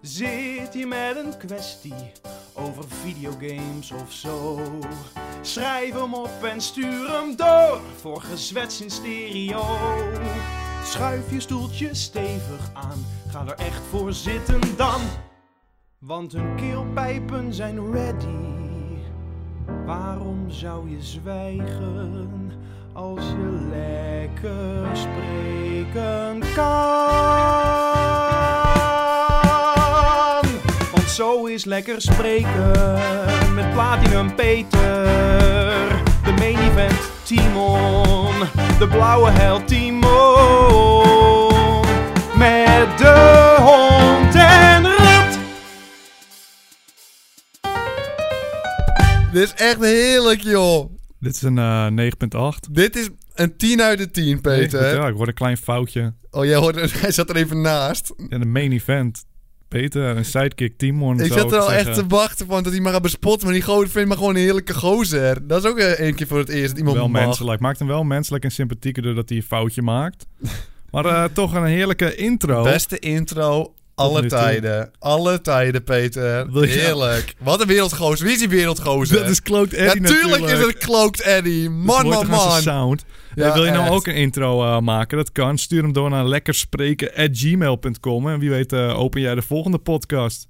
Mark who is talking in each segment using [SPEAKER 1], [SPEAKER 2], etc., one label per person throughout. [SPEAKER 1] Zit hier met een kwestie over videogames of zo? Schrijf hem op en stuur hem door voor gezwets in stereo. Schuif je stoeltje stevig aan, ga er echt voor zitten dan. Want hun keelpijpen zijn ready. Waarom zou je zwijgen als je lekker spreken kan? Want zo is lekker spreken met Platinum Peter, de main event Timon, de blauwe held Timon, met de hond en rat.
[SPEAKER 2] Dit is echt heerlijk, joh.
[SPEAKER 3] Dit is een eh, 9.8.
[SPEAKER 2] Dit is een 10 uit de 10, Peter.
[SPEAKER 3] Ja, ik hoor een klein foutje.
[SPEAKER 2] Oh, jij hoorde, hij zat er even naast.
[SPEAKER 3] En de main event. Peter, een sidekick, Timon.
[SPEAKER 2] Ik
[SPEAKER 3] zou
[SPEAKER 2] zat er al echt
[SPEAKER 3] zeggen.
[SPEAKER 2] te wachten van dat hij maar gaat bespotten. Maar die gozer vindt me gewoon een heerlijke gozer. Dat is ook eh, één keer voor het eerst dat iemand
[SPEAKER 3] Wel
[SPEAKER 2] mag.
[SPEAKER 3] menselijk. Maakt hem wel menselijk en sympathieker doordat hij een foutje maakt. Maar eh, toch een heerlijke intro.
[SPEAKER 2] Beste intro
[SPEAKER 3] Tot
[SPEAKER 2] alle
[SPEAKER 3] nu toe.
[SPEAKER 2] tijden. Alle tijden, Peter.
[SPEAKER 3] Wil je-
[SPEAKER 2] Heerlijk. Wat een wereldgozer. Wie is die wereldgozer?
[SPEAKER 3] Dat is Cloaked Eddie
[SPEAKER 2] natuurlijk,
[SPEAKER 3] natuurlijk.
[SPEAKER 2] is het Cloaked Eddie. Man,
[SPEAKER 3] Hoort
[SPEAKER 2] man,
[SPEAKER 3] toch aan zijn
[SPEAKER 2] man.
[SPEAKER 3] sound.
[SPEAKER 2] Ja,
[SPEAKER 3] Eh, wil je nou
[SPEAKER 2] echt.
[SPEAKER 3] ook een intro eh, maken? Dat kan. Stuur hem door naar lekkerspreken.gmail.com. En wie weet eh, open jij de volgende podcast.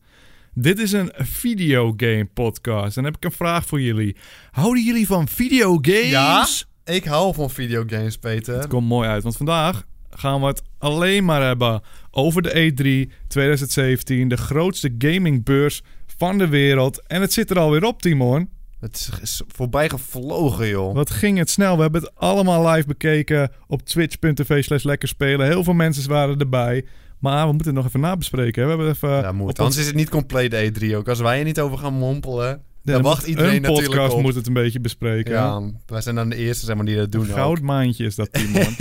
[SPEAKER 3] Dit is een videogame podcast. En dan heb ik een vraag voor jullie. Houden jullie van videogames?
[SPEAKER 2] Ja? Ik hou van videogames, Peter.
[SPEAKER 3] Het komt mooi uit, want vandaag gaan we het alleen maar hebben over de E E3 2017, de grootste gamingbeurs van de wereld. En het zit er alweer op, Timon.
[SPEAKER 2] Het is- is voorbij gevlogen, joh.
[SPEAKER 3] Wat ging het snel? We hebben het allemaal live bekeken op twitch.tv slash lekker spelen. Heel veel mensen waren erbij. Maar we moeten het nog even nabespreken. hè. We hebben even eh,
[SPEAKER 2] Ja, moet.
[SPEAKER 3] op
[SPEAKER 2] Anders
[SPEAKER 3] ons-
[SPEAKER 2] is het niet compleet de E3 ook. Als wij er niet over gaan mompelen,
[SPEAKER 3] Ja,
[SPEAKER 2] dan wacht
[SPEAKER 3] moet-
[SPEAKER 2] iedereen
[SPEAKER 3] een podcast
[SPEAKER 2] natuurlijk op.
[SPEAKER 3] moet het een beetje bespreken.
[SPEAKER 2] ja, wij zijn dan de eerste zeg maar, die dat doen. ook.
[SPEAKER 3] Goudmaandje is dat, Timon.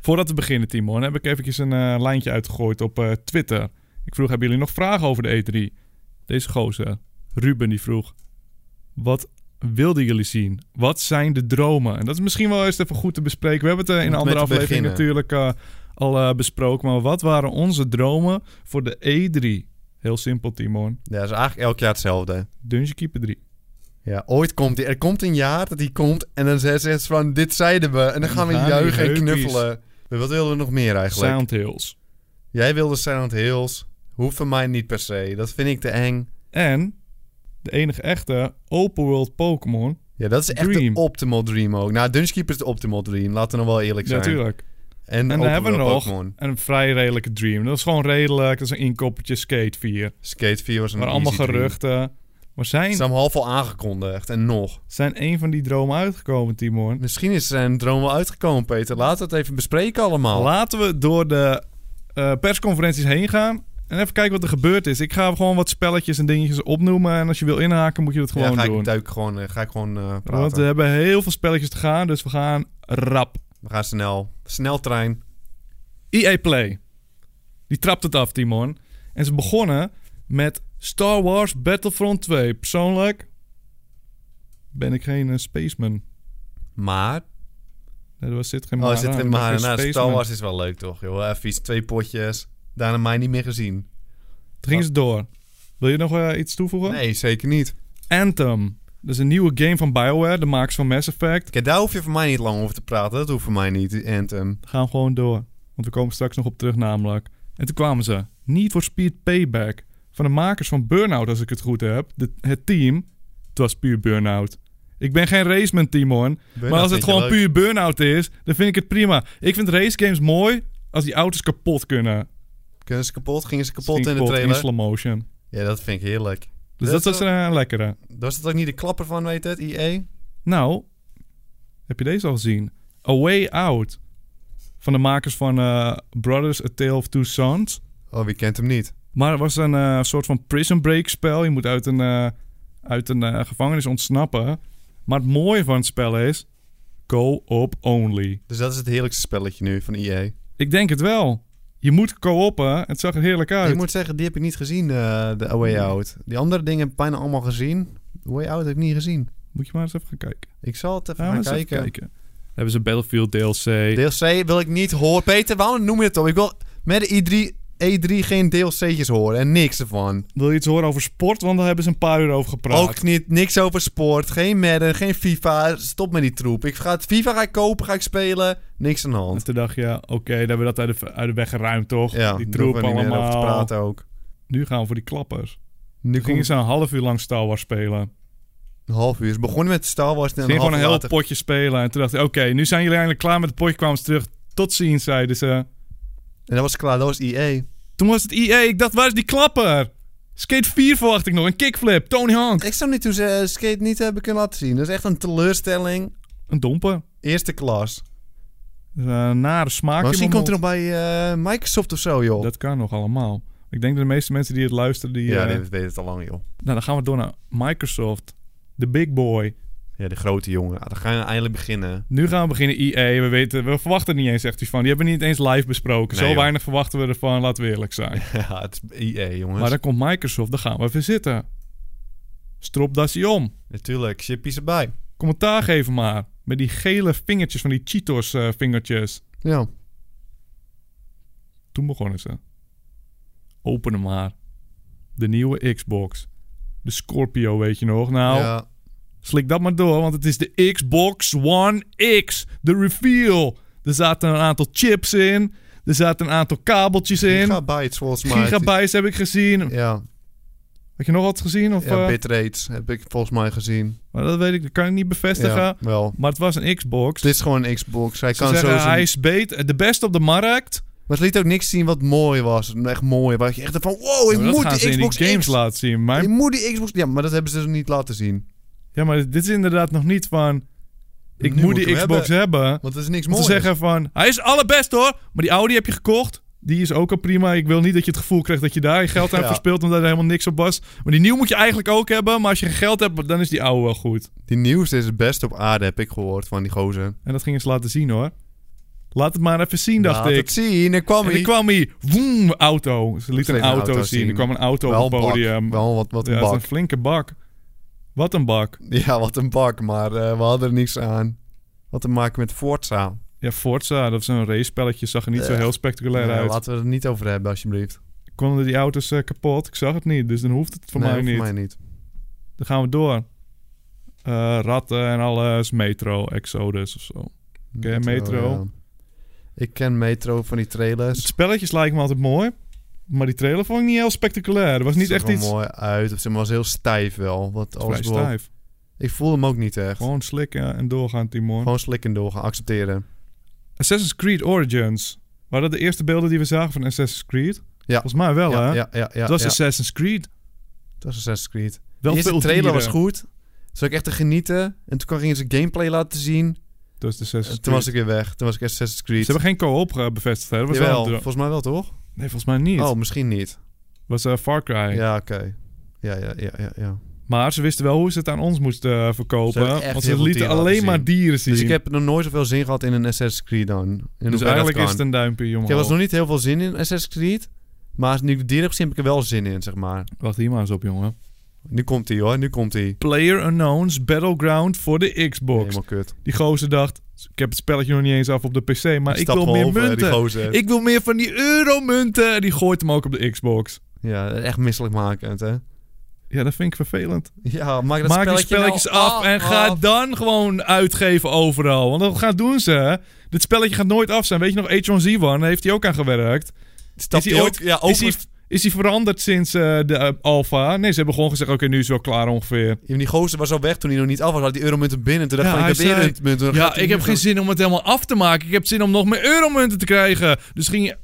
[SPEAKER 3] Voordat we beginnen, Timon, heb ik eventjes een eh, lijntje uitgegooid op eh, Twitter. Ik vroeg, hebben jullie nog vragen over de E3? Deze gozer, Ruben, die vroeg... Wat wilden jullie zien? Wat zijn de dromen? En dat is misschien wel eerst even goed te bespreken. We hebben het eh, in
[SPEAKER 2] Moet
[SPEAKER 3] een andere
[SPEAKER 2] met
[SPEAKER 3] aflevering
[SPEAKER 2] beginnen.
[SPEAKER 3] natuurlijk eh, al eh, besproken. Maar wat waren onze dromen voor de E3? Heel simpel, Timon.
[SPEAKER 2] Ja, dat is eigenlijk elk jaar hetzelfde.
[SPEAKER 3] Dungeon Keeper 3.
[SPEAKER 2] Ja, ooit komt die. Er komt een jaar dat die komt en dan zegt ze van, dit zeiden we. En dan gaan we
[SPEAKER 3] gaan die
[SPEAKER 2] juichen en
[SPEAKER 3] heupies.
[SPEAKER 2] knuffelen. Maar Wat wilden we nog meer eigenlijk?
[SPEAKER 3] Silent Hills.
[SPEAKER 2] Jij wilde Silent Hills. Hoeft van mij niet per se. Dat vind ik te eng.
[SPEAKER 3] En de enige echte open world Pokémon.
[SPEAKER 2] Ja, dat is echt
[SPEAKER 3] Dream.
[SPEAKER 2] de optimal dream ook. Nou, Dungeonkeeper is de optimal dream. Laten we nou wel eerlijk zijn.
[SPEAKER 3] Natuurlijk.
[SPEAKER 2] En,
[SPEAKER 3] En dan hebben we nog
[SPEAKER 2] Pokémon.
[SPEAKER 3] een vrij redelijke Dream. Dat is gewoon redelijk. Dat is een inkoppertje Skate 4.
[SPEAKER 2] Skate 4 was een
[SPEAKER 3] maar allemaal
[SPEAKER 2] easy dream.
[SPEAKER 3] geruchten. Maar zijn,
[SPEAKER 2] Ze hebben half al aangekondigd. En nog.
[SPEAKER 3] zijn één van die dromen uitgekomen, Timon?
[SPEAKER 2] Misschien is zijn droom wel uitgekomen, Peter. Laten we het even bespreken allemaal.
[SPEAKER 3] Laten we door de eh, persconferenties heen gaan. En even kijken wat er gebeurd is. Ik ga gewoon wat spelletjes en dingetjes opnoemen. En als je wil inhaken, moet je dat
[SPEAKER 2] ja,
[SPEAKER 3] gewoon
[SPEAKER 2] ga
[SPEAKER 3] doen.
[SPEAKER 2] ik duik gewoon, eh, ga ik gewoon eh, praten.
[SPEAKER 3] Want we hebben heel veel spelletjes te gaan. Dus we gaan rap.
[SPEAKER 2] We gaan snel. Sneltrein.
[SPEAKER 3] EA E Play. Die trapt het af, Timon. En ze begonnen met Star Wars Battlefront 2. Persoonlijk ben ik geen eh, spaceman.
[SPEAKER 2] Maar.
[SPEAKER 3] Nee, er was- zit geen
[SPEAKER 2] Oh, er
[SPEAKER 3] maar
[SPEAKER 2] zit
[SPEAKER 3] aan.
[SPEAKER 2] geen
[SPEAKER 3] Ik ben
[SPEAKER 2] maar.
[SPEAKER 3] geen
[SPEAKER 2] Nou, Star
[SPEAKER 3] spaceman.
[SPEAKER 2] Wars is wel leuk toch, joh. Even iets, twee potjes. Daarna mij niet meer gezien.
[SPEAKER 3] Toen gingen ze door. Wil je nog eh, iets toevoegen?
[SPEAKER 2] Nee, zeker niet.
[SPEAKER 3] Anthem. Dat is een nieuwe game van BioWare, de makers van Mass Effect.
[SPEAKER 2] Kijk, daar hoef je voor mij niet lang over te praten. Dat hoeft voor mij niet, die Anthem.
[SPEAKER 3] We gaan gewoon door. Want we komen straks nog op terug namelijk. En toen kwamen ze. Need for Speed Payback. Van de makers van Burnout, als ik het goed heb. De- het team. Het was puur Burnout. Ik ben geen raceman, Timon. maar als
[SPEAKER 2] vind
[SPEAKER 3] het
[SPEAKER 2] je
[SPEAKER 3] gewoon
[SPEAKER 2] leuk.
[SPEAKER 3] puur Burnout is, dan vind ik het prima. Ik vind racegames mooi als die auto's kapot kunnen.
[SPEAKER 2] Kunnen ze kapot? Gingen ze kapot
[SPEAKER 3] Ging
[SPEAKER 2] in de
[SPEAKER 3] kapot
[SPEAKER 2] trailer?
[SPEAKER 3] In slow motion.
[SPEAKER 2] ja, dat vind ik heerlijk.
[SPEAKER 3] Dus
[SPEAKER 2] Dat
[SPEAKER 3] dat,
[SPEAKER 2] is
[SPEAKER 3] was een eh, lekkere.
[SPEAKER 2] Was dat ook niet de klapper van, weet het, E IE?
[SPEAKER 3] Nou, heb je deze al gezien? A Way Out. Van de makers van eh, Brothers, A Tale of Two Sons.
[SPEAKER 2] Oh, wie kent hem niet?
[SPEAKER 3] Maar het was een eh, soort van prison break spel. Je moet uit een, eh, uit een eh, gevangenis ontsnappen. Maar het mooie van het spel is... Co-op only.
[SPEAKER 2] Dus dat is het heerlijkste spelletje nu van E IE.
[SPEAKER 3] Ik denk het wel. Je moet co-oppen. Het zag er heerlijk uit.
[SPEAKER 2] Ik moet zeggen, die heb ik niet gezien, eh, de A Way Out. Die andere dingen heb ik bijna allemaal gezien. The Way Out heb ik niet gezien.
[SPEAKER 3] Moet je maar eens even gaan kijken.
[SPEAKER 2] Ik zal het even
[SPEAKER 3] Ja, maar
[SPEAKER 2] gaan
[SPEAKER 3] eens even
[SPEAKER 2] kijken.
[SPEAKER 3] kijken. Dan hebben ze Battlefield DLC.
[SPEAKER 2] DLC wil ik niet horen. Peter, waarom noem je het op? Ik wil met de i3 E3 geen DLC'tjes horen en niks ervan.
[SPEAKER 3] Wil je iets horen over sport? Want daar hebben ze een paar uur over gepraat.
[SPEAKER 2] Ook niet, niks over sport, geen Madden, geen FIFA. Stop met die troep. Ik ga het FIFA ga ik kopen, ga ik spelen. Niks aan de
[SPEAKER 3] En
[SPEAKER 2] hand.
[SPEAKER 3] toen dacht je, ja, oké, daar hebben we dat uit de, uit de weg geruimd, toch?
[SPEAKER 2] Ja,
[SPEAKER 3] die
[SPEAKER 2] daar
[SPEAKER 3] troep
[SPEAKER 2] hoeven we niet meer over te
[SPEAKER 3] allemaal.
[SPEAKER 2] praten ook.
[SPEAKER 3] Nu gaan we voor die klappers.
[SPEAKER 2] Nu
[SPEAKER 3] Nu gingen
[SPEAKER 2] komt
[SPEAKER 3] ze een half uur lang Star Wars spelen.
[SPEAKER 2] een half uur. Ze begonnen met Star Wars en
[SPEAKER 3] Ze
[SPEAKER 2] een
[SPEAKER 3] gingen
[SPEAKER 2] half
[SPEAKER 3] gewoon
[SPEAKER 2] uur
[SPEAKER 3] een heel
[SPEAKER 2] later-
[SPEAKER 3] potje spelen. En toen dacht ik, oké, nu zijn jullie eindelijk klaar met het potje. Kwamen ze terug. Tot ziens, zeiden ze.
[SPEAKER 2] En dat was klaar, dat was E EA.
[SPEAKER 3] Toen was het EA. Ik dacht, waar is die klapper? Skate 4 verwacht ik nog. Een kickflip. Tony Hawk.
[SPEAKER 2] Ik snap niet hoe ze eh, skate niet hebben kunnen laten zien. Dat is echt een teleurstelling.
[SPEAKER 3] Een domper.
[SPEAKER 2] Eerste klas.
[SPEAKER 3] Eh, nare smaak
[SPEAKER 2] Maar
[SPEAKER 3] in
[SPEAKER 2] misschien
[SPEAKER 3] mijn
[SPEAKER 2] komt er nog bij eh, Microsoft of zo, joh.
[SPEAKER 3] mond. Dat kan nog allemaal. Ik denk dat de meeste mensen die het luisteren... Die,
[SPEAKER 2] ja,
[SPEAKER 3] eh,
[SPEAKER 2] dit weet het al lang, joh.
[SPEAKER 3] Nou, dan gaan we door naar Microsoft. De big boy.
[SPEAKER 2] Ja, de grote jongen. Ah, dan gaan we eindelijk beginnen.
[SPEAKER 3] Nu gaan we beginnen EA. We, weten, we verwachten het niet eens, zegt hij van. Die hebben we niet eens live besproken.
[SPEAKER 2] Nee,
[SPEAKER 3] Zo
[SPEAKER 2] joh.
[SPEAKER 3] weinig verwachten we ervan, laten we eerlijk zijn.
[SPEAKER 2] ja, het is EA, jongens.
[SPEAKER 3] Maar dan komt Microsoft, dan gaan we even zitten. Stropdasje om.
[SPEAKER 2] Natuurlijk, chippies erbij.
[SPEAKER 3] Commentaar geven maar. Met die gele vingertjes van die Cheetos eh, vingertjes.
[SPEAKER 2] Ja.
[SPEAKER 3] Toen begonnen ze. Open hem maar. De nieuwe Xbox. De Scorpio, weet je nog? Nou,
[SPEAKER 2] ja.
[SPEAKER 3] Slik dat maar door, want het is de Xbox One X. De reveal. Er zaten een aantal chips in. Er zaten een aantal kabeltjes in.
[SPEAKER 2] Gigabytes volgens mij.
[SPEAKER 3] Gigabytes heb ik gezien.
[SPEAKER 2] Ja,
[SPEAKER 3] Had je nog wat gezien? Of,
[SPEAKER 2] ja
[SPEAKER 3] eh,
[SPEAKER 2] bitrates heb ik volgens mij gezien.
[SPEAKER 3] maar dat weet ik, dat kan ik niet bevestigen.
[SPEAKER 2] Ja, wel.
[SPEAKER 3] Maar het was een Xbox.
[SPEAKER 2] Dit is gewoon een Xbox. Hij
[SPEAKER 3] eh, Ze
[SPEAKER 2] kan zo
[SPEAKER 3] zeggen,
[SPEAKER 2] zijn...
[SPEAKER 3] hij is beter, de beste op de markt.
[SPEAKER 2] Maar ze liet ook niks zien wat mooi was. Echt mooi. Waar je echt van, wow, ik
[SPEAKER 3] Maar dat
[SPEAKER 2] moet
[SPEAKER 3] gaan ze
[SPEAKER 2] die
[SPEAKER 3] in die
[SPEAKER 2] Xbox
[SPEAKER 3] games
[SPEAKER 2] X.
[SPEAKER 3] laten zien.
[SPEAKER 2] Je
[SPEAKER 3] Maar,
[SPEAKER 2] moet die Xbox... Ja, maar dat hebben ze dus niet laten zien.
[SPEAKER 3] ja, maar dit is inderdaad nog niet van... Ik
[SPEAKER 2] Nu
[SPEAKER 3] moet
[SPEAKER 2] moet
[SPEAKER 3] die
[SPEAKER 2] ik hem
[SPEAKER 3] Xbox hebben.
[SPEAKER 2] Want er is niks
[SPEAKER 3] Om te
[SPEAKER 2] moois.
[SPEAKER 3] zeggen van... Hij is allerbest hoor, maar die Audi heb je gekocht. Die is ook al prima. Ik wil niet dat je het gevoel krijgt dat je daar je geld aan
[SPEAKER 2] Ja.
[SPEAKER 3] verspeelt... omdat er helemaal niks op was. Maar die nieuw moet je eigenlijk ook hebben. Maar als je geen geld hebt, dan is die oude wel goed.
[SPEAKER 2] Die nieuwste is het beste op aarde, heb ik gehoord van die gozer.
[SPEAKER 3] En dat gingen ze laten zien hoor. Laat het maar even zien, dacht
[SPEAKER 2] Laat
[SPEAKER 3] ik.
[SPEAKER 2] het Nou, zien, er kwam
[SPEAKER 3] En
[SPEAKER 2] hij.
[SPEAKER 3] er kwam hij. Woem, auto. Ze liet
[SPEAKER 2] Ze
[SPEAKER 3] een
[SPEAKER 2] liet een
[SPEAKER 3] auto,
[SPEAKER 2] auto
[SPEAKER 3] zien.
[SPEAKER 2] zien.
[SPEAKER 3] Er kwam een auto op het
[SPEAKER 2] een bak.
[SPEAKER 3] podium.
[SPEAKER 2] Wel wat, wat een
[SPEAKER 3] ja, het is
[SPEAKER 2] bak.
[SPEAKER 3] een flinke bak. Wat een bak.
[SPEAKER 2] Ja, wat een bak, maar eh, we hadden er niks aan. Wat te maken met Forza.
[SPEAKER 3] Ja, Forza, dat is een race-spelletje. Zag er niet zo
[SPEAKER 2] Eh,
[SPEAKER 3] heel spectaculair
[SPEAKER 2] Ja,
[SPEAKER 3] uit.
[SPEAKER 2] laten we het er niet over hebben, alsjeblieft.
[SPEAKER 3] Konden die auto's eh, kapot? Ik zag het niet, dus dan hoeft het voor
[SPEAKER 2] Nee,
[SPEAKER 3] mij
[SPEAKER 2] voor
[SPEAKER 3] niet.
[SPEAKER 2] mij niet.
[SPEAKER 3] Dan gaan we door. Eh, ratten en alles. Metro, Exodus of zo. Ken je Metro?
[SPEAKER 2] ja. Ik ken Metro van die
[SPEAKER 3] De
[SPEAKER 2] trailers.
[SPEAKER 3] spelletjes lijken me altijd mooi. Maar die trailer vond ik niet heel spectaculair. Er was niet
[SPEAKER 2] Zag
[SPEAKER 3] echt
[SPEAKER 2] er
[SPEAKER 3] iets...
[SPEAKER 2] mooi uit. Of ze was heel stijf wel. Wat
[SPEAKER 3] Vrij
[SPEAKER 2] alles wel.
[SPEAKER 3] stijf.
[SPEAKER 2] Ik voel hem ook niet echt.
[SPEAKER 3] Gewoon slikken en doorgaan, Timon.
[SPEAKER 2] Gewoon slikken door gaan accepteren.
[SPEAKER 3] Assassin's Creed Origins. Waren dat de eerste beelden die we zagen van Assassin's Creed?
[SPEAKER 2] Ja.
[SPEAKER 3] Volgens mij wel, hè?
[SPEAKER 2] ja, ja, ja, ja,
[SPEAKER 3] dat was
[SPEAKER 2] ja.
[SPEAKER 3] Assassin's Creed.
[SPEAKER 2] Dat is Assassin's Creed.
[SPEAKER 3] Wel
[SPEAKER 2] de eerste
[SPEAKER 3] veel
[SPEAKER 2] trailer
[SPEAKER 3] dieren.
[SPEAKER 2] was goed. Zou ik echt te genieten. En toen gingen ze gameplay laten zien.
[SPEAKER 3] Dat is de
[SPEAKER 2] En
[SPEAKER 3] Assassin's
[SPEAKER 2] toen was
[SPEAKER 3] Creed.
[SPEAKER 2] ik weer weg. Toen was ik Assassin's Creed.
[SPEAKER 3] Ze hebben geen co-op eh, bevestigd, hè? Dat was
[SPEAKER 2] Jawel,
[SPEAKER 3] wel... Nee,
[SPEAKER 2] volgens mij wel toch?
[SPEAKER 3] volgens mij niet.
[SPEAKER 2] Oh, misschien niet.
[SPEAKER 3] was eh, Far Cry.
[SPEAKER 2] Ja, oké. Ja, ja, ja, ja, ja.
[SPEAKER 3] Maar ze wisten wel hoe ze het aan ons moesten eh,
[SPEAKER 2] Ze
[SPEAKER 3] verkopen.
[SPEAKER 2] hebben echt
[SPEAKER 3] want
[SPEAKER 2] heel
[SPEAKER 3] ze
[SPEAKER 2] veel
[SPEAKER 3] lieten
[SPEAKER 2] dieren laten
[SPEAKER 3] alleen maar
[SPEAKER 2] zien.
[SPEAKER 3] dieren zien.
[SPEAKER 2] Dus ik heb nog nooit zoveel zin gehad in een Assassin's Creed dan. In hoeverre
[SPEAKER 3] Dus
[SPEAKER 2] dat
[SPEAKER 3] eigenlijk
[SPEAKER 2] kan.
[SPEAKER 3] is het een duimpje,
[SPEAKER 2] Ik
[SPEAKER 3] jongen.
[SPEAKER 2] heb er nog niet heel veel zin in Assassin's Creed. Maar nu ik de dieren heb gezien, heb ik er wel zin in, zeg maar.
[SPEAKER 3] Wacht hier maar eens op, jongen.
[SPEAKER 2] Nu komt hij hoor, nu komt hij.
[SPEAKER 3] Player Unknowns Battleground voor de Xbox.
[SPEAKER 2] Helemaal kut.
[SPEAKER 3] die gozer dacht, ik heb het spelletje nog niet eens af op de PC, maar ik
[SPEAKER 2] Stap
[SPEAKER 3] wil
[SPEAKER 2] wel
[SPEAKER 3] meer
[SPEAKER 2] over, eh, die
[SPEAKER 3] munten.
[SPEAKER 2] gozer.
[SPEAKER 3] Ik wil meer van die euromunten. Die gooit hem ook op de Xbox.
[SPEAKER 2] Ja, echt misselijkmakend, hè?
[SPEAKER 3] Ja, dat vind ik vervelend.
[SPEAKER 2] Ja, maak dat
[SPEAKER 3] Maak je
[SPEAKER 2] spelletje
[SPEAKER 3] spelletjes
[SPEAKER 2] nou
[SPEAKER 3] af, en ga
[SPEAKER 2] af.
[SPEAKER 3] het dan gewoon uitgeven overal. Want dat gaan doen ze. hè. Dit spelletje gaat nooit af zijn. Weet je nog, H1Z1, daar heeft hij ook aan gewerkt.
[SPEAKER 2] Stapt
[SPEAKER 3] Is
[SPEAKER 2] hij
[SPEAKER 3] hij
[SPEAKER 2] ook... Ja,
[SPEAKER 3] Is hij, is hij veranderd sinds eh, de eh, Alpha? Nee, ze hebben gewoon gezegd, oké, nu is het wel klaar ongeveer.
[SPEAKER 2] Ja, maar Die gozer was al weg toen hij nog niet af was. Had die euromunten binnen. Toen dacht
[SPEAKER 3] Ja,
[SPEAKER 2] van, ik
[SPEAKER 3] hij
[SPEAKER 2] heb
[SPEAKER 3] zei-
[SPEAKER 2] euromunten. Dan gaat
[SPEAKER 3] Ja,
[SPEAKER 2] hij
[SPEAKER 3] ik heb
[SPEAKER 2] nu
[SPEAKER 3] geen
[SPEAKER 2] zo-
[SPEAKER 3] zin om het helemaal af te maken. Ik heb zin om nog meer euromunten te krijgen. Dus ging je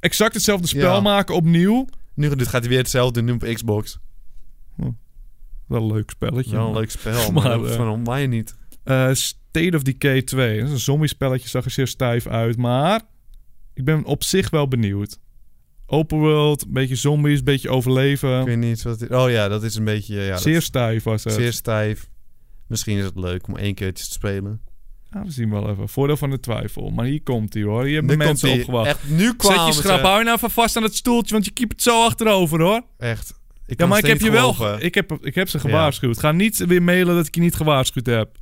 [SPEAKER 3] exact hetzelfde spel
[SPEAKER 2] Ja.
[SPEAKER 3] maken opnieuw.
[SPEAKER 2] Nu dit gaat hij weer hetzelfde doen op Xbox.
[SPEAKER 3] Wel een leuk spelletje.
[SPEAKER 2] Wel een leuk spel,
[SPEAKER 3] Maar,
[SPEAKER 2] maar, dat
[SPEAKER 3] eh,
[SPEAKER 2] is van mij niet.
[SPEAKER 3] Eh, State of Decay 2. Dat is een zombie spelletje, zag er zeer stijf uit. Maar ik ben op zich wel benieuwd. Open world, een beetje zombies, een beetje overleven.
[SPEAKER 2] Ik weet niet wat het- Oh ja, dat is een beetje... Ja, dat
[SPEAKER 3] zeer
[SPEAKER 2] is
[SPEAKER 3] stijf was het.
[SPEAKER 2] zeer stijf. Misschien is het leuk om één keertje te spelen.
[SPEAKER 3] Ja, we zien wel even. Voordeel van de twijfel. Maar hier komt hij hoor. Hier
[SPEAKER 2] Nu
[SPEAKER 3] hebben mensen
[SPEAKER 2] komt-ie.
[SPEAKER 3] opgewacht.
[SPEAKER 2] Echt, nu
[SPEAKER 3] Zet je
[SPEAKER 2] kwamen
[SPEAKER 3] schrap,
[SPEAKER 2] ze.
[SPEAKER 3] hou je nou even vast aan het stoeltje, want je keept het zo achterover hoor.
[SPEAKER 2] Echt. Ik
[SPEAKER 3] Ja,
[SPEAKER 2] kan
[SPEAKER 3] maar ik
[SPEAKER 2] het
[SPEAKER 3] heb je
[SPEAKER 2] steeds
[SPEAKER 3] wel.
[SPEAKER 2] geloven.
[SPEAKER 3] ge- Ik heb, ik heb ze gewaarschuwd. Ga niet weer mailen dat ik je niet gewaarschuwd heb.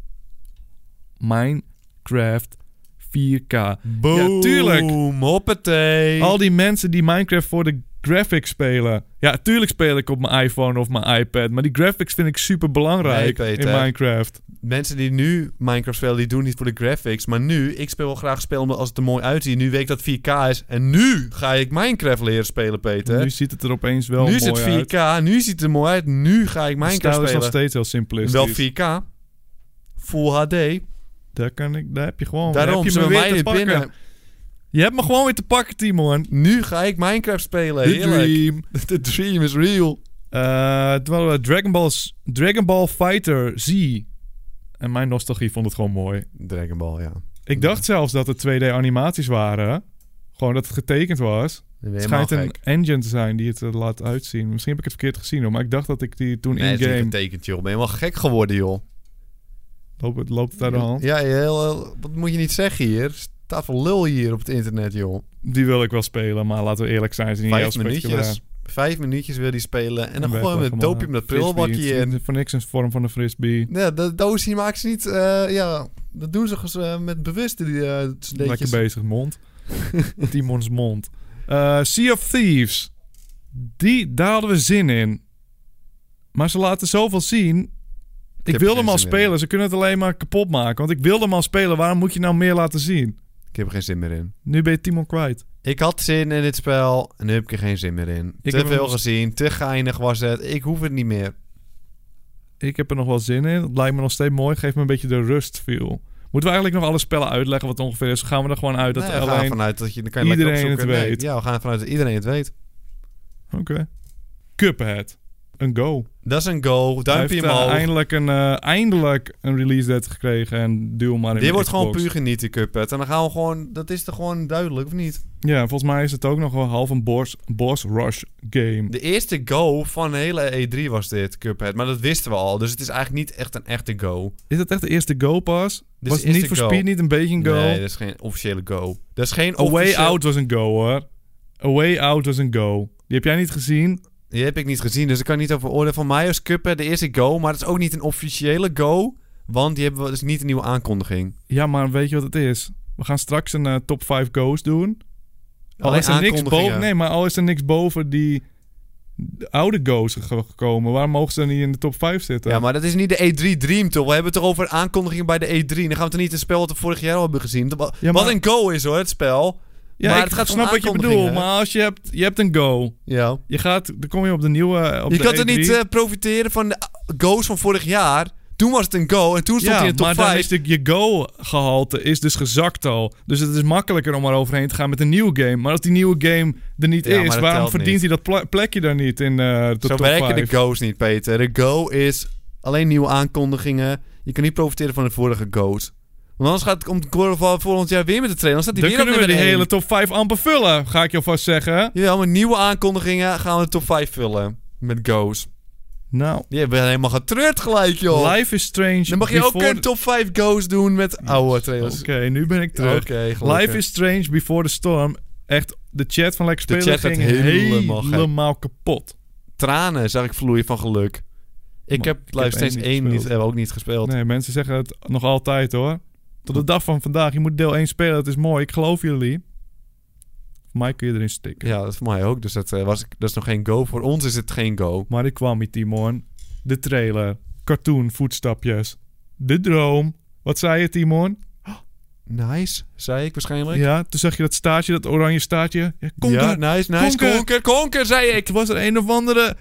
[SPEAKER 3] Minecraft 4K.
[SPEAKER 2] Boom.
[SPEAKER 3] tuurlijk.
[SPEAKER 2] Hoppatee.
[SPEAKER 3] Al die mensen die Minecraft voor de graphics spelen. Ja, tuurlijk speel ik op mijn iPhone of mijn iPad. Maar die graphics vind ik super belangrijk
[SPEAKER 2] Nee,
[SPEAKER 3] in
[SPEAKER 2] Peter.
[SPEAKER 3] Minecraft.
[SPEAKER 2] Mensen die nu Minecraft spelen, die doen niet voor de graphics. Maar nu, ik speel wel graag spelen omdat als het er mooi uitziet. Nu weet ik dat 4K is. En nu ga ik Minecraft leren spelen, Peter.
[SPEAKER 3] Nu ziet het er opeens wel
[SPEAKER 2] Nu
[SPEAKER 3] mooi
[SPEAKER 2] is het 4K,
[SPEAKER 3] uit.
[SPEAKER 2] nu ziet het er mooi uit. Nu ga ik
[SPEAKER 3] De stijl
[SPEAKER 2] Minecraft
[SPEAKER 3] is nog
[SPEAKER 2] spelen.
[SPEAKER 3] steeds heel simplistisch.
[SPEAKER 2] Wel 4K. Full HD.
[SPEAKER 3] Daar, kan ik, daar heb je gewoon... daar
[SPEAKER 2] Daarom
[SPEAKER 3] heb je me
[SPEAKER 2] zullen
[SPEAKER 3] weer
[SPEAKER 2] wij
[SPEAKER 3] te
[SPEAKER 2] dit
[SPEAKER 3] pakken.
[SPEAKER 2] binnen.
[SPEAKER 3] Je hebt me gewoon weer te pakken, Timon.
[SPEAKER 2] Nu ga ik Minecraft spelen.
[SPEAKER 3] The
[SPEAKER 2] Heerlijk.
[SPEAKER 3] dream.
[SPEAKER 2] The dream is real.
[SPEAKER 3] Eh, terwijl we Dragon, Ball, Dragon Ball Fighter Z. En mijn nostalgie vond het gewoon mooi.
[SPEAKER 2] Dragon Ball, ja.
[SPEAKER 3] Ik dacht zelfs dat het 2D animaties waren. Gewoon dat het getekend was.
[SPEAKER 2] Het
[SPEAKER 3] Het schijnt een engine te zijn die het eh, laat uitzien. Misschien heb ik het verkeerd gezien hoor. Maar ik dacht dat ik die toen
[SPEAKER 2] Nee, het is niet
[SPEAKER 3] in-game...
[SPEAKER 2] getekend, joh. Ben je helemaal gek geworden, joh.
[SPEAKER 3] Loopt, het- loopt het uit de hand?
[SPEAKER 2] Ja, heel, heel- wat moet je niet zeggen hier? Staat voor lul hier op het internet, joh.
[SPEAKER 3] Die wil ik wel spelen, maar laten we eerlijk zijn. Ze is niet heel
[SPEAKER 2] Vijf
[SPEAKER 3] spectaculair.
[SPEAKER 2] minuutjes. Vijf minuutjes wil hij spelen. En dan
[SPEAKER 3] Weg,
[SPEAKER 2] gewoon
[SPEAKER 3] weg,
[SPEAKER 2] met
[SPEAKER 3] man.
[SPEAKER 2] doop je hem dat
[SPEAKER 3] Frisbee,
[SPEAKER 2] prullenbakje
[SPEAKER 3] het is
[SPEAKER 2] in.
[SPEAKER 3] niet Voor niks een vorm van een frisbee.
[SPEAKER 2] Ja, de doos die maken ze niet... eh, ja, dat doen ze gewoon, eh, met bewust die eh
[SPEAKER 3] Lekker
[SPEAKER 2] sleetjes.
[SPEAKER 3] bezig, mond. Timons mond. Eh, sea of Thieves. Die, daar hadden we zin in. Maar ze laten zoveel zien. Ik,
[SPEAKER 2] heb
[SPEAKER 3] wilde
[SPEAKER 2] geen
[SPEAKER 3] hem al
[SPEAKER 2] zin in.
[SPEAKER 3] spelen. Ze kunnen het alleen maar kapot maken. Want ik wilde hem al spelen. Waarom moet je nou meer laten zien?
[SPEAKER 2] Ik heb er geen zin meer in.
[SPEAKER 3] Nu ben je Timon kwijt.
[SPEAKER 2] Ik had zin in dit spel en nu heb ik er geen zin meer in.
[SPEAKER 3] Ik
[SPEAKER 2] te
[SPEAKER 3] heb
[SPEAKER 2] veel
[SPEAKER 3] hem-
[SPEAKER 2] gezien, te geinig was het. Ik hoef het niet meer.
[SPEAKER 3] Ik heb er nog wel zin in. Het lijkt me nog steeds mooi. Geeft me een beetje de rust feel. Moeten we eigenlijk nog alle spellen uitleggen wat het ongeveer is? Gaan we er gewoon uit dat
[SPEAKER 2] Nee,
[SPEAKER 3] er
[SPEAKER 2] we gaan
[SPEAKER 3] alleen...
[SPEAKER 2] vanuit dat je, dan kan je
[SPEAKER 3] iedereen
[SPEAKER 2] lekker opzoeken.
[SPEAKER 3] het
[SPEAKER 2] Nee,
[SPEAKER 3] weet.
[SPEAKER 2] ja, we gaan vanuit dat iedereen het weet.
[SPEAKER 3] Oké. Cuphead. Een go.
[SPEAKER 2] Dat is een go.
[SPEAKER 3] Hij
[SPEAKER 2] Duimpje
[SPEAKER 3] heeft,
[SPEAKER 2] hem
[SPEAKER 3] eh,
[SPEAKER 2] al.
[SPEAKER 3] eindelijk, een, eh, eindelijk een release date gekregen en duw hem maar in
[SPEAKER 2] Dit
[SPEAKER 3] de
[SPEAKER 2] wordt gewoon
[SPEAKER 3] Xbox.
[SPEAKER 2] puur genieten, Cuphead. En dan gaan we gewoon... Dat is toch gewoon duidelijk, of niet?
[SPEAKER 3] Ja, volgens mij is het ook nog wel half een boss, boss rush game.
[SPEAKER 2] De eerste go van de hele E3 was dit, Cuphead. Maar dat wisten we al. Dus het is eigenlijk niet echt een echte go.
[SPEAKER 3] Is dat echt de eerste go pas?
[SPEAKER 2] Dit
[SPEAKER 3] was
[SPEAKER 2] is
[SPEAKER 3] het
[SPEAKER 2] de
[SPEAKER 3] niet voor
[SPEAKER 2] go.
[SPEAKER 3] speed, niet een beetje een go?
[SPEAKER 2] Nee, dat is geen officiële go. Dat is geen
[SPEAKER 3] A Way
[SPEAKER 2] officieel-
[SPEAKER 3] Out was een go hoor. A Way Out was een go. Die heb jij niet gezien?
[SPEAKER 2] Die heb ik niet gezien, dus ik kan niet over oordelen. Van mij was Cuphead de eerste go, maar dat is ook niet een officiële go. Want die hebben we dus niet een nieuwe aankondiging.
[SPEAKER 3] Ja, maar weet je wat het is? We gaan straks een eh, top 5 go's doen. Al
[SPEAKER 2] Alleen
[SPEAKER 3] Oh, is er niks
[SPEAKER 2] aankondigingen.
[SPEAKER 3] boven. Nee, maar al is er niks boven die de oude go's ge- gekomen. Waarom mogen ze dan niet in de top 5 zitten?
[SPEAKER 2] Ja, maar dat is niet de E3 Dream toch? We hebben het erover aankondigingen bij de E3. Dan gaan we het niet een spel wat we vorig jaar al hebben gezien. Wa-
[SPEAKER 3] Ja,
[SPEAKER 2] Wat
[SPEAKER 3] maar-
[SPEAKER 2] een go is hoor, het spel.
[SPEAKER 3] Ja,
[SPEAKER 2] Maar
[SPEAKER 3] ik
[SPEAKER 2] het gaat om
[SPEAKER 3] snap wat je
[SPEAKER 2] aankondigingen,
[SPEAKER 3] bedoelt.
[SPEAKER 2] hè?
[SPEAKER 3] Maar als je hebt, je hebt een go.
[SPEAKER 2] Ja.
[SPEAKER 3] Je gaat, dan kom je op de nieuwe. Op
[SPEAKER 2] Je
[SPEAKER 3] de E
[SPEAKER 2] kan er
[SPEAKER 3] E3.
[SPEAKER 2] niet eh, profiteren van de go's van vorig jaar. Toen was het een go en toen stond
[SPEAKER 3] ja,
[SPEAKER 2] hij in de top
[SPEAKER 3] maar dan
[SPEAKER 2] 5.
[SPEAKER 3] is de, je go-gehalte is dus gezakt al. Dus het is makkelijker om er overheen te gaan met een nieuwe game. Maar als die nieuwe game er niet
[SPEAKER 2] Ja, maar
[SPEAKER 3] is,
[SPEAKER 2] dat
[SPEAKER 3] waarom
[SPEAKER 2] telt
[SPEAKER 3] verdient
[SPEAKER 2] niet.
[SPEAKER 3] hij dat pla- plekje dan niet in eh, de
[SPEAKER 2] Zo
[SPEAKER 3] top
[SPEAKER 2] werken
[SPEAKER 3] 5?
[SPEAKER 2] de go's niet, Peter. De go is alleen nieuwe aankondigingen. Je kan niet profiteren van de vorige go's. Want anders gaat het om God of War volgend jaar weer met de trailer. Dan staat
[SPEAKER 3] Dan
[SPEAKER 2] hij weer op
[SPEAKER 3] kunnen we
[SPEAKER 2] nummer
[SPEAKER 3] de
[SPEAKER 2] één.
[SPEAKER 3] hele top 5 amper vullen, ga ik je alvast zeggen.
[SPEAKER 2] Jawel, met nieuwe aankondigingen gaan we de top 5 vullen. Met go's.
[SPEAKER 3] Nou,
[SPEAKER 2] Je bent helemaal getreurd gelijk, joh.
[SPEAKER 3] Life is Strange.
[SPEAKER 2] Dan mag je ook
[SPEAKER 3] Before-
[SPEAKER 2] een top 5 go's doen met oude
[SPEAKER 3] Oké,
[SPEAKER 2] trailers.
[SPEAKER 3] nu ben ik terug.
[SPEAKER 2] gelukkig.
[SPEAKER 3] Life is Strange Before the Storm. Echt, de chat van Lex
[SPEAKER 2] De
[SPEAKER 3] Spelen
[SPEAKER 2] chat
[SPEAKER 3] ging
[SPEAKER 2] gaat helemaal
[SPEAKER 3] helemaal,
[SPEAKER 2] gek.
[SPEAKER 3] kapot.
[SPEAKER 2] Tranen zag ik vloeien van geluk. Ik
[SPEAKER 3] Man,
[SPEAKER 2] heb
[SPEAKER 3] ik
[SPEAKER 2] Life
[SPEAKER 3] heb
[SPEAKER 2] Strange
[SPEAKER 3] één
[SPEAKER 2] 1
[SPEAKER 3] niet
[SPEAKER 2] niet,
[SPEAKER 3] gespeeld.
[SPEAKER 2] hebben we ook niet gespeeld.
[SPEAKER 3] Nee, mensen zeggen het nog altijd hoor. Tot de dag van vandaag. Je moet deel 1 spelen. Het is mooi. Ik geloof jullie. Voor mij kun je erin stikken.
[SPEAKER 2] Ja, dat is voor mij ook. Dus dat, eh, was, dat is nog geen go. Voor ons is het geen go.
[SPEAKER 3] Maar ik kwam hier, Timon. De trailer. Cartoon, voetstapjes. De droom. Wat zei je, Timon?
[SPEAKER 2] Nice, zei ik waarschijnlijk.
[SPEAKER 3] Ja, toen zag je dat staartje, dat oranje staartje. Ja, konker.
[SPEAKER 2] Ja, nice, nice.
[SPEAKER 3] Konker.
[SPEAKER 2] Konker, konker, zei ik.
[SPEAKER 3] Het was er een of andere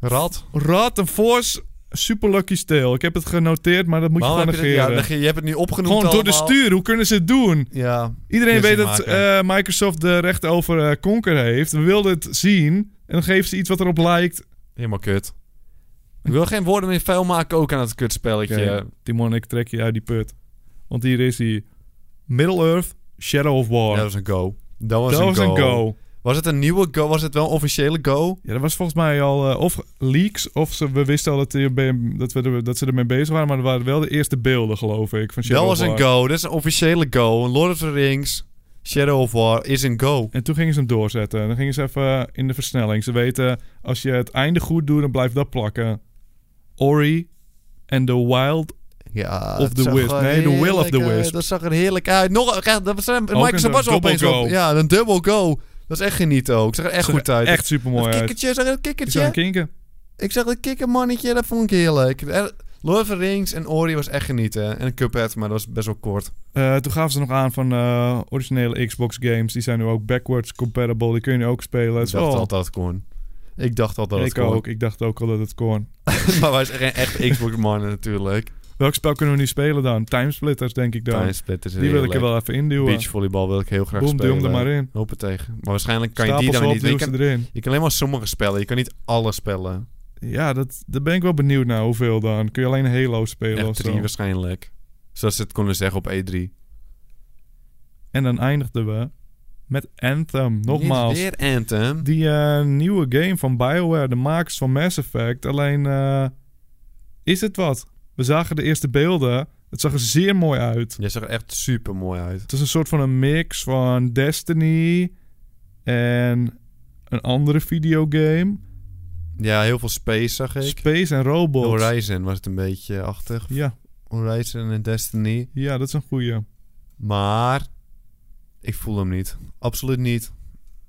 [SPEAKER 2] Rad.
[SPEAKER 3] rat, een force. Super lucky steel. Ik heb het genoteerd, maar dat moet
[SPEAKER 2] Waarom
[SPEAKER 3] je
[SPEAKER 2] heb
[SPEAKER 3] gewoon
[SPEAKER 2] je, dat-
[SPEAKER 3] negeren.
[SPEAKER 2] ja, je hebt het nu opgenoemd
[SPEAKER 3] gewoon door de
[SPEAKER 2] allemaal.
[SPEAKER 3] stuur. Hoe kunnen ze het doen?
[SPEAKER 2] Ja,
[SPEAKER 3] Iedereen
[SPEAKER 2] Yes,
[SPEAKER 3] weet
[SPEAKER 2] die
[SPEAKER 3] dat
[SPEAKER 2] maken.
[SPEAKER 3] eh, Microsoft de recht over eh, Conker heeft. We wilden het zien. En dan geven ze iets wat erop lijkt.
[SPEAKER 2] helemaal kut. Ik wil geen woorden meer vuil maken ook aan het kutspelletje.
[SPEAKER 3] Oké, Timon, ik trek je uit die put. Want hier is hij. Middle-earth, Shadow of War.
[SPEAKER 2] Ja, dat was een go. Dat was,
[SPEAKER 3] dat
[SPEAKER 2] een,
[SPEAKER 3] was
[SPEAKER 2] go.
[SPEAKER 3] een go.
[SPEAKER 2] Was het een nieuwe go? Was het wel een officiële go?
[SPEAKER 3] Ja, dat was volgens mij al eh, of leaks, of ze, we wisten al dat, die bij- dat, we er- dat ze ermee bezig waren. Maar er waren wel de eerste beelden, geloof ik, van Shadow
[SPEAKER 2] dat
[SPEAKER 3] of
[SPEAKER 2] was
[SPEAKER 3] War.
[SPEAKER 2] een go. Dat is een officiële go. Een Lord of the Rings, Shadow of War is een go.
[SPEAKER 3] En toen gingen ze hem doorzetten. Dan gingen ze even in de versnelling. Ze weten, als je het einde goed doet, dan blijft dat plakken. Ori and the Wild
[SPEAKER 2] Ja,
[SPEAKER 3] Of
[SPEAKER 2] dat
[SPEAKER 3] the
[SPEAKER 2] zag
[SPEAKER 3] Wisp.
[SPEAKER 2] er
[SPEAKER 3] Nee, The Will of the
[SPEAKER 2] heerlijk uit.
[SPEAKER 3] Wisp.
[SPEAKER 2] Dat zag er heerlijk uit. Nog, echt, dat was,
[SPEAKER 3] een
[SPEAKER 2] Microsoft was
[SPEAKER 3] dubbel
[SPEAKER 2] opeens
[SPEAKER 3] go.
[SPEAKER 2] op- Ja, een double go. Dat is echt genieten ook. Zag er echt
[SPEAKER 3] Zag
[SPEAKER 2] goed
[SPEAKER 3] er
[SPEAKER 2] uit.
[SPEAKER 3] Echt super
[SPEAKER 2] dat
[SPEAKER 3] mooi uit.
[SPEAKER 2] kikkertje, zag er een
[SPEAKER 3] Is dat een
[SPEAKER 2] kikkertje.
[SPEAKER 3] kinker?
[SPEAKER 2] Ik zag dat kikkermannetje, dat vond ik heerlijk. Er- Lord of the Rings en Ori was echt genieten. En een Cuphead, maar dat was best wel kort.
[SPEAKER 3] Eh, toen gaven ze nog aan van eh, originele Xbox games. Die zijn nu ook backwards compatible. Die kun je nu ook spelen. Het
[SPEAKER 2] Ik
[SPEAKER 3] is
[SPEAKER 2] dacht
[SPEAKER 3] wel-
[SPEAKER 2] altijd dat het kon. Ik dacht altijd dat
[SPEAKER 3] ik
[SPEAKER 2] het kon.
[SPEAKER 3] ook. Ik dacht ook al dat het kon.
[SPEAKER 2] maar wij zijn geen echt Xbox-mannen natuurlijk.
[SPEAKER 3] Welk spel kunnen we nu spelen dan? Timesplitters, denk ik dan.
[SPEAKER 2] Time Split is
[SPEAKER 3] Die wil ik er wel even induwen.
[SPEAKER 2] Beachvolleybal wil ik heel graag
[SPEAKER 3] Boom,
[SPEAKER 2] spelen.
[SPEAKER 3] dum er maar in.
[SPEAKER 2] tegen. Maar waarschijnlijk kan
[SPEAKER 3] Kan Stapels
[SPEAKER 2] je die dan
[SPEAKER 3] op,
[SPEAKER 2] niet... Je
[SPEAKER 3] duw
[SPEAKER 2] kan,
[SPEAKER 3] ze erin.
[SPEAKER 2] je kan alleen maar sommige spellen. Je kan niet alle spellen.
[SPEAKER 3] Ja, dat, daar ben ik wel benieuwd naar. Hoeveel dan? Kun je alleen Halo spelen
[SPEAKER 2] Echt
[SPEAKER 3] of
[SPEAKER 2] drie
[SPEAKER 3] zo?
[SPEAKER 2] waarschijnlijk. Zoals ze het konden zeggen op E E3.
[SPEAKER 3] En dan eindigden we met Anthem. Nogmaals.
[SPEAKER 2] Niet weer Anthem.
[SPEAKER 3] Die eh, nieuwe game van BioWare, de makers van Mass Effect. Alleen, eh, is het wat? We zagen de eerste beelden. Het zag er zeer mooi uit.
[SPEAKER 2] Jij zag er echt super mooi uit.
[SPEAKER 3] Het is een soort van een mix van Destiny en een andere videogame.
[SPEAKER 2] Ja, heel veel space zag ik.
[SPEAKER 3] Space en robots.
[SPEAKER 2] Horizon was het een beetje achtig.
[SPEAKER 3] Ja,
[SPEAKER 2] Horizon en Destiny.
[SPEAKER 3] ja, dat is een goeie.
[SPEAKER 2] Maar ik voel hem niet. Absoluut niet.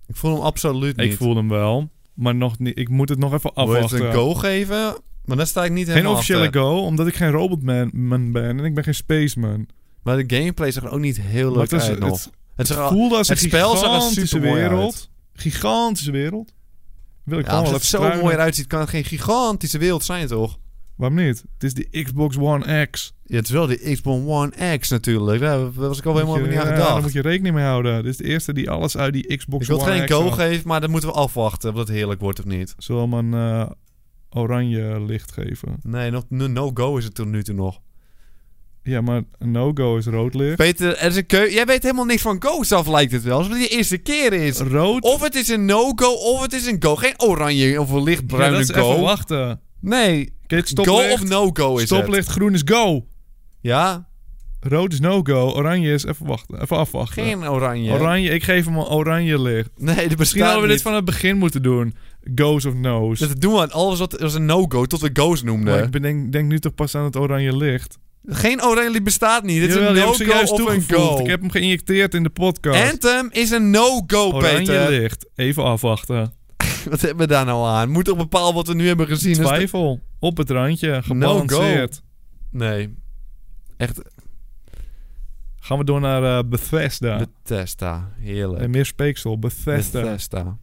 [SPEAKER 2] Ik voel hem absoluut niet.
[SPEAKER 3] Ik voel hem wel, maar nog niet. Ik moet het nog even
[SPEAKER 2] Wil je het een
[SPEAKER 3] afwachten.
[SPEAKER 2] go geven? Maar daar sta ik niet
[SPEAKER 3] Geen
[SPEAKER 2] helemaal
[SPEAKER 3] officiële
[SPEAKER 2] achter.
[SPEAKER 3] go, omdat ik geen robotman man ben en ik ben geen spaceman.
[SPEAKER 2] Maar de gameplay zag er ook niet heel
[SPEAKER 3] Maar
[SPEAKER 2] leuk
[SPEAKER 3] het, is,
[SPEAKER 2] uit nog.
[SPEAKER 3] het,
[SPEAKER 2] Het zag er al-
[SPEAKER 3] voelde als een
[SPEAKER 2] het spel zag er
[SPEAKER 3] gigantische
[SPEAKER 2] supermooi
[SPEAKER 3] wereld. Gigantische wereld. Wil ik
[SPEAKER 2] ja,
[SPEAKER 3] gewoon
[SPEAKER 2] als
[SPEAKER 3] wel
[SPEAKER 2] het
[SPEAKER 3] even
[SPEAKER 2] zo
[SPEAKER 3] struinen.
[SPEAKER 2] mooi eruit ziet, kan het geen gigantische wereld zijn, toch?
[SPEAKER 3] Waarom niet? Het is die Xbox One X.
[SPEAKER 2] Ja, het is wel de Xbox One X natuurlijk. Daar daar was ik al helemaal
[SPEAKER 3] Moet je-
[SPEAKER 2] niet aan
[SPEAKER 3] ja, Daar moet
[SPEAKER 2] gedacht.
[SPEAKER 3] je rekening mee houden. Dit is de eerste die alles uit die Xbox
[SPEAKER 2] Ik wil het
[SPEAKER 3] One
[SPEAKER 2] geen
[SPEAKER 3] X
[SPEAKER 2] go
[SPEAKER 3] haalt.
[SPEAKER 2] geven, maar dat moeten we afwachten of dat heerlijk wordt of niet.
[SPEAKER 3] Zullen we hem een eh, oranje licht geven?
[SPEAKER 2] Nee, nog, no, no go is het tot nu toe nog.
[SPEAKER 3] Ja, maar een no-go is rood licht.
[SPEAKER 2] Peter, er is een keu Jij weet helemaal niks van go's af, lijkt het wel. Alsof het de eerste keer is.
[SPEAKER 3] Rood?
[SPEAKER 2] Of het is een no-go, of het is een go. Geen oranje of een
[SPEAKER 3] ja, dat
[SPEAKER 2] lichtbruine
[SPEAKER 3] is even
[SPEAKER 2] go.
[SPEAKER 3] wachten.
[SPEAKER 2] Nee,
[SPEAKER 3] Kijk,
[SPEAKER 2] go
[SPEAKER 3] stoplicht.
[SPEAKER 2] of no-go is het.
[SPEAKER 3] stoplicht, groen is go.
[SPEAKER 2] Ja,
[SPEAKER 3] Rood is no-go. Oranje is even wachten. Even afwachten.
[SPEAKER 2] geen oranje.
[SPEAKER 3] Oranje, ik geef hem een oranje licht.
[SPEAKER 2] Nee, dat
[SPEAKER 3] Misschien
[SPEAKER 2] bestaat
[SPEAKER 3] hadden we
[SPEAKER 2] niet.
[SPEAKER 3] dit van het begin moeten doen. Go's of no's.
[SPEAKER 2] Dat doen we aan alles wat was een no-go tot we go's noemden.
[SPEAKER 3] Maar ik bedenk, denk nu toch pas aan het oranje licht.
[SPEAKER 2] Geen oranje bestaat niet. Dit is
[SPEAKER 3] Jawel,
[SPEAKER 2] een
[SPEAKER 3] die heb ik zojuist
[SPEAKER 2] no-go of een
[SPEAKER 3] toegevoegd.
[SPEAKER 2] go.
[SPEAKER 3] Ik heb hem geïnjecteerd in de podcast.
[SPEAKER 2] Anthem is een no-go,
[SPEAKER 3] oranje
[SPEAKER 2] Peter.
[SPEAKER 3] licht. Even afwachten.
[SPEAKER 2] Wat hebben we daar nou aan? Moet toch bepaald wat we nu hebben gezien? is dat-
[SPEAKER 3] Twijfel. Op het randje. Gebalanceerd.
[SPEAKER 2] Nee. Echt
[SPEAKER 3] Gaan we door naar eh, Bethesda.
[SPEAKER 2] Bethesda. Heerlijk.
[SPEAKER 3] en meer speeksel. Bethesda.
[SPEAKER 2] Bethesda.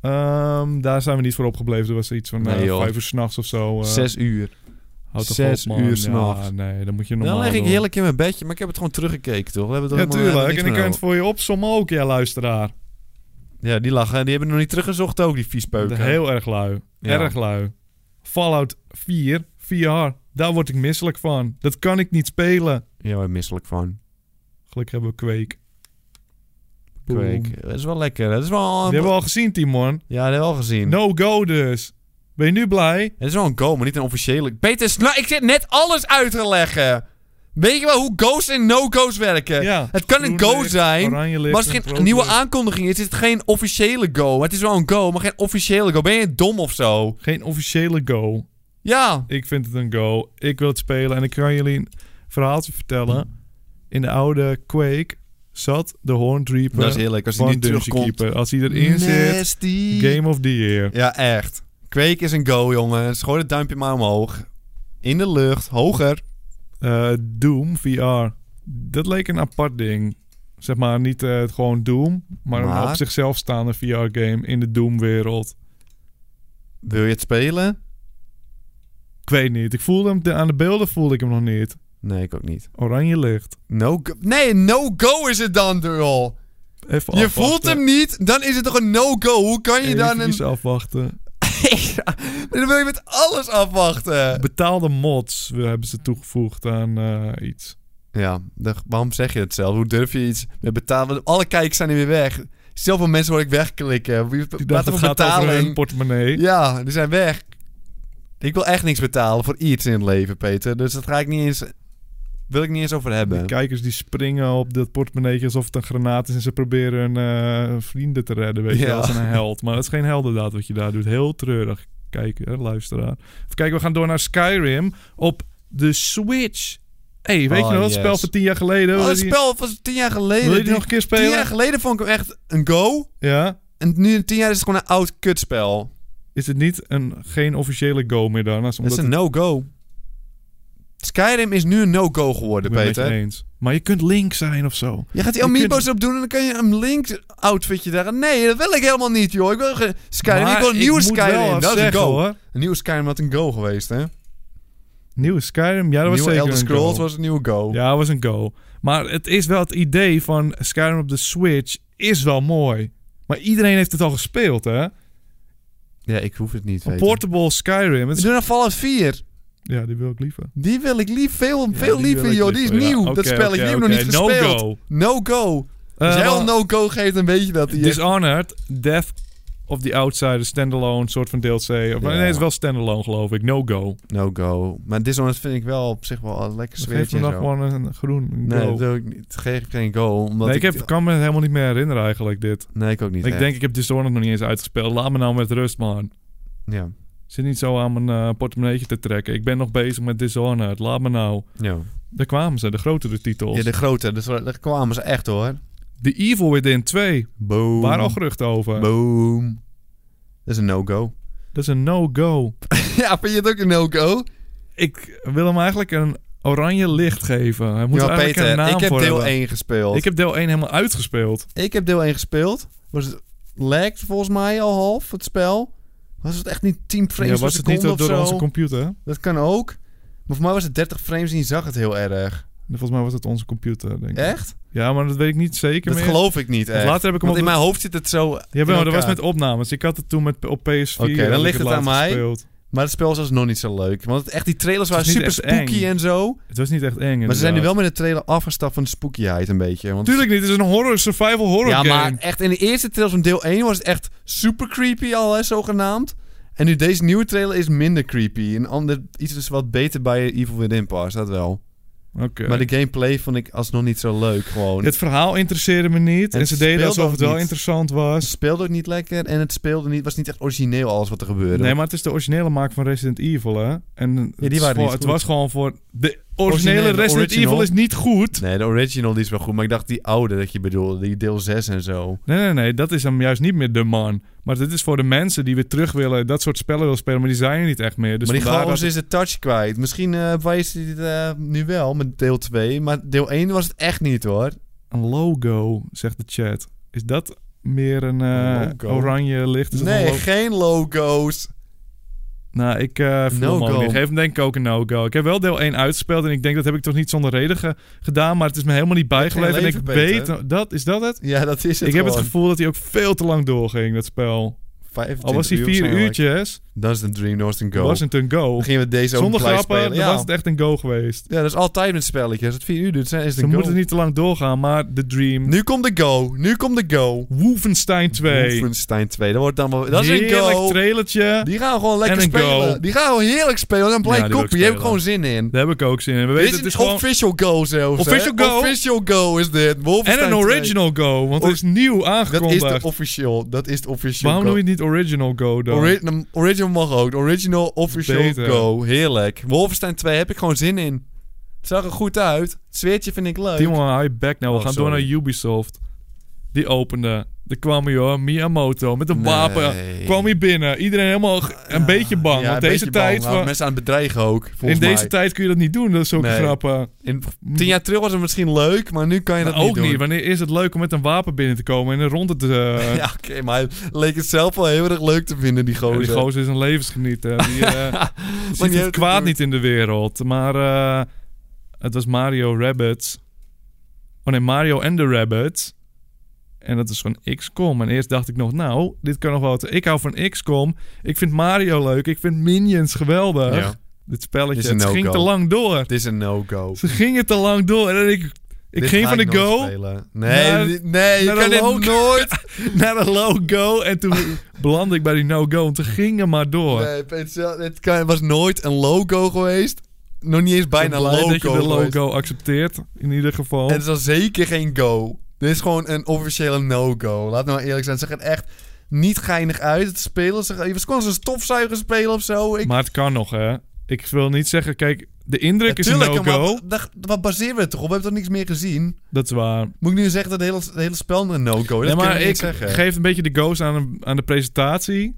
[SPEAKER 3] Ehm, daar zijn we niet voor opgebleven. Er was iets van eh,
[SPEAKER 2] Nee, joh.
[SPEAKER 3] vijf uur s'nachts of zo. eh.
[SPEAKER 2] Zes uur.
[SPEAKER 3] Houd toch
[SPEAKER 2] zes
[SPEAKER 3] op, man.
[SPEAKER 2] uur
[SPEAKER 3] Ja,
[SPEAKER 2] s'nachts.
[SPEAKER 3] nee, dan moet je normaal
[SPEAKER 2] Dan leg ik
[SPEAKER 3] doen.
[SPEAKER 2] heerlijk in mijn bedje, maar ik heb het gewoon teruggekeken, toch? We hebben
[SPEAKER 3] Ja,
[SPEAKER 2] het helemaal-
[SPEAKER 3] tuurlijk.
[SPEAKER 2] niks
[SPEAKER 3] En ik
[SPEAKER 2] meer
[SPEAKER 3] kan het voor je opzommen ook, ja, luisteraar.
[SPEAKER 2] over. Ja, die lachen. Die hebben nog niet teruggezocht ook, die viespeuken.
[SPEAKER 3] Heel erg lui.
[SPEAKER 2] Ja.
[SPEAKER 3] Erg lui. Fallout 4, VR. Daar word ik misselijk van. Dat kan ik niet spelen.
[SPEAKER 2] Ja, waar misselijk van.
[SPEAKER 3] Gelukkig hebben we Quake. Boom.
[SPEAKER 2] Kweek. Dat is wel lekker. Dat is wel...
[SPEAKER 3] Die hebben we al gezien, Timon.
[SPEAKER 2] Ja, dat hebben we al gezien.
[SPEAKER 3] No go dus. Ben je nu blij?
[SPEAKER 2] Het is wel een go, maar niet een officiële. Peter, sna- ik zit net alles uit te leggen. Weet je wel hoe go's en no-go's werken?
[SPEAKER 3] Ja.
[SPEAKER 2] Het kan een
[SPEAKER 3] Groen
[SPEAKER 2] go
[SPEAKER 3] licht,
[SPEAKER 2] zijn,
[SPEAKER 3] oranje licht
[SPEAKER 2] maar als
[SPEAKER 3] en
[SPEAKER 2] het geen
[SPEAKER 3] rood
[SPEAKER 2] nieuwe
[SPEAKER 3] licht.
[SPEAKER 2] aankondiging is, is het geen officiële go. Het is wel een go, maar geen officiële go. Ben je dom of zo?
[SPEAKER 3] Geen officiële go.
[SPEAKER 2] Ja.
[SPEAKER 3] Ik vind het een go. Ik wil het spelen. En ik kan jullie een verhaaltje vertellen. In de oude Quake zat de Horndreeper
[SPEAKER 2] Dat is heerlijk, als hij
[SPEAKER 3] van
[SPEAKER 2] niet
[SPEAKER 3] Dungeon
[SPEAKER 2] terugkomt.
[SPEAKER 3] Keeper. Als hij erin zit,
[SPEAKER 2] Nasty.
[SPEAKER 3] Game of the Year.
[SPEAKER 2] Ja, echt. Kweek is een go, jongens. Gooi het duimpje maar omhoog. In de lucht, hoger.
[SPEAKER 3] Eh, Doom VR. Dat leek een apart ding. Zeg maar niet eh, het gewoon Doom, maar,
[SPEAKER 2] Maar?
[SPEAKER 3] een op zichzelf staande VR-game in de Doom-wereld.
[SPEAKER 2] Wil je het spelen?
[SPEAKER 3] Ik weet niet. Ik voelde hem, de- aan de beelden voelde ik hem nog niet.
[SPEAKER 2] Nee, ik ook niet.
[SPEAKER 3] Oranje licht.
[SPEAKER 2] No go. Nee, no go is het dan, Durl.
[SPEAKER 3] Even
[SPEAKER 2] Je
[SPEAKER 3] afwachten.
[SPEAKER 2] voelt hem niet, dan is het toch een no-go. Hoe kan je dan een...
[SPEAKER 3] Even afwachten.
[SPEAKER 2] Dan wil je met alles afwachten.
[SPEAKER 3] Betaalde mods we- hebben ze toegevoegd aan eh, iets.
[SPEAKER 2] Ja, de- waarom zeg je het zelf? Hoe durf je iets met betalen? Alle kijkers zijn nu weer weg. Zoveel mensen hoor ik wegklikken. Wie
[SPEAKER 3] Die
[SPEAKER 2] praat
[SPEAKER 3] dacht, het
[SPEAKER 2] over
[SPEAKER 3] gaat over hun
[SPEAKER 2] betaling?
[SPEAKER 3] portemonnee.
[SPEAKER 2] Ja, die zijn weg. Ik wil echt niks betalen voor iets in het leven, Peter. Dus dat ga ik niet eens... Wil ik niet eens over
[SPEAKER 3] Die
[SPEAKER 2] hebben.
[SPEAKER 3] kijkers die springen op dat portemonneetje alsof het een granaat is en ze proberen hun eh, vrienden te redden, weet
[SPEAKER 2] Ja.
[SPEAKER 3] je wel, als een held. Maar dat is geen heldendaad wat je daar doet. Heel treurig. Kijk, hè, luisteraar. Even kijken, we gaan door naar Skyrim op de Switch. Hé, hey, weet
[SPEAKER 2] Oh,
[SPEAKER 3] je nog dat
[SPEAKER 2] yes.
[SPEAKER 3] spel van tien jaar geleden?
[SPEAKER 2] Oh,
[SPEAKER 3] Wil
[SPEAKER 2] dat
[SPEAKER 3] je die-
[SPEAKER 2] spel was tien jaar geleden.
[SPEAKER 3] Wil je die
[SPEAKER 2] Die-
[SPEAKER 3] nog een keer
[SPEAKER 2] tien
[SPEAKER 3] spelen?
[SPEAKER 2] jaar geleden vond ik hem echt een go.
[SPEAKER 3] Ja.
[SPEAKER 2] En nu, tien jaar is het gewoon een oud kutspel.
[SPEAKER 3] Is het niet een, geen officiële go meer dan? Omdat
[SPEAKER 2] Het is
[SPEAKER 3] het-
[SPEAKER 2] een no-go. Skyrim is nu een no-go geworden,
[SPEAKER 3] Ik ben het met je
[SPEAKER 2] Peter.
[SPEAKER 3] eens. Maar je kunt Link zijn of zo.
[SPEAKER 2] Je gaat die
[SPEAKER 3] Je
[SPEAKER 2] amiibo's
[SPEAKER 3] kunt-
[SPEAKER 2] erop doen en dan kan je een Link-outfitje daar... Nee, dat wil ik helemaal niet, joh. Ik wil geen Skyrim.
[SPEAKER 3] Maar
[SPEAKER 2] ik wil een nieuwe
[SPEAKER 3] moet wel
[SPEAKER 2] Skyrim.
[SPEAKER 3] even
[SPEAKER 2] Dat is een
[SPEAKER 3] zeggen,
[SPEAKER 2] go.
[SPEAKER 3] hoor.
[SPEAKER 2] Een nieuwe Skyrim had een go geweest, hè?
[SPEAKER 3] Nieuwe Skyrim, ja, dat was
[SPEAKER 2] nieuwe
[SPEAKER 3] zeker
[SPEAKER 2] Elder
[SPEAKER 3] een
[SPEAKER 2] Scrolls
[SPEAKER 3] go.
[SPEAKER 2] was een nieuwe go.
[SPEAKER 3] Ja, dat was een go. Maar het is wel het idee van Skyrim op de Switch is wel mooi. Maar iedereen heeft het al gespeeld, hè?
[SPEAKER 2] Ja, ik hoef het niet,
[SPEAKER 3] Een
[SPEAKER 2] Peter.
[SPEAKER 3] portable Skyrim.
[SPEAKER 2] We
[SPEAKER 3] het is-
[SPEAKER 2] doen een Fallout 4.
[SPEAKER 3] Ja, die wil ik liever.
[SPEAKER 2] Die wil ik lief, veel,
[SPEAKER 3] Ja,
[SPEAKER 2] veel
[SPEAKER 3] die wil
[SPEAKER 2] liever,
[SPEAKER 3] ik
[SPEAKER 2] joh. Die is
[SPEAKER 3] liever, ja.
[SPEAKER 2] nieuw, dat
[SPEAKER 3] Oké,
[SPEAKER 2] spel. ik
[SPEAKER 3] oké,
[SPEAKER 2] heb hem nog
[SPEAKER 3] oké.
[SPEAKER 2] niet
[SPEAKER 3] No
[SPEAKER 2] gespeeld.
[SPEAKER 3] go.
[SPEAKER 2] No go. Als
[SPEAKER 3] Eh,
[SPEAKER 2] jij al
[SPEAKER 3] maar-
[SPEAKER 2] no go geeft, dan weet je dat. Die
[SPEAKER 3] Dishonored, Death of the Outsider, standalone, soort van DLC. Of, Nee, het is wel standalone, geloof ik. No go.
[SPEAKER 2] No go. Maar Dishonored vind ik wel op zich wel een lekker
[SPEAKER 3] Geef
[SPEAKER 2] sfeertje
[SPEAKER 3] me
[SPEAKER 2] en
[SPEAKER 3] nog
[SPEAKER 2] zo.
[SPEAKER 3] gewoon een groen go.
[SPEAKER 2] Nee,
[SPEAKER 3] Nee,
[SPEAKER 2] dat doe ik niet. Geef ik geen go. Omdat
[SPEAKER 3] ik, heb, kan me helemaal niet meer herinneren eigenlijk dit.
[SPEAKER 2] Nee, ik ook niet.
[SPEAKER 3] ik
[SPEAKER 2] echt.
[SPEAKER 3] denk, ik heb Dishonored nog niet eens uitgespeeld. Laat me nou met rust, man.
[SPEAKER 2] Ja.
[SPEAKER 3] Zit niet zo aan mijn eh, portemonneetje te trekken. Ik ben nog bezig met Dishonored. Laat me nou.
[SPEAKER 2] Ja.
[SPEAKER 3] Daar kwamen ze, de grotere titels.
[SPEAKER 2] ja,
[SPEAKER 3] de...
[SPEAKER 2] de grote. Dus daar kwamen ze echt, hoor.
[SPEAKER 3] The Evil Within 2.
[SPEAKER 2] Boom.
[SPEAKER 3] Waar al geruchten over.
[SPEAKER 2] Boom. Dat is een no-go.
[SPEAKER 3] Dat is een no-go.
[SPEAKER 2] ja, vind je het ook een no-go?
[SPEAKER 3] Ik wil hem eigenlijk een oranje licht geven. Hij moet er
[SPEAKER 2] Ja,
[SPEAKER 3] eigenlijk een
[SPEAKER 2] Peter,
[SPEAKER 3] naam
[SPEAKER 2] ik heb
[SPEAKER 3] voor
[SPEAKER 2] deel
[SPEAKER 3] hebben.
[SPEAKER 2] 1 gespeeld.
[SPEAKER 3] Ik heb deel 1 helemaal uitgespeeld.
[SPEAKER 2] Ik heb deel 1 gespeeld. Was het lagged volgens mij al half, het spel. Was het echt niet 10 frames
[SPEAKER 3] ja,
[SPEAKER 2] per
[SPEAKER 3] was het niet
[SPEAKER 2] seconde
[SPEAKER 3] door
[SPEAKER 2] of zo?
[SPEAKER 3] onze computer?
[SPEAKER 2] dat kan ook. Maar voor mij was het 30 frames en je zag het heel erg.
[SPEAKER 3] Volgens mij was het onze computer, denk ik.
[SPEAKER 2] Echt?
[SPEAKER 3] Ja, maar dat weet ik niet zeker
[SPEAKER 2] Dat
[SPEAKER 3] meer.
[SPEAKER 2] geloof ik niet echt.
[SPEAKER 3] Later heb ik hem
[SPEAKER 2] Want in
[SPEAKER 3] op...
[SPEAKER 2] mijn hoofd zit het zo
[SPEAKER 3] Ja, wel,
[SPEAKER 2] in
[SPEAKER 3] dat was
[SPEAKER 2] elkaar.
[SPEAKER 3] met opnames. Ik had het toen met, op
[SPEAKER 2] Oké,
[SPEAKER 3] PS4.
[SPEAKER 2] dan
[SPEAKER 3] heb ik
[SPEAKER 2] ligt het aan
[SPEAKER 3] laatst
[SPEAKER 2] mij.
[SPEAKER 3] gespeeld.
[SPEAKER 2] Maar het spel is alsnog niet zo leuk. Want echt, die trailers
[SPEAKER 3] Het
[SPEAKER 2] waren
[SPEAKER 3] is
[SPEAKER 2] super
[SPEAKER 3] niet echt
[SPEAKER 2] spooky
[SPEAKER 3] eng.
[SPEAKER 2] en zo.
[SPEAKER 3] Het was niet echt eng.
[SPEAKER 2] Maar
[SPEAKER 3] inderdaad.
[SPEAKER 2] ze zijn nu wel met de trailer afgestapt van de spookyheid een beetje. Want
[SPEAKER 3] Tuurlijk niet, het is een horror, survival horror
[SPEAKER 2] ja,
[SPEAKER 3] game.
[SPEAKER 2] maar echt in de eerste trailer van deel 1 was het echt super creepy al, hè, zogenaamd. En nu deze nieuwe trailer is minder creepy. Een ander, iets dus wat beter bij Evil Within past, dat wel.
[SPEAKER 3] Oké.
[SPEAKER 2] Maar de gameplay vond ik alsnog niet zo leuk, gewoon.
[SPEAKER 3] Het verhaal interesseerde me niet. En,
[SPEAKER 2] het
[SPEAKER 3] ze deden
[SPEAKER 2] speelde
[SPEAKER 3] alsof
[SPEAKER 2] ook
[SPEAKER 3] het wel
[SPEAKER 2] niet.
[SPEAKER 3] interessant
[SPEAKER 2] Het
[SPEAKER 3] was.
[SPEAKER 2] speelde ook niet lekker en het speelde niet, was niet echt origineel alles wat er gebeurde.
[SPEAKER 3] Nee, maar het is de originele maak van Resident Evil, hè? En het,
[SPEAKER 2] die
[SPEAKER 3] is
[SPEAKER 2] waren
[SPEAKER 3] voor-
[SPEAKER 2] niet
[SPEAKER 3] het
[SPEAKER 2] goed.
[SPEAKER 3] was gewoon voor... De originele
[SPEAKER 2] Originele, de
[SPEAKER 3] Resident
[SPEAKER 2] original.
[SPEAKER 3] Evil is niet goed.
[SPEAKER 2] Nee, de original die is wel goed, maar ik dacht die oude dat je bedoelde, die deel 6 en zo.
[SPEAKER 3] Nee, nee, nee, dat is hem juist niet meer de man. Maar dit is voor de mensen die weer terug willen, dat soort spellen willen spelen, maar die zijn er niet echt meer. Dus
[SPEAKER 2] maar die
[SPEAKER 3] vandaar
[SPEAKER 2] chaos
[SPEAKER 3] dat-
[SPEAKER 2] is de touch kwijt. Misschien eh wijst hij het eh, nu wel met deel 2, maar deel 1 was het echt niet hoor.
[SPEAKER 3] Een logo, zegt de chat. Is dat meer een eh,
[SPEAKER 2] Logo?
[SPEAKER 3] oranje licht? Is dat een
[SPEAKER 2] Nee,
[SPEAKER 3] logo?
[SPEAKER 2] geen logo's.
[SPEAKER 3] Nou, ik eh voel
[SPEAKER 2] No
[SPEAKER 3] hem ook
[SPEAKER 2] go.
[SPEAKER 3] niet. Geef hem denk ik ook een no-go. Ik heb wel deel 1 uitgespeeld en ik denk dat heb ik toch niet zonder reden ge- gedaan, maar het is me helemaal niet bijgebleven. En ik
[SPEAKER 2] leven, Peter.
[SPEAKER 3] weet, dat, is dat het?
[SPEAKER 2] Ja, dat is het
[SPEAKER 3] ik heb het
[SPEAKER 2] gewoon.
[SPEAKER 3] gevoel dat hij ook veel te lang doorging, dat spel.
[SPEAKER 2] 25
[SPEAKER 3] Al was hij
[SPEAKER 2] uur
[SPEAKER 3] vier
[SPEAKER 2] waarschijnlijk.
[SPEAKER 3] uurtjes,
[SPEAKER 2] Dat is een dream, dat was een go.
[SPEAKER 3] was het een go.
[SPEAKER 2] Dan gingen we deze ook
[SPEAKER 3] Zonder
[SPEAKER 2] gelijk
[SPEAKER 3] grappen, dan
[SPEAKER 2] spelen. Ja.
[SPEAKER 3] was het echt een go geweest.
[SPEAKER 2] ja, dat is altijd met spelletjes. Als het vier uur duurt, zijn- is het
[SPEAKER 3] Ze
[SPEAKER 2] een go.
[SPEAKER 3] moeten niet te lang doorgaan, maar The Dream.
[SPEAKER 2] Nu komt de go. Nu komt de go.
[SPEAKER 3] Wolfenstein 2.
[SPEAKER 2] Wolfenstein 2. Dat wordt dan wel... Dat is een
[SPEAKER 3] Heerlijk
[SPEAKER 2] go.
[SPEAKER 3] trailertje.
[SPEAKER 2] Die gaan we gewoon lekker
[SPEAKER 3] En een
[SPEAKER 2] spelen.
[SPEAKER 3] go.
[SPEAKER 2] Die gaan we heerlijk spelen. Dan
[SPEAKER 3] Ja,
[SPEAKER 2] blijft
[SPEAKER 3] die wil ik
[SPEAKER 2] koppie. Hier heb ik
[SPEAKER 3] spelen.
[SPEAKER 2] gewoon zin in.
[SPEAKER 3] Daar heb ik ook zin in. We
[SPEAKER 2] Dit
[SPEAKER 3] weten,
[SPEAKER 2] is
[SPEAKER 3] het
[SPEAKER 2] een
[SPEAKER 3] is gewoon...
[SPEAKER 2] official go zelfs. hè?
[SPEAKER 3] Official go.
[SPEAKER 2] Official go is dit.
[SPEAKER 3] En
[SPEAKER 2] Wolfenstein
[SPEAKER 3] een
[SPEAKER 2] 2.
[SPEAKER 3] original go, want het is
[SPEAKER 2] Dat
[SPEAKER 3] nieuw
[SPEAKER 2] is de
[SPEAKER 3] aangekondigd.
[SPEAKER 2] official. Dat is de official
[SPEAKER 3] Waarom
[SPEAKER 2] go.
[SPEAKER 3] noem je het niet original go dan?
[SPEAKER 2] Ori- nam- original mag ook. Original, official,
[SPEAKER 3] Beter.
[SPEAKER 2] go. Heerlijk. Wolfenstein 2 heb ik gewoon zin in. Het zag er goed uit. Het sfeertje vind ik leuk.
[SPEAKER 3] Timon, hou je back nou. We
[SPEAKER 2] Oh,
[SPEAKER 3] gaan door
[SPEAKER 2] sorry.
[SPEAKER 3] naar Ubisoft. Die opende. Er kwam hij hoor, Miyamoto met een
[SPEAKER 2] Nee.
[SPEAKER 3] wapen. Kwam hij binnen. Iedereen helemaal g- een beetje bang.
[SPEAKER 2] Ja,
[SPEAKER 3] want
[SPEAKER 2] een
[SPEAKER 3] deze
[SPEAKER 2] beetje bang,
[SPEAKER 3] tijd...
[SPEAKER 2] maar
[SPEAKER 3] van-
[SPEAKER 2] Mensen aan het bedreigen ook,
[SPEAKER 3] in
[SPEAKER 2] volgens
[SPEAKER 3] deze
[SPEAKER 2] mij.
[SPEAKER 3] tijd kun je dat niet doen, dat is ook
[SPEAKER 2] Nee.
[SPEAKER 3] grappen.
[SPEAKER 2] In, tien jaar terug was het misschien leuk, maar nu kan je
[SPEAKER 3] Maar
[SPEAKER 2] dat
[SPEAKER 3] ook
[SPEAKER 2] niet
[SPEAKER 3] niet,
[SPEAKER 2] doen.
[SPEAKER 3] wanneer is het leuk om met een wapen binnen te komen en een ronde te... eh,
[SPEAKER 2] Ja, oké, maar hij leek het zelf wel heel erg leuk te vinden, die
[SPEAKER 3] Ja,
[SPEAKER 2] gozer.
[SPEAKER 3] die gozer is een levensgenieter. Die eh,
[SPEAKER 2] die
[SPEAKER 3] ziet
[SPEAKER 2] heeft
[SPEAKER 3] het
[SPEAKER 2] het
[SPEAKER 3] kwaad
[SPEAKER 2] door.
[SPEAKER 3] niet in de wereld. Maar eh, het was Mario Rabbits. Oh nee, Mario en de Rabbits. En dat is gewoon XCOM. En eerst dacht ik nog, nou, dit kan nog wel... wat- Ik hou van XCOM. Ik vind Mario leuk. Ik vind Minions geweldig.
[SPEAKER 2] Ja.
[SPEAKER 3] Dit
[SPEAKER 2] Dit
[SPEAKER 3] spelletje,
[SPEAKER 2] is een
[SPEAKER 3] het
[SPEAKER 2] no-go.
[SPEAKER 3] ging te lang door.
[SPEAKER 2] Het is een no-go.
[SPEAKER 3] Ze gingen te lang door. En ik, ik
[SPEAKER 2] Dit
[SPEAKER 3] ging
[SPEAKER 2] ga
[SPEAKER 3] van de
[SPEAKER 2] nooit
[SPEAKER 3] go
[SPEAKER 2] spelen. Nee,
[SPEAKER 3] Naar-
[SPEAKER 2] dit- nee, je
[SPEAKER 3] naar de
[SPEAKER 2] kan dit
[SPEAKER 3] logo.
[SPEAKER 2] nooit.
[SPEAKER 3] naar de low-go. En toen belandde ik bij die no-go. En ze gingen maar door.
[SPEAKER 2] Nee, Peter, het kan- was nooit een logo geweest. Nog niet eens bijna
[SPEAKER 3] Ik ben blij
[SPEAKER 2] logo
[SPEAKER 3] dat je de
[SPEAKER 2] geweest.
[SPEAKER 3] logo accepteert, in ieder geval.
[SPEAKER 2] En het is dan zeker geen go. Dit is gewoon een officiële no-go. Laat nou eerlijk zijn. Ze gaan echt niet geinig uit. Het spelen. Ze, gaan- ze konden zo'n stofzuiger spelen of zo. Ik,
[SPEAKER 3] Maar het kan nog, hè? Ik wil niet zeggen, kijk, de indruk is een
[SPEAKER 2] Tuurlijk,
[SPEAKER 3] no-go.
[SPEAKER 2] maar daar- Wat baseren we het toch op? We hebben toch niks meer gezien?
[SPEAKER 3] Dat is waar.
[SPEAKER 2] Moet ik nu zeggen dat het hele, het hele spel een no-go is?
[SPEAKER 3] Nee,
[SPEAKER 2] Dat
[SPEAKER 3] maar
[SPEAKER 2] kan
[SPEAKER 3] ik
[SPEAKER 2] niet zeggen.
[SPEAKER 3] geef een beetje de ghost aan, aan de presentatie.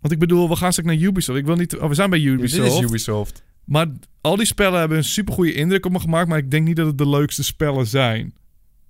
[SPEAKER 3] Want ik bedoel, we gaan straks naar Ubisoft. Ik wil niet, oh, we zijn bij Ubisoft.
[SPEAKER 2] Dit is Ubisoft.
[SPEAKER 3] Maar al die spellen hebben een supergoeie indruk op me gemaakt. Maar ik denk niet dat het de leukste spellen zijn.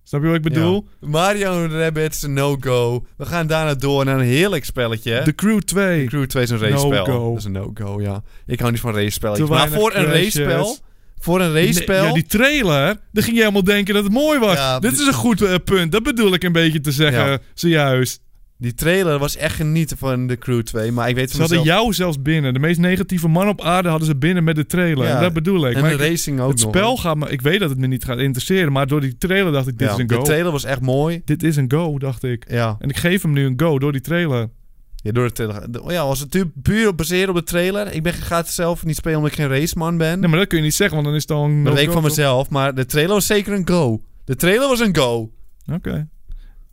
[SPEAKER 3] Snap je wat ik bedoel?
[SPEAKER 2] Ja. Mario Rabbit is een no-go. We gaan daarna door naar een heerlijk spelletje.
[SPEAKER 3] De Crew 2.
[SPEAKER 2] Crew 2 is een race spel.
[SPEAKER 3] No-go.
[SPEAKER 2] Dat is een no-go, ja. Ik hou niet van race
[SPEAKER 3] Te
[SPEAKER 2] spelletjes. Maar
[SPEAKER 3] weinig
[SPEAKER 2] voor een race
[SPEAKER 3] crashes.
[SPEAKER 2] spel... Voor een race spel...
[SPEAKER 3] Nee, Ja, die trailer, daar ging je helemaal denken dat het mooi was.
[SPEAKER 2] Ja,
[SPEAKER 3] Dit
[SPEAKER 2] d-
[SPEAKER 3] is een goed eh, punt. Dat bedoel ik een beetje te zeggen,
[SPEAKER 2] Ja.
[SPEAKER 3] zojuist.
[SPEAKER 2] Die trailer was echt genieten van de Crew 2, maar ik weet
[SPEAKER 3] Ze
[SPEAKER 2] van
[SPEAKER 3] hadden
[SPEAKER 2] mezelf...
[SPEAKER 3] jou zelfs binnen. De meest negatieve man op aarde hadden ze binnen met de trailer.
[SPEAKER 2] Ja,
[SPEAKER 3] Dat bedoel ik.
[SPEAKER 2] en
[SPEAKER 3] Maar
[SPEAKER 2] de
[SPEAKER 3] ik-
[SPEAKER 2] racing ook
[SPEAKER 3] het
[SPEAKER 2] nog.
[SPEAKER 3] spel gaat me... Ik weet dat het me niet gaat interesseren, maar door die trailer dacht ik, dit
[SPEAKER 2] Ja,
[SPEAKER 3] is een
[SPEAKER 2] De
[SPEAKER 3] go.
[SPEAKER 2] trailer was echt mooi.
[SPEAKER 3] Dit is een go, dacht ik.
[SPEAKER 2] Ja,
[SPEAKER 3] En ik geef hem nu een go door die trailer.
[SPEAKER 2] ja door de trailer. de- oh Ja, was het pu- puur op baseren op de trailer. Ik ben, ga het zelf niet spelen omdat ik geen raceman ben.
[SPEAKER 3] Nee, maar dat kun je niet zeggen, want dan is het al een
[SPEAKER 2] dat
[SPEAKER 3] no-go,
[SPEAKER 2] weet ik van
[SPEAKER 3] toch?
[SPEAKER 2] mezelf, maar de trailer was zeker een go. De trailer was een go.
[SPEAKER 3] Oké.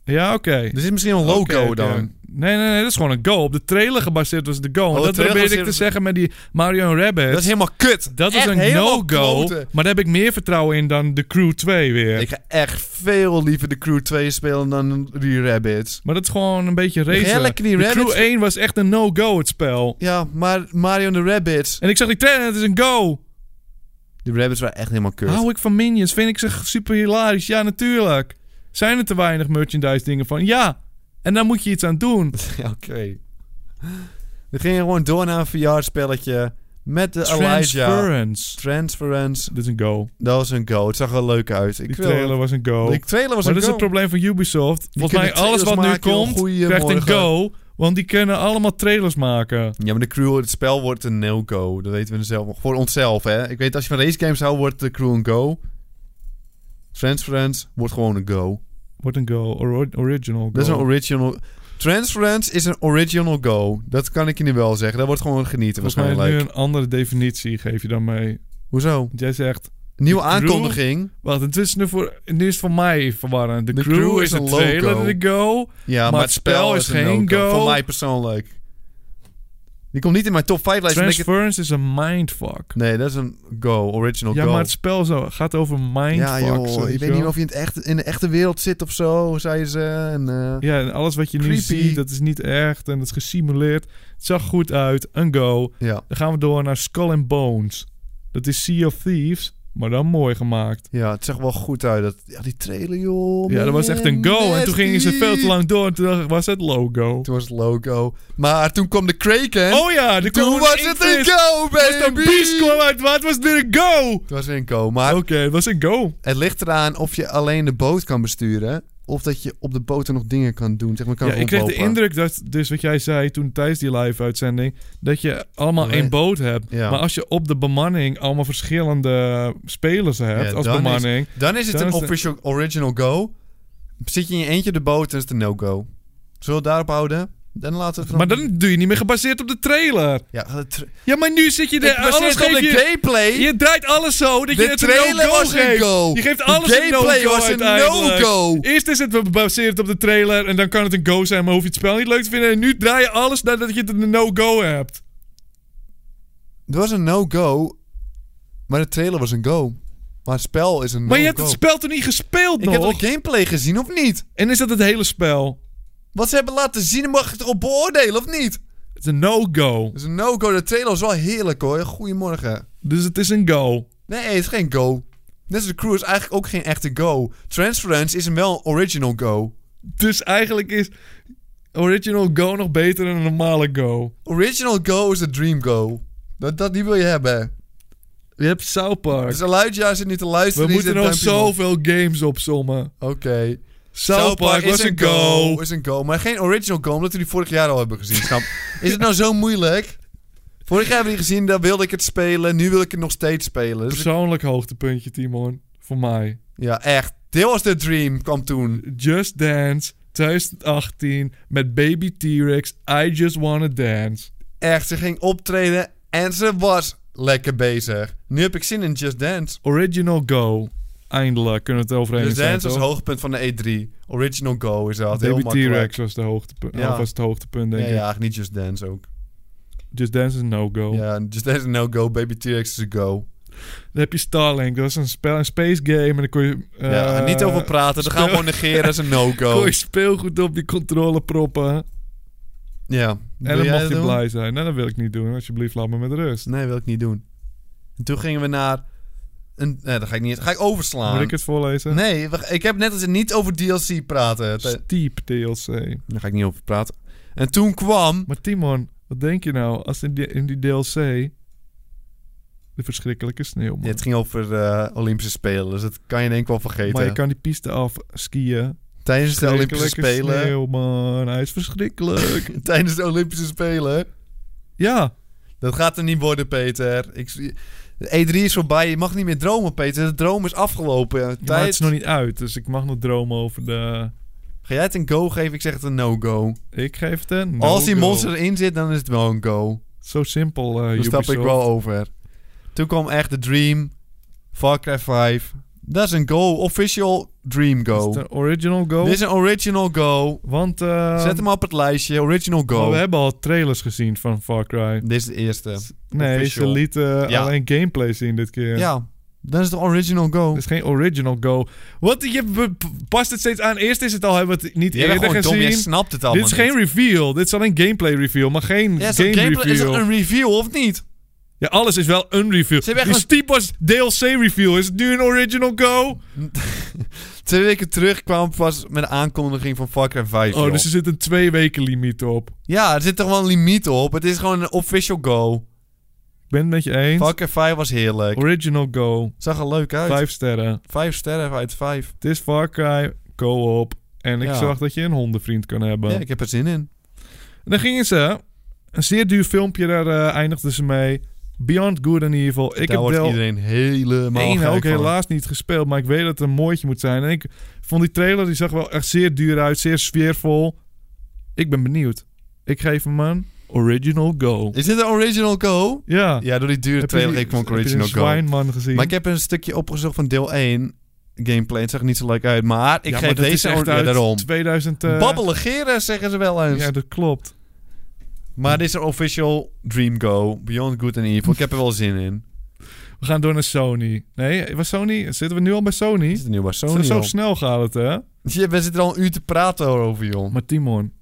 [SPEAKER 3] Ja, oké.
[SPEAKER 2] Dus is misschien een logo
[SPEAKER 3] Oké, oké.
[SPEAKER 2] dan. Oh,
[SPEAKER 3] Nee, nee, nee, dat is gewoon een go. Op de trailer gebaseerd was de go. En
[SPEAKER 2] de trailer
[SPEAKER 3] dat probeerde ik te
[SPEAKER 2] gebaseerd-
[SPEAKER 3] zeggen met die Mario Rabbit.
[SPEAKER 2] Dat is helemaal kut.
[SPEAKER 3] Dat is
[SPEAKER 2] Echt
[SPEAKER 3] een
[SPEAKER 2] helemaal
[SPEAKER 3] no-go.
[SPEAKER 2] kloten.
[SPEAKER 3] Maar daar heb ik meer vertrouwen in dan de Crew 2 weer.
[SPEAKER 2] Ik ga echt veel liever de Crew 2 spelen dan die Rabbits.
[SPEAKER 3] Maar dat is gewoon een beetje racen.
[SPEAKER 2] hele Crew
[SPEAKER 3] de
[SPEAKER 2] Rabbits-
[SPEAKER 3] Crew 1 was echt een no-go, het spel.
[SPEAKER 2] Ja, maar Mario en de Rabbits.
[SPEAKER 3] En ik zag die trailer en het is een go.
[SPEAKER 2] Die Rabbits waren echt helemaal kut.
[SPEAKER 3] Hou ik van Minions? Vind ik ze super hilarisch? Ja, natuurlijk. Zijn er te weinig merchandise dingen van? Ja. En daar moet je iets aan doen.
[SPEAKER 2] Ja, Oké. We gingen gewoon door naar een VR-spelletje met de Elijah.
[SPEAKER 3] Transference.
[SPEAKER 2] Transference.
[SPEAKER 3] Dit is een go.
[SPEAKER 2] Dat was een go. Het zag er leuk uit. Ik
[SPEAKER 3] Die
[SPEAKER 2] wil-
[SPEAKER 3] trailer was een go.
[SPEAKER 2] Die trailer was
[SPEAKER 3] maar
[SPEAKER 2] een
[SPEAKER 3] dat is
[SPEAKER 2] go.
[SPEAKER 3] het probleem van Ubisoft. Volgens mij
[SPEAKER 2] kunnen
[SPEAKER 3] alles wat nu
[SPEAKER 2] trailers maken, joh.
[SPEAKER 3] komt, krijgt een
[SPEAKER 2] Goeiemorgen.
[SPEAKER 3] go. Want die kunnen allemaal trailers maken.
[SPEAKER 2] Ja, maar de crew, het spel wordt een no-go. Dat weten we zelf nog. Voor onszelf, hè. Ik weet, als je van race games houdt, wordt de crew een go. Transference wordt gewoon een go.
[SPEAKER 3] Wordt een go. Or- original go.
[SPEAKER 2] Dat is een original... Transference is een original go. Dat kan ik je nu wel zeggen. Dat wordt gewoon genieten
[SPEAKER 3] Volgens mij is
[SPEAKER 2] waarschijnlijk.
[SPEAKER 3] nu een andere definitie geef je dan mee.
[SPEAKER 2] Hoezo?
[SPEAKER 3] Want jij zegt,
[SPEAKER 2] Nieuwe
[SPEAKER 3] crew-
[SPEAKER 2] aankondiging.
[SPEAKER 3] wacht, het is nu voor, nu is het voor mij verwarrend. De,
[SPEAKER 2] De
[SPEAKER 3] crew,
[SPEAKER 2] crew
[SPEAKER 3] is
[SPEAKER 2] is
[SPEAKER 3] de
[SPEAKER 2] een
[SPEAKER 3] trailer
[SPEAKER 2] logo.
[SPEAKER 3] de go.
[SPEAKER 2] Ja, maar, het spel is
[SPEAKER 3] geen
[SPEAKER 2] een no-go.
[SPEAKER 3] go.
[SPEAKER 2] Voor mij persoonlijk. Die komt niet in mijn top 5 lijst. want ik het-
[SPEAKER 3] Transference is een mindfuck.
[SPEAKER 2] Nee, dat is een go. Original
[SPEAKER 3] ja,
[SPEAKER 2] go.
[SPEAKER 3] maar het spel zo, gaat over mindfuck.
[SPEAKER 2] Oh Ja,
[SPEAKER 3] zo,
[SPEAKER 2] joh.
[SPEAKER 3] weet
[SPEAKER 2] Ik
[SPEAKER 3] je
[SPEAKER 2] weet niet
[SPEAKER 3] wel.
[SPEAKER 2] of je in, het echte, in de echte wereld zit of zo, zei ze. En, eh,
[SPEAKER 3] Ja, en alles wat je nu
[SPEAKER 2] Creepy.
[SPEAKER 3] ziet, dat is niet echt. En dat is gesimuleerd. Het zag goed uit. Een go.
[SPEAKER 2] ja.
[SPEAKER 3] Dan gaan we door naar Skull and Bones. Dat is Sea of Thieves, maar dan mooi gemaakt.
[SPEAKER 2] ja, het zag wel goed uit. Dat, ja, die trailer, joh.
[SPEAKER 3] ja, dat was echt een
[SPEAKER 2] man,
[SPEAKER 3] go. En toen gingen ze
[SPEAKER 2] nasty.
[SPEAKER 3] veel te lang door. En toen dacht ik, was het logo.
[SPEAKER 2] Toen was het logo. Maar toen kwam de Kraken.
[SPEAKER 3] oh ja, de
[SPEAKER 2] toen was het een go,
[SPEAKER 3] Was het een
[SPEAKER 2] baby!
[SPEAKER 3] beest kwam uit, maar het was weer een go.
[SPEAKER 2] Het was weer een go. Maar
[SPEAKER 3] Oké, het was een go.
[SPEAKER 2] het ligt eraan of je alleen de boot kan besturen... of dat je op de boot er nog dingen kan doen. Zeg maar, kan
[SPEAKER 3] Ja, ik kreeg de
[SPEAKER 2] rondlopen.
[SPEAKER 3] indruk dat, dus wat jij zei toen tijdens die live-uitzending, dat je allemaal
[SPEAKER 2] Nee.
[SPEAKER 3] één boot hebt.
[SPEAKER 2] Ja.
[SPEAKER 3] Maar als je op de bemanning allemaal verschillende spelers hebt
[SPEAKER 2] Ja,
[SPEAKER 3] als
[SPEAKER 2] dan is-
[SPEAKER 3] bemanning,
[SPEAKER 2] Dan is het
[SPEAKER 3] Dan
[SPEAKER 2] een
[SPEAKER 3] is het-
[SPEAKER 2] official original go. Zit je in je eentje op de boot, dan is het een no-go. Zullen we het daarop houden? Dan laten we het
[SPEAKER 3] maar dan doe je niet meer gebaseerd op de trailer.
[SPEAKER 2] Ja, de tra-
[SPEAKER 3] Ja, maar nu zit je
[SPEAKER 2] de,
[SPEAKER 3] er. Alles
[SPEAKER 2] op
[SPEAKER 3] geef
[SPEAKER 2] de
[SPEAKER 3] je,
[SPEAKER 2] gameplay.
[SPEAKER 3] je draait alles zo dat je
[SPEAKER 2] de
[SPEAKER 3] het een
[SPEAKER 2] trailer
[SPEAKER 3] no-go
[SPEAKER 2] was een
[SPEAKER 3] geeft.
[SPEAKER 2] go.
[SPEAKER 3] Je geeft
[SPEAKER 2] De
[SPEAKER 3] alles een
[SPEAKER 2] gameplay
[SPEAKER 3] no-go
[SPEAKER 2] was een
[SPEAKER 3] uiteindelijk.
[SPEAKER 2] no-go.
[SPEAKER 3] Eerst is het gebaseerd op de trailer en dan kan het een go zijn, maar hoef je het spel niet leuk te vinden. En nu draai je alles nadat je het een no-go hebt.
[SPEAKER 2] Het was een no-go, maar de trailer was een go. Maar het spel is een no-go.
[SPEAKER 3] maar je hebt het spel toch niet gespeeld
[SPEAKER 2] Ik
[SPEAKER 3] nog?
[SPEAKER 2] heb toch de gameplay gezien, of niet?
[SPEAKER 3] En is dat het hele spel?
[SPEAKER 2] Wat ze hebben laten zien, mag ik erop beoordelen, of niet?
[SPEAKER 3] Het is een no-go.
[SPEAKER 2] Het is een no-go. De trailer was wel heerlijk, hoor. Goedemorgen.
[SPEAKER 3] Dus het is een go.
[SPEAKER 2] Nee, het is geen go. Net als de crew is eigenlijk ook geen echte go. Transference is een wel een original go.
[SPEAKER 3] Dus eigenlijk is original go nog beter dan een normale go.
[SPEAKER 2] Original go is de dream go. Dat, dat die wil je hebben.
[SPEAKER 3] Je hebt South Park.
[SPEAKER 2] Dus Elijah zit niet te luisteren.
[SPEAKER 3] We
[SPEAKER 2] die
[SPEAKER 3] moeten
[SPEAKER 2] zit
[SPEAKER 3] nog
[SPEAKER 2] duimpje omhoog. Dus
[SPEAKER 3] zoveel games opzommen.
[SPEAKER 2] Oké.
[SPEAKER 3] South Park was een go.
[SPEAKER 2] Is een go. Maar geen original go, omdat we die vorig jaar al hebben gezien. Snap? Is het nou zo moeilijk? Vorig jaar hebben we die gezien, daar wilde ik het spelen. Nu wil ik het nog steeds spelen. Dus ik-
[SPEAKER 3] Persoonlijk hoogtepuntje, Timon. Voor mij.
[SPEAKER 2] ja, echt. Dit was de dream, kwam toen.
[SPEAKER 3] Just Dance 2018 met Baby T-Rex. I Just Wanna Dance.
[SPEAKER 2] Echt, ze ging optreden en ze was lekker bezig. Nu heb ik zin in Just Dance.
[SPEAKER 3] Original go. Eindelijk kunnen we het over eens
[SPEAKER 2] Just
[SPEAKER 3] zijn,
[SPEAKER 2] Dance was
[SPEAKER 3] toch?
[SPEAKER 2] het hoogtepunt van de E3. Original go is dat. heel
[SPEAKER 3] Baby
[SPEAKER 2] makkelijk.
[SPEAKER 3] T-Rex was, de hoogtepunt,
[SPEAKER 2] Ja.
[SPEAKER 3] of was het hoogtepunt,
[SPEAKER 2] Ja,
[SPEAKER 3] denk ik. Oh.
[SPEAKER 2] ja, niet Just Dance ook.
[SPEAKER 3] Just Dance is no-go.
[SPEAKER 2] Ja, Just Dance is no-go, Baby T-Rex is a go.
[SPEAKER 3] Dan heb je Starlink. Dat is een, spel, een space game. En dan kon je... eh,
[SPEAKER 2] ja, en niet over praten, dan gaan we
[SPEAKER 3] speel-
[SPEAKER 2] gewoon negeren, dat is een no-go.
[SPEAKER 3] Kon je speelgoed op die controle proppen.
[SPEAKER 2] Ja.
[SPEAKER 3] En
[SPEAKER 2] Wil
[SPEAKER 3] dan
[SPEAKER 2] jij
[SPEAKER 3] mag
[SPEAKER 2] dat
[SPEAKER 3] je
[SPEAKER 2] doen?
[SPEAKER 3] blij zijn. Nee, dat wil ik niet doen. Alsjeblieft, laat me met rust.
[SPEAKER 2] Nee, wil ik niet doen. En toen gingen we naar... Een, nee, dat ga ik niet... Ga ik overslaan.
[SPEAKER 3] Moet ik het voorlezen?
[SPEAKER 2] Nee, we- ik heb net als niet over DLC praten. Te-
[SPEAKER 3] Steep DLC.
[SPEAKER 2] Daar ga ik niet over praten. En toen kwam...
[SPEAKER 3] Maar Timon, wat denk je nou als in die, in die DLC de verschrikkelijke sneeuwman?
[SPEAKER 2] Ja, het ging over eh, Olympische Spelen, dus dat kan je in één keer wel vergeten.
[SPEAKER 3] maar je kan die piste af skiën.
[SPEAKER 2] Tijdens de Olympische
[SPEAKER 3] Verschrikkelijke
[SPEAKER 2] Spelen...
[SPEAKER 3] sneeuwman, hij is verschrikkelijk.
[SPEAKER 2] Tijdens de Olympische Spelen...
[SPEAKER 3] ja,
[SPEAKER 2] Dat gaat er niet worden, Peter. Ik, zie- E3 is voorbij. Je mag niet meer dromen, Peter. De droom is afgelopen.
[SPEAKER 3] maar het
[SPEAKER 2] Tijd.
[SPEAKER 3] is nog niet uit, dus ik mag nog dromen over de...
[SPEAKER 2] Ga jij het een go geven? Ik zeg het een no-go.
[SPEAKER 3] Ik geef het een no
[SPEAKER 2] Als die
[SPEAKER 3] go.
[SPEAKER 2] monster erin zit, dan is het wel een go.
[SPEAKER 3] Zo simpel, eh
[SPEAKER 2] Dan stap ik
[SPEAKER 3] Ubisoft.
[SPEAKER 2] wel over. Toen kwam echt de Dream. Far Cry 5. Dat is een go. Official Dream
[SPEAKER 3] Is
[SPEAKER 2] Go.
[SPEAKER 3] het een original go?
[SPEAKER 2] Dit is een original go.
[SPEAKER 3] Want eh,
[SPEAKER 2] Zet hem op het lijstje. Original go.
[SPEAKER 3] we hebben al trailers gezien van Far Cry.
[SPEAKER 2] Dit is de eerste.
[SPEAKER 3] Nee,
[SPEAKER 2] Official.
[SPEAKER 3] ze lieten eh,
[SPEAKER 2] Ja.
[SPEAKER 3] alleen gameplay zien dit keer.
[SPEAKER 2] Ja. Dat is de original go.
[SPEAKER 3] Het is geen original go. Wat, je be- past het steeds aan. Eerst is het al, hebben we het niet
[SPEAKER 2] Jij bent
[SPEAKER 3] eerder
[SPEAKER 2] gewoon dom.
[SPEAKER 3] gezien.
[SPEAKER 2] Jij snapt het allemaal
[SPEAKER 3] dit is geen
[SPEAKER 2] niet.
[SPEAKER 3] reveal. Dit is alleen gameplay reveal, maar geen
[SPEAKER 2] Ja, is dat
[SPEAKER 3] game
[SPEAKER 2] gameplay- is
[SPEAKER 3] reveal.
[SPEAKER 2] dat een review of niet?
[SPEAKER 3] Ja, alles is wel een reveal. Dus
[SPEAKER 2] Ze hebben
[SPEAKER 3] Die
[SPEAKER 2] echt een-
[SPEAKER 3] Steep was DLC reveal. Is het nu een original go?
[SPEAKER 2] Twee weken terug kwam pas met de aankondiging van Far Cry 5.
[SPEAKER 3] Oh,
[SPEAKER 2] joh.
[SPEAKER 3] dus er zit een twee weken limiet op.
[SPEAKER 2] Ja, er zit toch wel een limiet op. Het is gewoon een official go.
[SPEAKER 3] Ik ben het met je eens.
[SPEAKER 2] Far Cry 5 was heerlijk.
[SPEAKER 3] Original go.
[SPEAKER 2] Zag er leuk uit. Vijf,
[SPEAKER 3] Vijf sterren.
[SPEAKER 2] sterren uit vijf.
[SPEAKER 3] Het is Far Cry. Co-op. En ik
[SPEAKER 2] Ja.
[SPEAKER 3] zag dat je een hondenvriend kan hebben.
[SPEAKER 2] Ja, ik heb er zin in.
[SPEAKER 3] En dan gingen ze. Een zeer duur filmpje, daar eh, eindigden ze mee. Beyond Good and Evil. Ik
[SPEAKER 2] Daar
[SPEAKER 3] heb
[SPEAKER 2] wordt
[SPEAKER 3] wel
[SPEAKER 2] iedereen helemaal
[SPEAKER 3] één
[SPEAKER 2] gek
[SPEAKER 3] ook
[SPEAKER 2] van.
[SPEAKER 3] helaas niet gespeeld. Maar ik weet dat het een mooitje moet zijn. En ik vond die trailer, die zag wel echt zeer duur uit. Zeer sfeervol. Ik ben benieuwd. Ik geef hem een original go.
[SPEAKER 2] Is dit een original go?
[SPEAKER 3] Ja.
[SPEAKER 2] Ja, door die dure
[SPEAKER 3] Ah. Heb je
[SPEAKER 2] trailer geef
[SPEAKER 3] die-
[SPEAKER 2] ik hem ook
[SPEAKER 3] heb je
[SPEAKER 2] original
[SPEAKER 3] een
[SPEAKER 2] go.
[SPEAKER 3] Zwijnman gezien.
[SPEAKER 2] Maar ik heb een stukje opgezocht van deel 1. Gameplay, het zag er niet zo leuk uit. Maar ik
[SPEAKER 3] Ja,
[SPEAKER 2] geef
[SPEAKER 3] maar dat is
[SPEAKER 2] deze
[SPEAKER 3] echt
[SPEAKER 2] ook ja,
[SPEAKER 3] uit
[SPEAKER 2] daarom.
[SPEAKER 3] 2000... eh,
[SPEAKER 2] Babbelen geren, zeggen ze wel eens.
[SPEAKER 3] Ja, dat klopt.
[SPEAKER 2] Maar dit is een official Dream Go. Beyond Good and Evil. Ik heb er wel zin in.
[SPEAKER 3] We gaan door naar Sony. Nee, was Sony... Zitten we nu al bij Sony?
[SPEAKER 2] Is het nu bij
[SPEAKER 3] Zo-
[SPEAKER 2] Sony?
[SPEAKER 3] Zo
[SPEAKER 2] joh?
[SPEAKER 3] snel gaat het, hè?
[SPEAKER 2] Ja, we zitten al een uur te praten over, joh.
[SPEAKER 3] Maar Timon,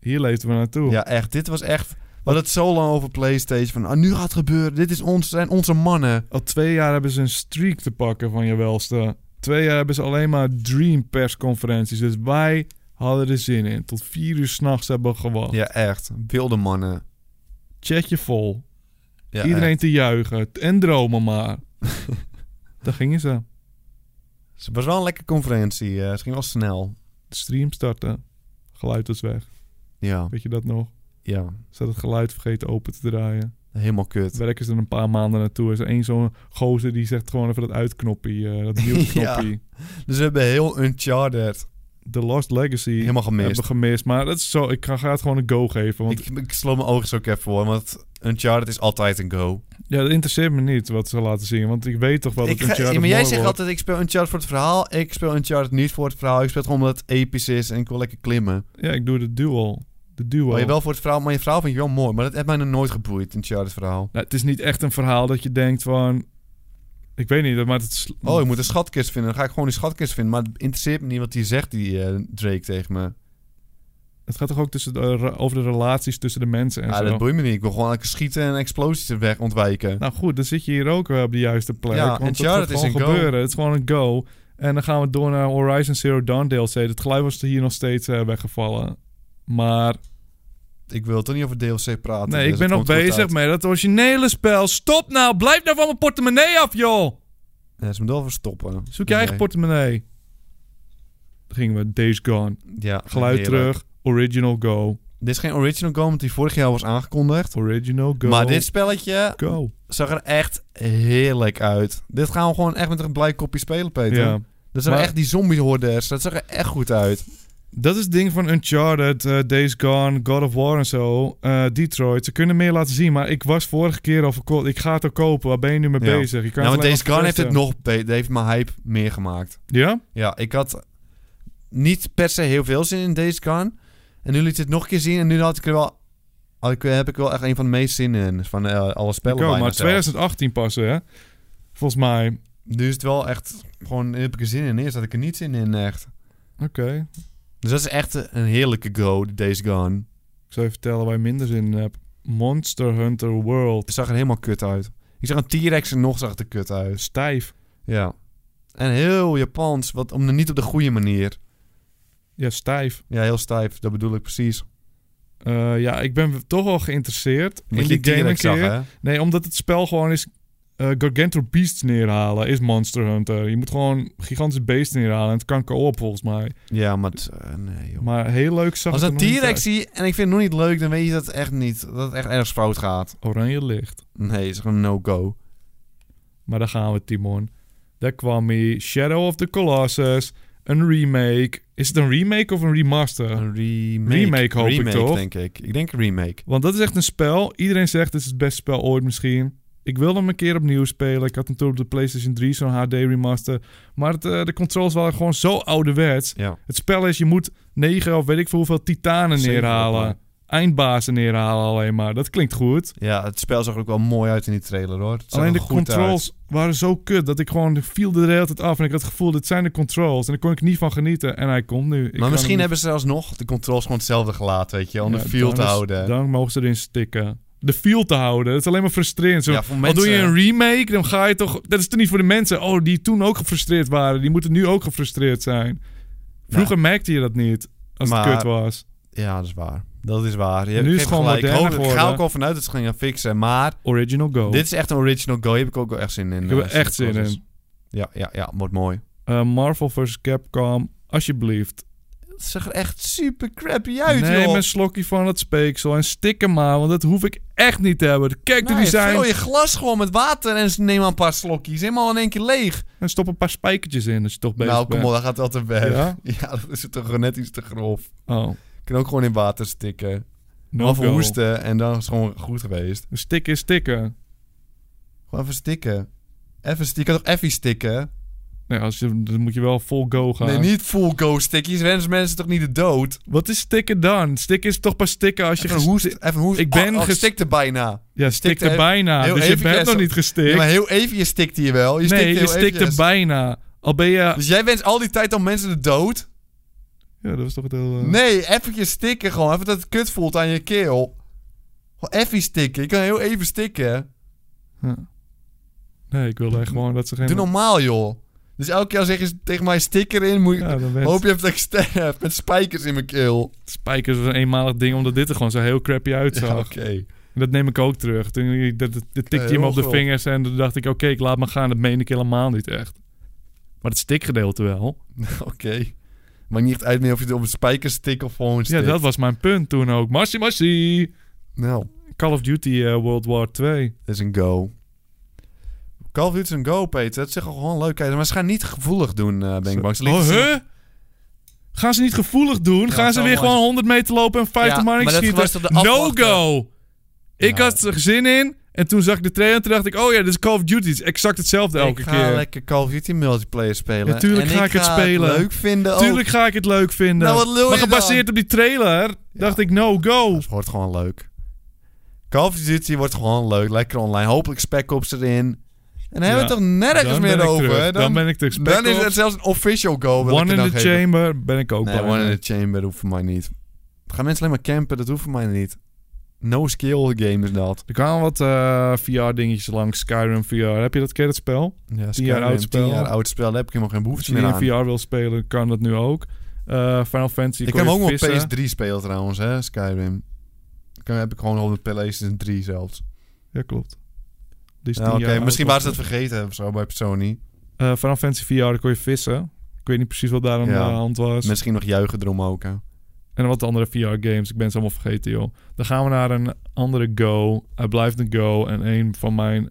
[SPEAKER 3] hier leefden we naartoe.
[SPEAKER 2] Ja, echt. Dit was echt... We hadden het zo lang over PlayStation. Van, ah, nu gaat het gebeuren. Dit is ons, zijn onze mannen.
[SPEAKER 3] Al twee jaar hebben ze een streak te pakken van je welste. Twee jaar hebben ze alleen maar dream persconferenties. Dus wij hadden er zin in. Tot vier uur s'nachts hebben we gewacht.
[SPEAKER 2] Ja, echt. Wilde mannen.
[SPEAKER 3] Chatje vol.
[SPEAKER 2] Ja,
[SPEAKER 3] Iedereen te juichen. En dromen maar. Daar gingen ze.
[SPEAKER 2] echt. Het was wel een lekkere conferentie. eh, het ging wel snel.
[SPEAKER 3] De stream starten. Geluid was weg.
[SPEAKER 2] Ja,
[SPEAKER 3] Weet je dat nog?
[SPEAKER 2] ja.
[SPEAKER 3] Ze hadden het geluid vergeten open te draaien.
[SPEAKER 2] Helemaal kut.
[SPEAKER 3] Het werk is er een paar maanden naartoe. Er is één zo'n gozer die zegt gewoon even dat uitknoppie. eh, dat mute knoppie.
[SPEAKER 2] Dus we hebben heel Uncharted.
[SPEAKER 3] The Lost Legacy.
[SPEAKER 2] Helemaal gemist.
[SPEAKER 3] Hebben gemist. Maar dat is zo. Ik ga, ga het gewoon een go geven. Want
[SPEAKER 2] Ik, ik sloot mijn ogen zo ook even voor. Want Uncharted is altijd een go.
[SPEAKER 3] ja, dat interesseert me niet wat ze laten zien. Want ik weet toch wel dat
[SPEAKER 2] Ik ga,
[SPEAKER 3] Uncharted
[SPEAKER 2] ja, maar jij
[SPEAKER 3] mooi
[SPEAKER 2] zegt
[SPEAKER 3] wordt.
[SPEAKER 2] altijd, ik speel Uncharted voor het verhaal. Ik speel Uncharted niet voor het verhaal. Ik speel het gewoon omdat het episch is en ik wil lekker klimmen.
[SPEAKER 3] Ja, ik doe de duel. De duel.
[SPEAKER 2] Maar je wel voor het verhaal, maar je verhaal vind je wel mooi. Maar dat heeft mij nog nooit geboeid, een Charles verhaal.
[SPEAKER 3] Nou, het is niet echt een verhaal dat je denkt van... Ik weet niet, maar het is...
[SPEAKER 2] Oh, ik moet een schatkist vinden. Dan ga ik gewoon die schatkist vinden. Maar het interesseert me niet wat hij zegt, die eh, Drake tegen me.
[SPEAKER 3] Het gaat toch ook tussen de, re- over de relaties tussen de mensen en
[SPEAKER 2] Ja,
[SPEAKER 3] zo.
[SPEAKER 2] dat boeit me niet. Ik wil gewoon lekker schieten en explosies er weg ontwijken.
[SPEAKER 3] Nou goed, dan zit je hier ook wel op de juiste plek.
[SPEAKER 2] Ja,
[SPEAKER 3] want het gaat
[SPEAKER 2] Uncharted is
[SPEAKER 3] gewoon
[SPEAKER 2] een go.
[SPEAKER 3] gebeuren. Het is gewoon een go. En dan gaan we door naar Horizon Zero Dawn DLC. Het geluid was hier nog steeds eh, weggevallen. Maar
[SPEAKER 2] Ik wil toch niet over DLC praten.
[SPEAKER 3] Nee,
[SPEAKER 2] dus
[SPEAKER 3] ik ben
[SPEAKER 2] het
[SPEAKER 3] nog
[SPEAKER 2] komt goed
[SPEAKER 3] bezig
[SPEAKER 2] uit.
[SPEAKER 3] met dat originele spel. Stop nou, blijf nou van mijn portemonnee af, joh.
[SPEAKER 2] Ja, ze moeten wel verstoppen.
[SPEAKER 3] Zoek je eigen
[SPEAKER 2] Nee.
[SPEAKER 3] portemonnee. Dan gingen we Days Gone.
[SPEAKER 2] Ja,
[SPEAKER 3] Geluid
[SPEAKER 2] heerlijk.
[SPEAKER 3] terug. Original Go.
[SPEAKER 2] Dit is geen original go, want die vorig jaar was aangekondigd.
[SPEAKER 3] Original Go.
[SPEAKER 2] Maar dit spelletje
[SPEAKER 3] Go.
[SPEAKER 2] zag er echt heerlijk uit. Dit gaan we gewoon echt met een blij kopje spelen, Peter.
[SPEAKER 3] Ja.
[SPEAKER 2] Dat zijn
[SPEAKER 3] Maar-
[SPEAKER 2] echt die zombie-hordes. Dat zag er echt goed uit.
[SPEAKER 3] Dat is het ding van Uncharted, eh, Days Gone, God of War en zo. eh, Detroit. Ze kunnen meer laten zien, maar ik was vorige keer al verkocht. Ik ga het ook kopen. Waar ben je nu mee
[SPEAKER 2] Ja.
[SPEAKER 3] bezig? Je kan
[SPEAKER 2] Nou, want
[SPEAKER 3] het alleen
[SPEAKER 2] Days
[SPEAKER 3] maar
[SPEAKER 2] Gone heeft het
[SPEAKER 3] verpesten.
[SPEAKER 2] nog beter. heeft mijn hype meer gemaakt.
[SPEAKER 3] Ja?
[SPEAKER 2] Ja, ik had niet per se heel veel zin in Days Gone. En nu liet het nog een keer zien. En nu had ik er wel al- ik, heb ik wel echt een van de meest zin in. Van eh, alle spellen
[SPEAKER 3] Kom,
[SPEAKER 2] bijna
[SPEAKER 3] maar
[SPEAKER 2] zelfs.
[SPEAKER 3] 2018 passen, hè? Volgens mij. Oké.
[SPEAKER 2] Nu is het wel echt... Gewoon heb ik er zin in. Eerst had ik er niet zin in, echt. Dus dat is echt een heerlijke go, Days Gone.
[SPEAKER 3] Ik zal je vertellen waar je minder zin in hebt. Monster Hunter World.
[SPEAKER 2] Het zag er helemaal kut uit. Ik zag een T-Rex en nog zag het er kut uit.
[SPEAKER 3] Eh, Stijf.
[SPEAKER 2] Ja. En heel Japans, wat om de, niet op de goede manier.
[SPEAKER 3] Ja, stijf.
[SPEAKER 2] Ja, heel stijf, dat bedoel ik precies.
[SPEAKER 3] Eh, ja, ik ben toch wel geïnteresseerd
[SPEAKER 2] Omdat je
[SPEAKER 3] in die game een
[SPEAKER 2] T-Rex zag,
[SPEAKER 3] keer.
[SPEAKER 2] hè?
[SPEAKER 3] Nee, omdat het spel gewoon is... eh Gargantor Beasts neerhalen is Monster Hunter. Je moet gewoon gigantische beesten neerhalen. En het kan co-op volgens mij.
[SPEAKER 2] Ja, maar... het- eh, nee, joh.
[SPEAKER 3] Maar heel leuk zag
[SPEAKER 2] Als
[SPEAKER 3] het
[SPEAKER 2] een
[SPEAKER 3] er nog niet
[SPEAKER 2] T-Rex
[SPEAKER 3] uit.
[SPEAKER 2] zie en ik vind het nog niet leuk, dan weet je dat het echt niet. Dat het echt ergens fout gaat.
[SPEAKER 3] Oranje licht.
[SPEAKER 2] Nee, het is gewoon een no-go.
[SPEAKER 3] Maar daar gaan we, Timon. Daar kwam hij. Shadow of the Colossus. Een remake. Is het een remake of een remaster?
[SPEAKER 2] Een remake.
[SPEAKER 3] remake hoop ik
[SPEAKER 2] Remake,
[SPEAKER 3] toch?
[SPEAKER 2] denk ik. Ik denk een remake.
[SPEAKER 3] Want dat is echt een spel. Iedereen zegt, het is het beste spel ooit misschien. Ik wilde hem een keer opnieuw spelen. Ik had hem toen op de PlayStation 3, zo'n HD remaster. Maar het, eh, de controls waren gewoon zo ouderwets.
[SPEAKER 2] Ja.
[SPEAKER 3] Het spel is, je moet negen of weet ik veel hoeveel titanen
[SPEAKER 2] Zeven
[SPEAKER 3] neerhalen.
[SPEAKER 2] volgens
[SPEAKER 3] Eindbazen neerhalen alleen maar. Dat klinkt goed.
[SPEAKER 2] Ja, het spel zag er ook wel mooi uit in die trailer, hoor. Het zag
[SPEAKER 3] alleen
[SPEAKER 2] er
[SPEAKER 3] de
[SPEAKER 2] goed
[SPEAKER 3] controls waren zo kut dat ik gewoon viel er de hele tijd af. En ik had het gevoel, dit zijn de controls. En daar kon ik niet van genieten. En hij komt nu. Ik
[SPEAKER 2] uit.
[SPEAKER 3] kan
[SPEAKER 2] Maar
[SPEAKER 3] hem
[SPEAKER 2] misschien
[SPEAKER 3] niet-
[SPEAKER 2] hebben ze zelfs nog de controls gewoon hetzelfde gelaten, weet je. Om de
[SPEAKER 3] Ja,
[SPEAKER 2] feel
[SPEAKER 3] dan
[SPEAKER 2] te
[SPEAKER 3] is-
[SPEAKER 2] houden.
[SPEAKER 3] Dan mogen ze erin stikken. De feel te houden. Dat is alleen maar frustrerend. Zo,
[SPEAKER 2] ja, voor
[SPEAKER 3] Al
[SPEAKER 2] mensen...
[SPEAKER 3] doe je een remake, dan ga je toch... Dat is toch niet voor de mensen oh, die toen ook gefrustreerd waren. Die moeten nu ook gefrustreerd zijn. Vroeger merkte je dat niet, als
[SPEAKER 2] Maar-
[SPEAKER 3] het kut was.
[SPEAKER 2] Ja, dat is waar. Dat is waar. Je
[SPEAKER 3] Nu is
[SPEAKER 2] geeft
[SPEAKER 3] het gewoon
[SPEAKER 2] gelijk. Ik
[SPEAKER 3] moderner
[SPEAKER 2] hoop- Ik ga
[SPEAKER 3] geworden.
[SPEAKER 2] ook al vanuit dat ze gaan fixen, maar...
[SPEAKER 3] Original Go.
[SPEAKER 2] Dit is echt een original go. Hier heb ik ook wel echt zin in.
[SPEAKER 3] Ik heb er
[SPEAKER 2] eh,
[SPEAKER 3] echt zin
[SPEAKER 2] Colossus.
[SPEAKER 3] in.
[SPEAKER 2] Ja, ja, ja. Wordt mooi.
[SPEAKER 3] Eh, Marvel vs. Capcom, alsjeblieft.
[SPEAKER 2] Het zag er echt super crappy uit,
[SPEAKER 3] Neem
[SPEAKER 2] joh.
[SPEAKER 3] een slokje van het speeksel en stik hem maar, want dat hoef ik echt niet te hebben. Kijk, de
[SPEAKER 2] Nou,
[SPEAKER 3] design.
[SPEAKER 2] Vul je glas gewoon met water en neem maar een paar slokjes. Helemaal in één keer leeg.
[SPEAKER 3] En stop een paar spijkertjes in, als je toch bezig
[SPEAKER 2] nou,
[SPEAKER 3] bent.
[SPEAKER 2] kom op, dat gaat wel te ver. Ja?
[SPEAKER 3] Ja?
[SPEAKER 2] dat is toch gewoon net iets te grof.
[SPEAKER 3] Oh,
[SPEAKER 2] Je kan ook gewoon in water stikken.
[SPEAKER 3] no
[SPEAKER 2] of
[SPEAKER 3] go.
[SPEAKER 2] hoesten en dan is het gewoon goed geweest.
[SPEAKER 3] Stikken, stikken.
[SPEAKER 2] Gewoon even stikken. Even, st- je kan toch even stikken?
[SPEAKER 3] Nee, als je, dan moet je wel vol go gaan.
[SPEAKER 2] Nee, niet full go stikjes. Rennen mensen toch niet de dood?
[SPEAKER 3] Wat is stikken dan? Stikken is toch pas stikken als je...
[SPEAKER 2] Even
[SPEAKER 3] ges-
[SPEAKER 2] hoesten. Even hoesten.
[SPEAKER 3] Ik ben
[SPEAKER 2] oh, oh,
[SPEAKER 3] ges-
[SPEAKER 2] stikte bijna.
[SPEAKER 3] Ja,
[SPEAKER 2] stikt
[SPEAKER 3] stikte
[SPEAKER 2] er-
[SPEAKER 3] bijna.
[SPEAKER 2] heel
[SPEAKER 3] Dus je
[SPEAKER 2] even
[SPEAKER 3] bent nog
[SPEAKER 2] kerst-
[SPEAKER 3] niet gestikt.
[SPEAKER 2] Ja, maar heel even, je stikt hier wel. Je
[SPEAKER 3] nee,
[SPEAKER 2] stikt
[SPEAKER 3] je
[SPEAKER 2] heel
[SPEAKER 3] stikte
[SPEAKER 2] eventjes.
[SPEAKER 3] bijna. Al ben je... Ja,
[SPEAKER 2] Dus jij wenst al die tijd al mensen de dood?
[SPEAKER 3] dat was toch het heel... eh,
[SPEAKER 2] Nee, eventjes stikken gewoon. Even dat het kut voelt aan je keel. Gewoon even stikken. Je kan heel even stikken.
[SPEAKER 3] ja. Nee, ik wilde echt gewoon dat ze geen...
[SPEAKER 2] Doe normaal, joh. Dus elke keer als je zegt tegen mij stikker in, moet je...
[SPEAKER 3] Ja, dan werd
[SPEAKER 2] Hoop je even dat ik sterf met spijkers in mijn keel.
[SPEAKER 3] Spijkers was een eenmalig ding, omdat dit er gewoon zo heel crappy uitzag.
[SPEAKER 2] Ja, oké.
[SPEAKER 3] En Dat neem ik ook terug. Toen dat- dat- dat tikte
[SPEAKER 2] Ja,
[SPEAKER 3] je hem
[SPEAKER 2] heel
[SPEAKER 3] op de
[SPEAKER 2] grof.
[SPEAKER 3] vingers en toen dacht ik... Oké, ik laat maar gaan. Dat meen ik helemaal niet echt. Maar het stikgedeelte wel.
[SPEAKER 2] Oké. Maakt niet echt uit meer of je het op een spijker stikt of gewoon
[SPEAKER 3] Ja,
[SPEAKER 2] stikt.
[SPEAKER 3] dat was mijn punt toen ook. Massie, massie!
[SPEAKER 2] Nou,
[SPEAKER 3] Call of Duty eh, World War 2.
[SPEAKER 2] dat is een go. Call of Duty is een go, Peter. Dat is echt gewoon leuk. Maar ze gaan niet gevoelig doen, eh ben ik bang. Ze
[SPEAKER 3] Oh,
[SPEAKER 2] lieten ze-
[SPEAKER 3] huh? Gaan ze niet gevoelig doen?
[SPEAKER 2] dat
[SPEAKER 3] Gaan
[SPEAKER 2] is
[SPEAKER 3] ze weer
[SPEAKER 2] allemaal-
[SPEAKER 3] gewoon 100 meter lopen en 50
[SPEAKER 2] Ja,
[SPEAKER 3] man
[SPEAKER 2] maar dat was
[SPEAKER 3] schieten?
[SPEAKER 2] toch de
[SPEAKER 3] No
[SPEAKER 2] afwachten?
[SPEAKER 3] go! Ik
[SPEAKER 2] Ja.
[SPEAKER 3] had er zin in en toen zag ik de trailer en toen dacht ik... Oh ja, dit is Call of Duty. Het is exact hetzelfde elke
[SPEAKER 2] ik ga
[SPEAKER 3] keer.
[SPEAKER 2] lekker Call of Duty multiplayer spelen.
[SPEAKER 3] Ja, tuurlijk
[SPEAKER 2] En
[SPEAKER 3] ga ik het spelen.
[SPEAKER 2] leuk vinden ook.
[SPEAKER 3] Tuurlijk ga ik het leuk vinden.
[SPEAKER 2] oh. Nou, wat lul
[SPEAKER 3] maar
[SPEAKER 2] je
[SPEAKER 3] gebaseerd op die trailer dacht ik no go.
[SPEAKER 2] Het wordt gewoon leuk. Call of Duty wordt gewoon leuk. Lekker online. Hopelijk Spec Ops erin. En dan hebben we
[SPEAKER 3] Ja,
[SPEAKER 2] het toch nergens
[SPEAKER 3] Dan
[SPEAKER 2] meer
[SPEAKER 3] ben ik
[SPEAKER 2] over.
[SPEAKER 3] terug.
[SPEAKER 2] hè?
[SPEAKER 3] Dan, ben ik terug.
[SPEAKER 2] dan is
[SPEAKER 3] Spec
[SPEAKER 2] het
[SPEAKER 3] Ops,
[SPEAKER 2] zelfs een official go. wil ik
[SPEAKER 3] One
[SPEAKER 2] er
[SPEAKER 3] in
[SPEAKER 2] dan
[SPEAKER 3] the
[SPEAKER 2] geven.
[SPEAKER 3] Chamber ben ik ook
[SPEAKER 2] Nee,
[SPEAKER 3] bij.
[SPEAKER 2] One in the Chamber hoeft voor mij niet. Gaan mensen alleen maar campen? Dat hoeft voor mij niet. No skill game is dat.
[SPEAKER 3] Er kwamen wat eh, VR-dingetjes langs. Skyrim VR. Heb je dat keer dat spel?
[SPEAKER 2] Ja,
[SPEAKER 3] jaar oud spel.
[SPEAKER 2] jaar oud spel. Daar heb ik helemaal geen
[SPEAKER 3] Als
[SPEAKER 2] behoefte
[SPEAKER 3] je
[SPEAKER 2] meer
[SPEAKER 3] in
[SPEAKER 2] aan.
[SPEAKER 3] VR wil spelen, kan dat nu ook. Eh, Final Fantasy.
[SPEAKER 2] Ik
[SPEAKER 3] kon
[SPEAKER 2] kan hem
[SPEAKER 3] je
[SPEAKER 2] ook nog
[SPEAKER 3] vissen.
[SPEAKER 2] op PS3 spelen trouwens, hè, Skyrim. Kan, heb ik gewoon op de PlayStation 3 zelfs.
[SPEAKER 3] Ja, klopt. Die is
[SPEAKER 2] Ja,
[SPEAKER 3] tien
[SPEAKER 2] Oké,
[SPEAKER 3] jaar oud,
[SPEAKER 2] misschien waren ze dat
[SPEAKER 3] toch?
[SPEAKER 2] vergeten of zo bij Sony.
[SPEAKER 3] Eh, Final Fantasy VR daar kon je vissen. Ik weet niet precies wat daar aan
[SPEAKER 2] Ja.
[SPEAKER 3] de hand was.
[SPEAKER 2] Misschien nog juichen erom ook, hè.
[SPEAKER 3] En wat andere VR-games. Ik ben ze allemaal vergeten, joh. Dan gaan we naar een andere Go. Hij blijft een Go. En een van mijn...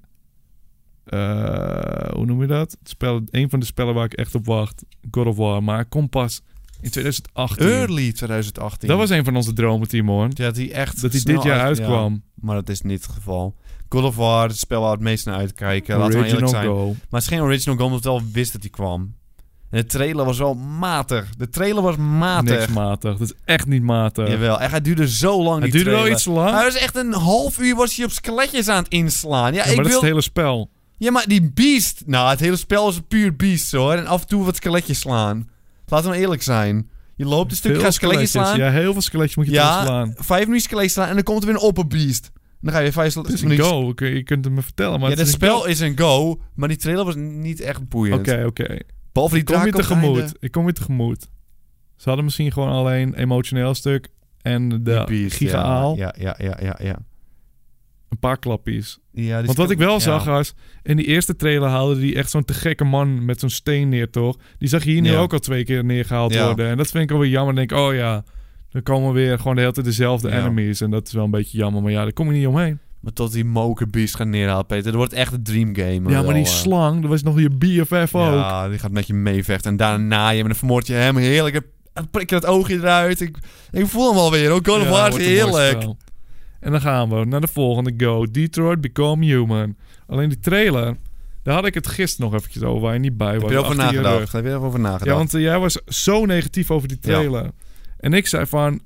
[SPEAKER 3] eh, hoe noem je dat? Het spel, een van de spellen waar ik echt op wacht. God of War. Maar hij komt pas in 2018.
[SPEAKER 2] Early 2018.
[SPEAKER 3] Dat was een van onze dromen, Timon.
[SPEAKER 2] Ja, dat hij echt
[SPEAKER 3] Dat hij
[SPEAKER 2] snel
[SPEAKER 3] dit jaar
[SPEAKER 2] uit- ja,
[SPEAKER 3] uitkwam.
[SPEAKER 2] maar dat is niet het geval. God of War, het spel waar we het meest naar uitkijken. Laten we
[SPEAKER 3] Original
[SPEAKER 2] eerlijk zijn.
[SPEAKER 3] Go.
[SPEAKER 2] Maar het is geen original game, omdat we wel wist dat hij kwam. En de trailer was wel matig. De trailer was matig.
[SPEAKER 3] Niks matig. Dat is echt niet matig.
[SPEAKER 2] Jawel, en hij duurde zo lang,
[SPEAKER 3] het
[SPEAKER 2] die
[SPEAKER 3] duurde wel
[SPEAKER 2] trailer.
[SPEAKER 3] iets lang.
[SPEAKER 2] Hij was echt een half uur was hij op skeletjes aan het inslaan. Ja,
[SPEAKER 3] Ja, maar
[SPEAKER 2] ik
[SPEAKER 3] dat is
[SPEAKER 2] wil...
[SPEAKER 3] het hele spel.
[SPEAKER 2] ja, maar die beast... Nou, het hele spel is puur beast, hoor. En af en toe wat skeletjes slaan. Laten we nou eerlijk zijn. Je loopt een stukje,
[SPEAKER 3] Veel
[SPEAKER 2] gaat skeletjes slaan.
[SPEAKER 3] Ja, heel veel skeletjes moet je
[SPEAKER 2] Ja,
[SPEAKER 3] ja, slaan.
[SPEAKER 2] Vijf minuten skeletjes slaan en dan komt er weer een opperbeest. En dan ga je vijf sl-
[SPEAKER 3] Het is een
[SPEAKER 2] minuten...
[SPEAKER 3] Dus go. Oké, Je kunt het me vertellen, maar
[SPEAKER 2] ja,
[SPEAKER 3] het
[SPEAKER 2] het
[SPEAKER 3] is een
[SPEAKER 2] spel
[SPEAKER 3] go.
[SPEAKER 2] is een go, maar die trailer was niet echt boeiend.
[SPEAKER 3] Oké, oké.
[SPEAKER 2] Behalve die
[SPEAKER 3] Ik kom
[SPEAKER 2] draak
[SPEAKER 3] je
[SPEAKER 2] op het
[SPEAKER 3] tegemoet.
[SPEAKER 2] einde.
[SPEAKER 3] Ik kom je tegemoet. Ze hadden misschien gewoon alleen emotioneel stuk en
[SPEAKER 2] Die
[SPEAKER 3] de
[SPEAKER 2] beast, ja,
[SPEAKER 3] gigaaal.
[SPEAKER 2] Ja, ja, ja, ja, ja.
[SPEAKER 3] Een paar klappies.
[SPEAKER 2] ja die
[SPEAKER 3] Want wat ik wel
[SPEAKER 2] Dus ja.
[SPEAKER 3] zag eh- was, in die eerste trailer haalde die echt zo'n te gekke man met zo'n steen neer, toch? Die zag je hier nu
[SPEAKER 2] Ja.
[SPEAKER 3] ook al twee keer neergehaald
[SPEAKER 2] Ja.
[SPEAKER 3] worden. En dat vind ik alweer jammer. Dan denk ik, oh ja, dan komen weer gewoon de hele tijd dezelfde
[SPEAKER 2] Ja.
[SPEAKER 3] enemies. En dat is wel een beetje jammer, maar ja, daar kom je niet omheen.
[SPEAKER 2] Maar tot die mokerbeest gaan neerhalen, Peter. Dat wordt echt een dream game.
[SPEAKER 3] ja, maar die slang, dat was nog je BFF ook.
[SPEAKER 2] Ja, die gaat met je meevechten. En daarna na je hem en dan vermoord je hem. Heerlijk. Dan prik je dat oogje eruit. Ik, ik voel hem alweer. Oh, God of
[SPEAKER 3] Ja,
[SPEAKER 2] War is
[SPEAKER 3] wordt een mooi
[SPEAKER 2] heerlijk.
[SPEAKER 3] spel. En dan gaan we naar de volgende Go. Detroit Become Human. Alleen die trailer, daar had ik het gisteren nog eventjes over waar je niet bij was.
[SPEAKER 2] Heb je erover
[SPEAKER 3] achter je rug.
[SPEAKER 2] nagedacht? Heb je erover
[SPEAKER 3] Ja,
[SPEAKER 2] nagedacht?
[SPEAKER 3] want eh, jij was zo negatief over die trailer. En ik zei van...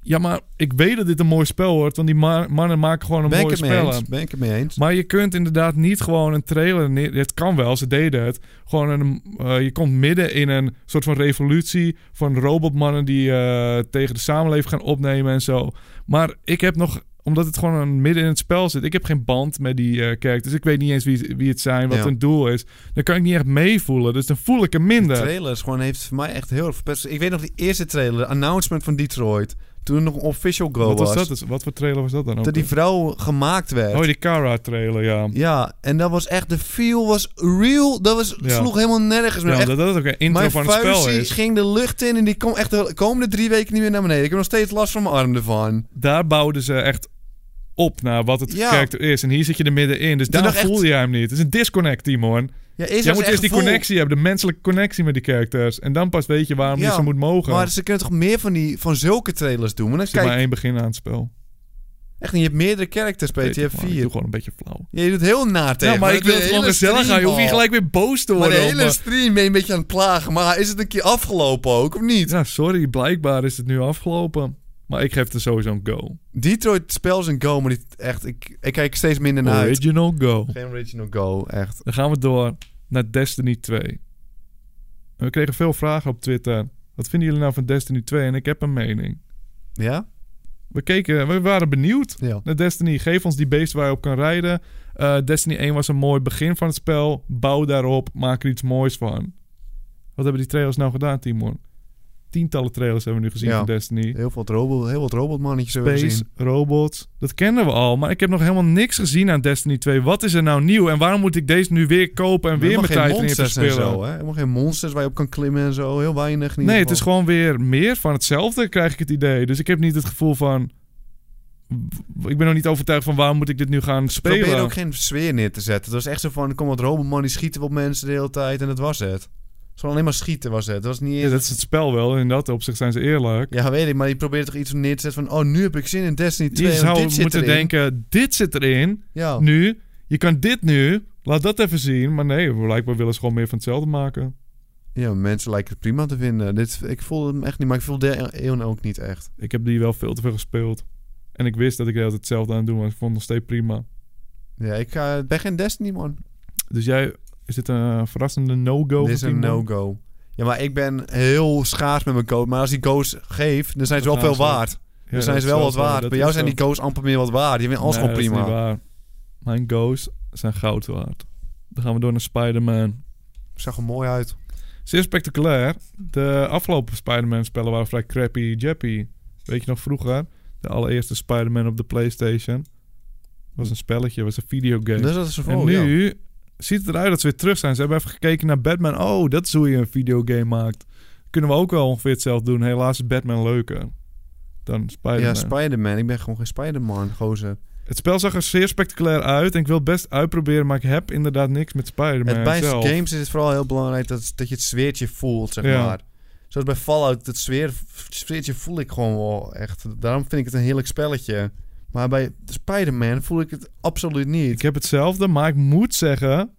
[SPEAKER 3] Ja, maar ik weet dat dit een mooi spel wordt. Want die ma- mannen maken gewoon een
[SPEAKER 2] ben ik
[SPEAKER 3] mooie
[SPEAKER 2] het mee
[SPEAKER 3] spel.
[SPEAKER 2] eens? Ben ik het mee eens?
[SPEAKER 3] Maar je kunt inderdaad niet gewoon een trailer... neer- Het kan wel, ze deden het. Gewoon een, eh, je komt midden in een soort van revolutie... van robotmannen die eh, tegen de samenleving gaan opnemen en zo. Maar ik heb nog omdat het gewoon een midden in het spel zit. Ik heb geen band met die eh characters. Ik weet niet eens wie, wie het zijn, wat
[SPEAKER 2] Ja.
[SPEAKER 3] hun doel is. Dan kan ik niet echt meevoelen. Dus dan voel ik hem
[SPEAKER 2] De
[SPEAKER 3] minder.
[SPEAKER 2] trailer is gewoon, heeft voor mij echt heel erg verpest. Ik weet nog die eerste trailer, de announcement van Detroit. Toen het nog een official go
[SPEAKER 3] Wat was dat? Dus- Wat voor trailer was dat dan ook?
[SPEAKER 2] Dat die vrouw gemaakt werd.
[SPEAKER 3] Oh, die Kara trailer, ja.
[SPEAKER 2] Ja, en dat was echt, de feel was real. Dat was,
[SPEAKER 3] Ja.
[SPEAKER 2] sloeg helemaal nergens meer.
[SPEAKER 3] Ja,
[SPEAKER 2] Echt
[SPEAKER 3] dat dat ook een intro
[SPEAKER 2] Mijn
[SPEAKER 3] van het spel
[SPEAKER 2] vuistie
[SPEAKER 3] is.
[SPEAKER 2] ging de lucht in en die komt echt de komende drie weken niet meer naar beneden. Ik heb nog steeds last van mijn arm ervan.
[SPEAKER 3] Daar bouwden ze echt op naar wat het
[SPEAKER 2] Ja.
[SPEAKER 3] karakter is. En hier zit je er middenin. Dus
[SPEAKER 2] Toen
[SPEAKER 3] daar
[SPEAKER 2] dacht echt-
[SPEAKER 3] voel je hem niet. Het is een disconnect, Timon.
[SPEAKER 2] Ja, eerst
[SPEAKER 3] Jij
[SPEAKER 2] was
[SPEAKER 3] moet
[SPEAKER 2] echt
[SPEAKER 3] eerst die
[SPEAKER 2] vol.
[SPEAKER 3] connectie hebben. De menselijke connectie met die characters. En dan pas weet je waarom
[SPEAKER 2] Ja,
[SPEAKER 3] je ze moet mogen.
[SPEAKER 2] Maar
[SPEAKER 3] Maar
[SPEAKER 2] ze kunnen toch meer van, die, van zulke trailers doen? Maar dan
[SPEAKER 3] er zit
[SPEAKER 2] kijk,
[SPEAKER 3] maar één begin aan het spel.
[SPEAKER 2] echt niet, je hebt meerdere characters, Peter. Je
[SPEAKER 3] Weet
[SPEAKER 2] hebt
[SPEAKER 3] man, Ik doe
[SPEAKER 2] vier.
[SPEAKER 3] gewoon een beetje flauw.
[SPEAKER 2] Ja, je doet heel na tegen.
[SPEAKER 3] ja, maar ik wil het
[SPEAKER 2] de
[SPEAKER 3] gewoon
[SPEAKER 2] hele
[SPEAKER 3] gezellig
[SPEAKER 2] stream
[SPEAKER 3] gaan. Je hoeft niet
[SPEAKER 2] al.
[SPEAKER 3] gelijk weer boos te
[SPEAKER 2] Maar
[SPEAKER 3] worden.
[SPEAKER 2] de
[SPEAKER 3] om, eh,
[SPEAKER 2] hele stream ben je een beetje aan het plagen. Maar is het een keer afgelopen ook, of niet?
[SPEAKER 3] Ja, sorry. Blijkbaar is het nu afgelopen. Maar ik geef er sowieso een go.
[SPEAKER 2] Detroit spel is een go, maar niet echt. Ik, ik kijk er steeds minder naar uit.
[SPEAKER 3] Original go.
[SPEAKER 2] Geen original go, echt.
[SPEAKER 3] Dan gaan we door naar Destiny 2. En We kregen veel vragen op Twitter. Wat vinden jullie nou van Destiny 2? En ik heb een mening.
[SPEAKER 2] Ja?
[SPEAKER 3] We, keken, we waren benieuwd
[SPEAKER 2] Ja.
[SPEAKER 3] naar Destiny. Geef ons die beest waar je op kan rijden. Eh, Destiny 1 was een mooi begin van het spel. Bouw daarop. Maak er iets moois van. Wat hebben die trailers nou gedaan, Timon? Tientallen trailers hebben we nu gezien
[SPEAKER 2] Ja.
[SPEAKER 3] van Destiny.
[SPEAKER 2] Heel veel robot, heel wat robotmannetjes hebben we
[SPEAKER 3] Space,
[SPEAKER 2] gezien.
[SPEAKER 3] robots. Dat kennen we al. Maar ik heb nog helemaal niks gezien aan Destiny 2. Wat is er nou nieuw? En waarom moet ik deze nu weer kopen en weer
[SPEAKER 2] Helemaal
[SPEAKER 3] mijn
[SPEAKER 2] geen
[SPEAKER 3] tijd erin
[SPEAKER 2] monsters en
[SPEAKER 3] verspillen?
[SPEAKER 2] zo, hè? Helemaal geen monsters waar je op kan klimmen en zo. Heel weinig. in ieder
[SPEAKER 3] Nee, het is
[SPEAKER 2] geval.
[SPEAKER 3] gewoon weer meer van hetzelfde, krijg ik het idee. Dus ik heb niet het gevoel van... Ik ben nog niet overtuigd van waarom moet ik dit nu gaan
[SPEAKER 2] Ik probeerde
[SPEAKER 3] spelen.
[SPEAKER 2] ook geen sfeer neer te zetten. Het was echt zo van, kom wat robotman, die schieten op mensen de hele tijd. En dat was het. Het was gewoon alleen maar schieten was het. Het was niet
[SPEAKER 3] Ja,
[SPEAKER 2] eens...
[SPEAKER 3] dat is het spel wel. In dat opzicht zijn ze eerlijk.
[SPEAKER 2] Ja, weet ik, maar die probeerde toch iets neer te zetten van... Oh, nu heb ik zin in Destiny 2.
[SPEAKER 3] Je
[SPEAKER 2] want
[SPEAKER 3] zou
[SPEAKER 2] dit zit
[SPEAKER 3] moeten
[SPEAKER 2] erin. Oh.
[SPEAKER 3] denken, dit zit erin.
[SPEAKER 2] Ja.
[SPEAKER 3] Nu, je kan dit nu. Laat dat even zien. Maar nee, blijkbaar willen ze gewoon meer van hetzelfde maken.
[SPEAKER 2] ja, mensen lijken het prima te vinden. Dit, ik voelde hem echt niet, maar ik voelde de eeuw ook niet echt.
[SPEAKER 3] Ik heb die wel veel te veel gespeeld. En ik wist dat ik altijd hetzelfde aan het doen was. Ik vond het nog steeds prima.
[SPEAKER 2] Ja, ik eh, ben geen Destiny, man.
[SPEAKER 3] Dus jij... Is dit een verrassende no-go?
[SPEAKER 2] Dit
[SPEAKER 3] voor
[SPEAKER 2] is een
[SPEAKER 3] Timon?
[SPEAKER 2] no-go. Ja, maar ik ben heel schaars met mijn code. Maar als die go's geeft, dan zijn ze
[SPEAKER 3] Dan
[SPEAKER 2] wel veel
[SPEAKER 3] gaan ze-
[SPEAKER 2] waard.
[SPEAKER 3] Ja,
[SPEAKER 2] Dan zijn
[SPEAKER 3] dat
[SPEAKER 2] ze
[SPEAKER 3] is
[SPEAKER 2] wel wat
[SPEAKER 3] zo.
[SPEAKER 2] waard.
[SPEAKER 3] Dat
[SPEAKER 2] Bij jou
[SPEAKER 3] is
[SPEAKER 2] zijn
[SPEAKER 3] zo.
[SPEAKER 2] die go's amper meer wat waard. Je vindt alles
[SPEAKER 3] Nee,
[SPEAKER 2] gewoon prima.
[SPEAKER 3] Dat is niet waar. Mijn go's zijn goud waard. Dan gaan we door naar Spider-Man.
[SPEAKER 2] Zag er mooi uit.
[SPEAKER 3] Zeer spectaculair. De afgelopen Spider-Man spellen waren vrij crappy jappy. Weet je nog vroeger? De allereerste Spider-Man op de Playstation. Was een spelletje, was een videogame.
[SPEAKER 2] Dus dat is
[SPEAKER 3] en
[SPEAKER 2] nu...
[SPEAKER 3] nu ziet het eruit dat ze weer terug zijn. Ze hebben even gekeken naar Batman. Oh, dat is hoe je een videogame maakt. Kunnen we ook wel ongeveer hetzelfde doen. Helaas is Batman leuker dan Spider-Man.
[SPEAKER 2] Ja, Spider-Man. Ik ben gewoon geen Spider-Man, gozer.
[SPEAKER 3] Het spel zag er zeer spectaculair uit en ik wil het best uitproberen, maar ik heb inderdaad niks met
[SPEAKER 2] Het,
[SPEAKER 3] Spider-Man
[SPEAKER 2] bij
[SPEAKER 3] zelf.
[SPEAKER 2] games is het vooral heel belangrijk dat, dat je het sfeertje voelt, zeg
[SPEAKER 3] Ja.
[SPEAKER 2] maar. Zoals bij Fallout, dat sfeer, sfeertje voel ik gewoon wel echt. Daarom vind ik het een heerlijk spelletje. Maar bij Spider-Man voel ik het absoluut niet.
[SPEAKER 3] Ik heb hetzelfde, maar ik moet zeggen,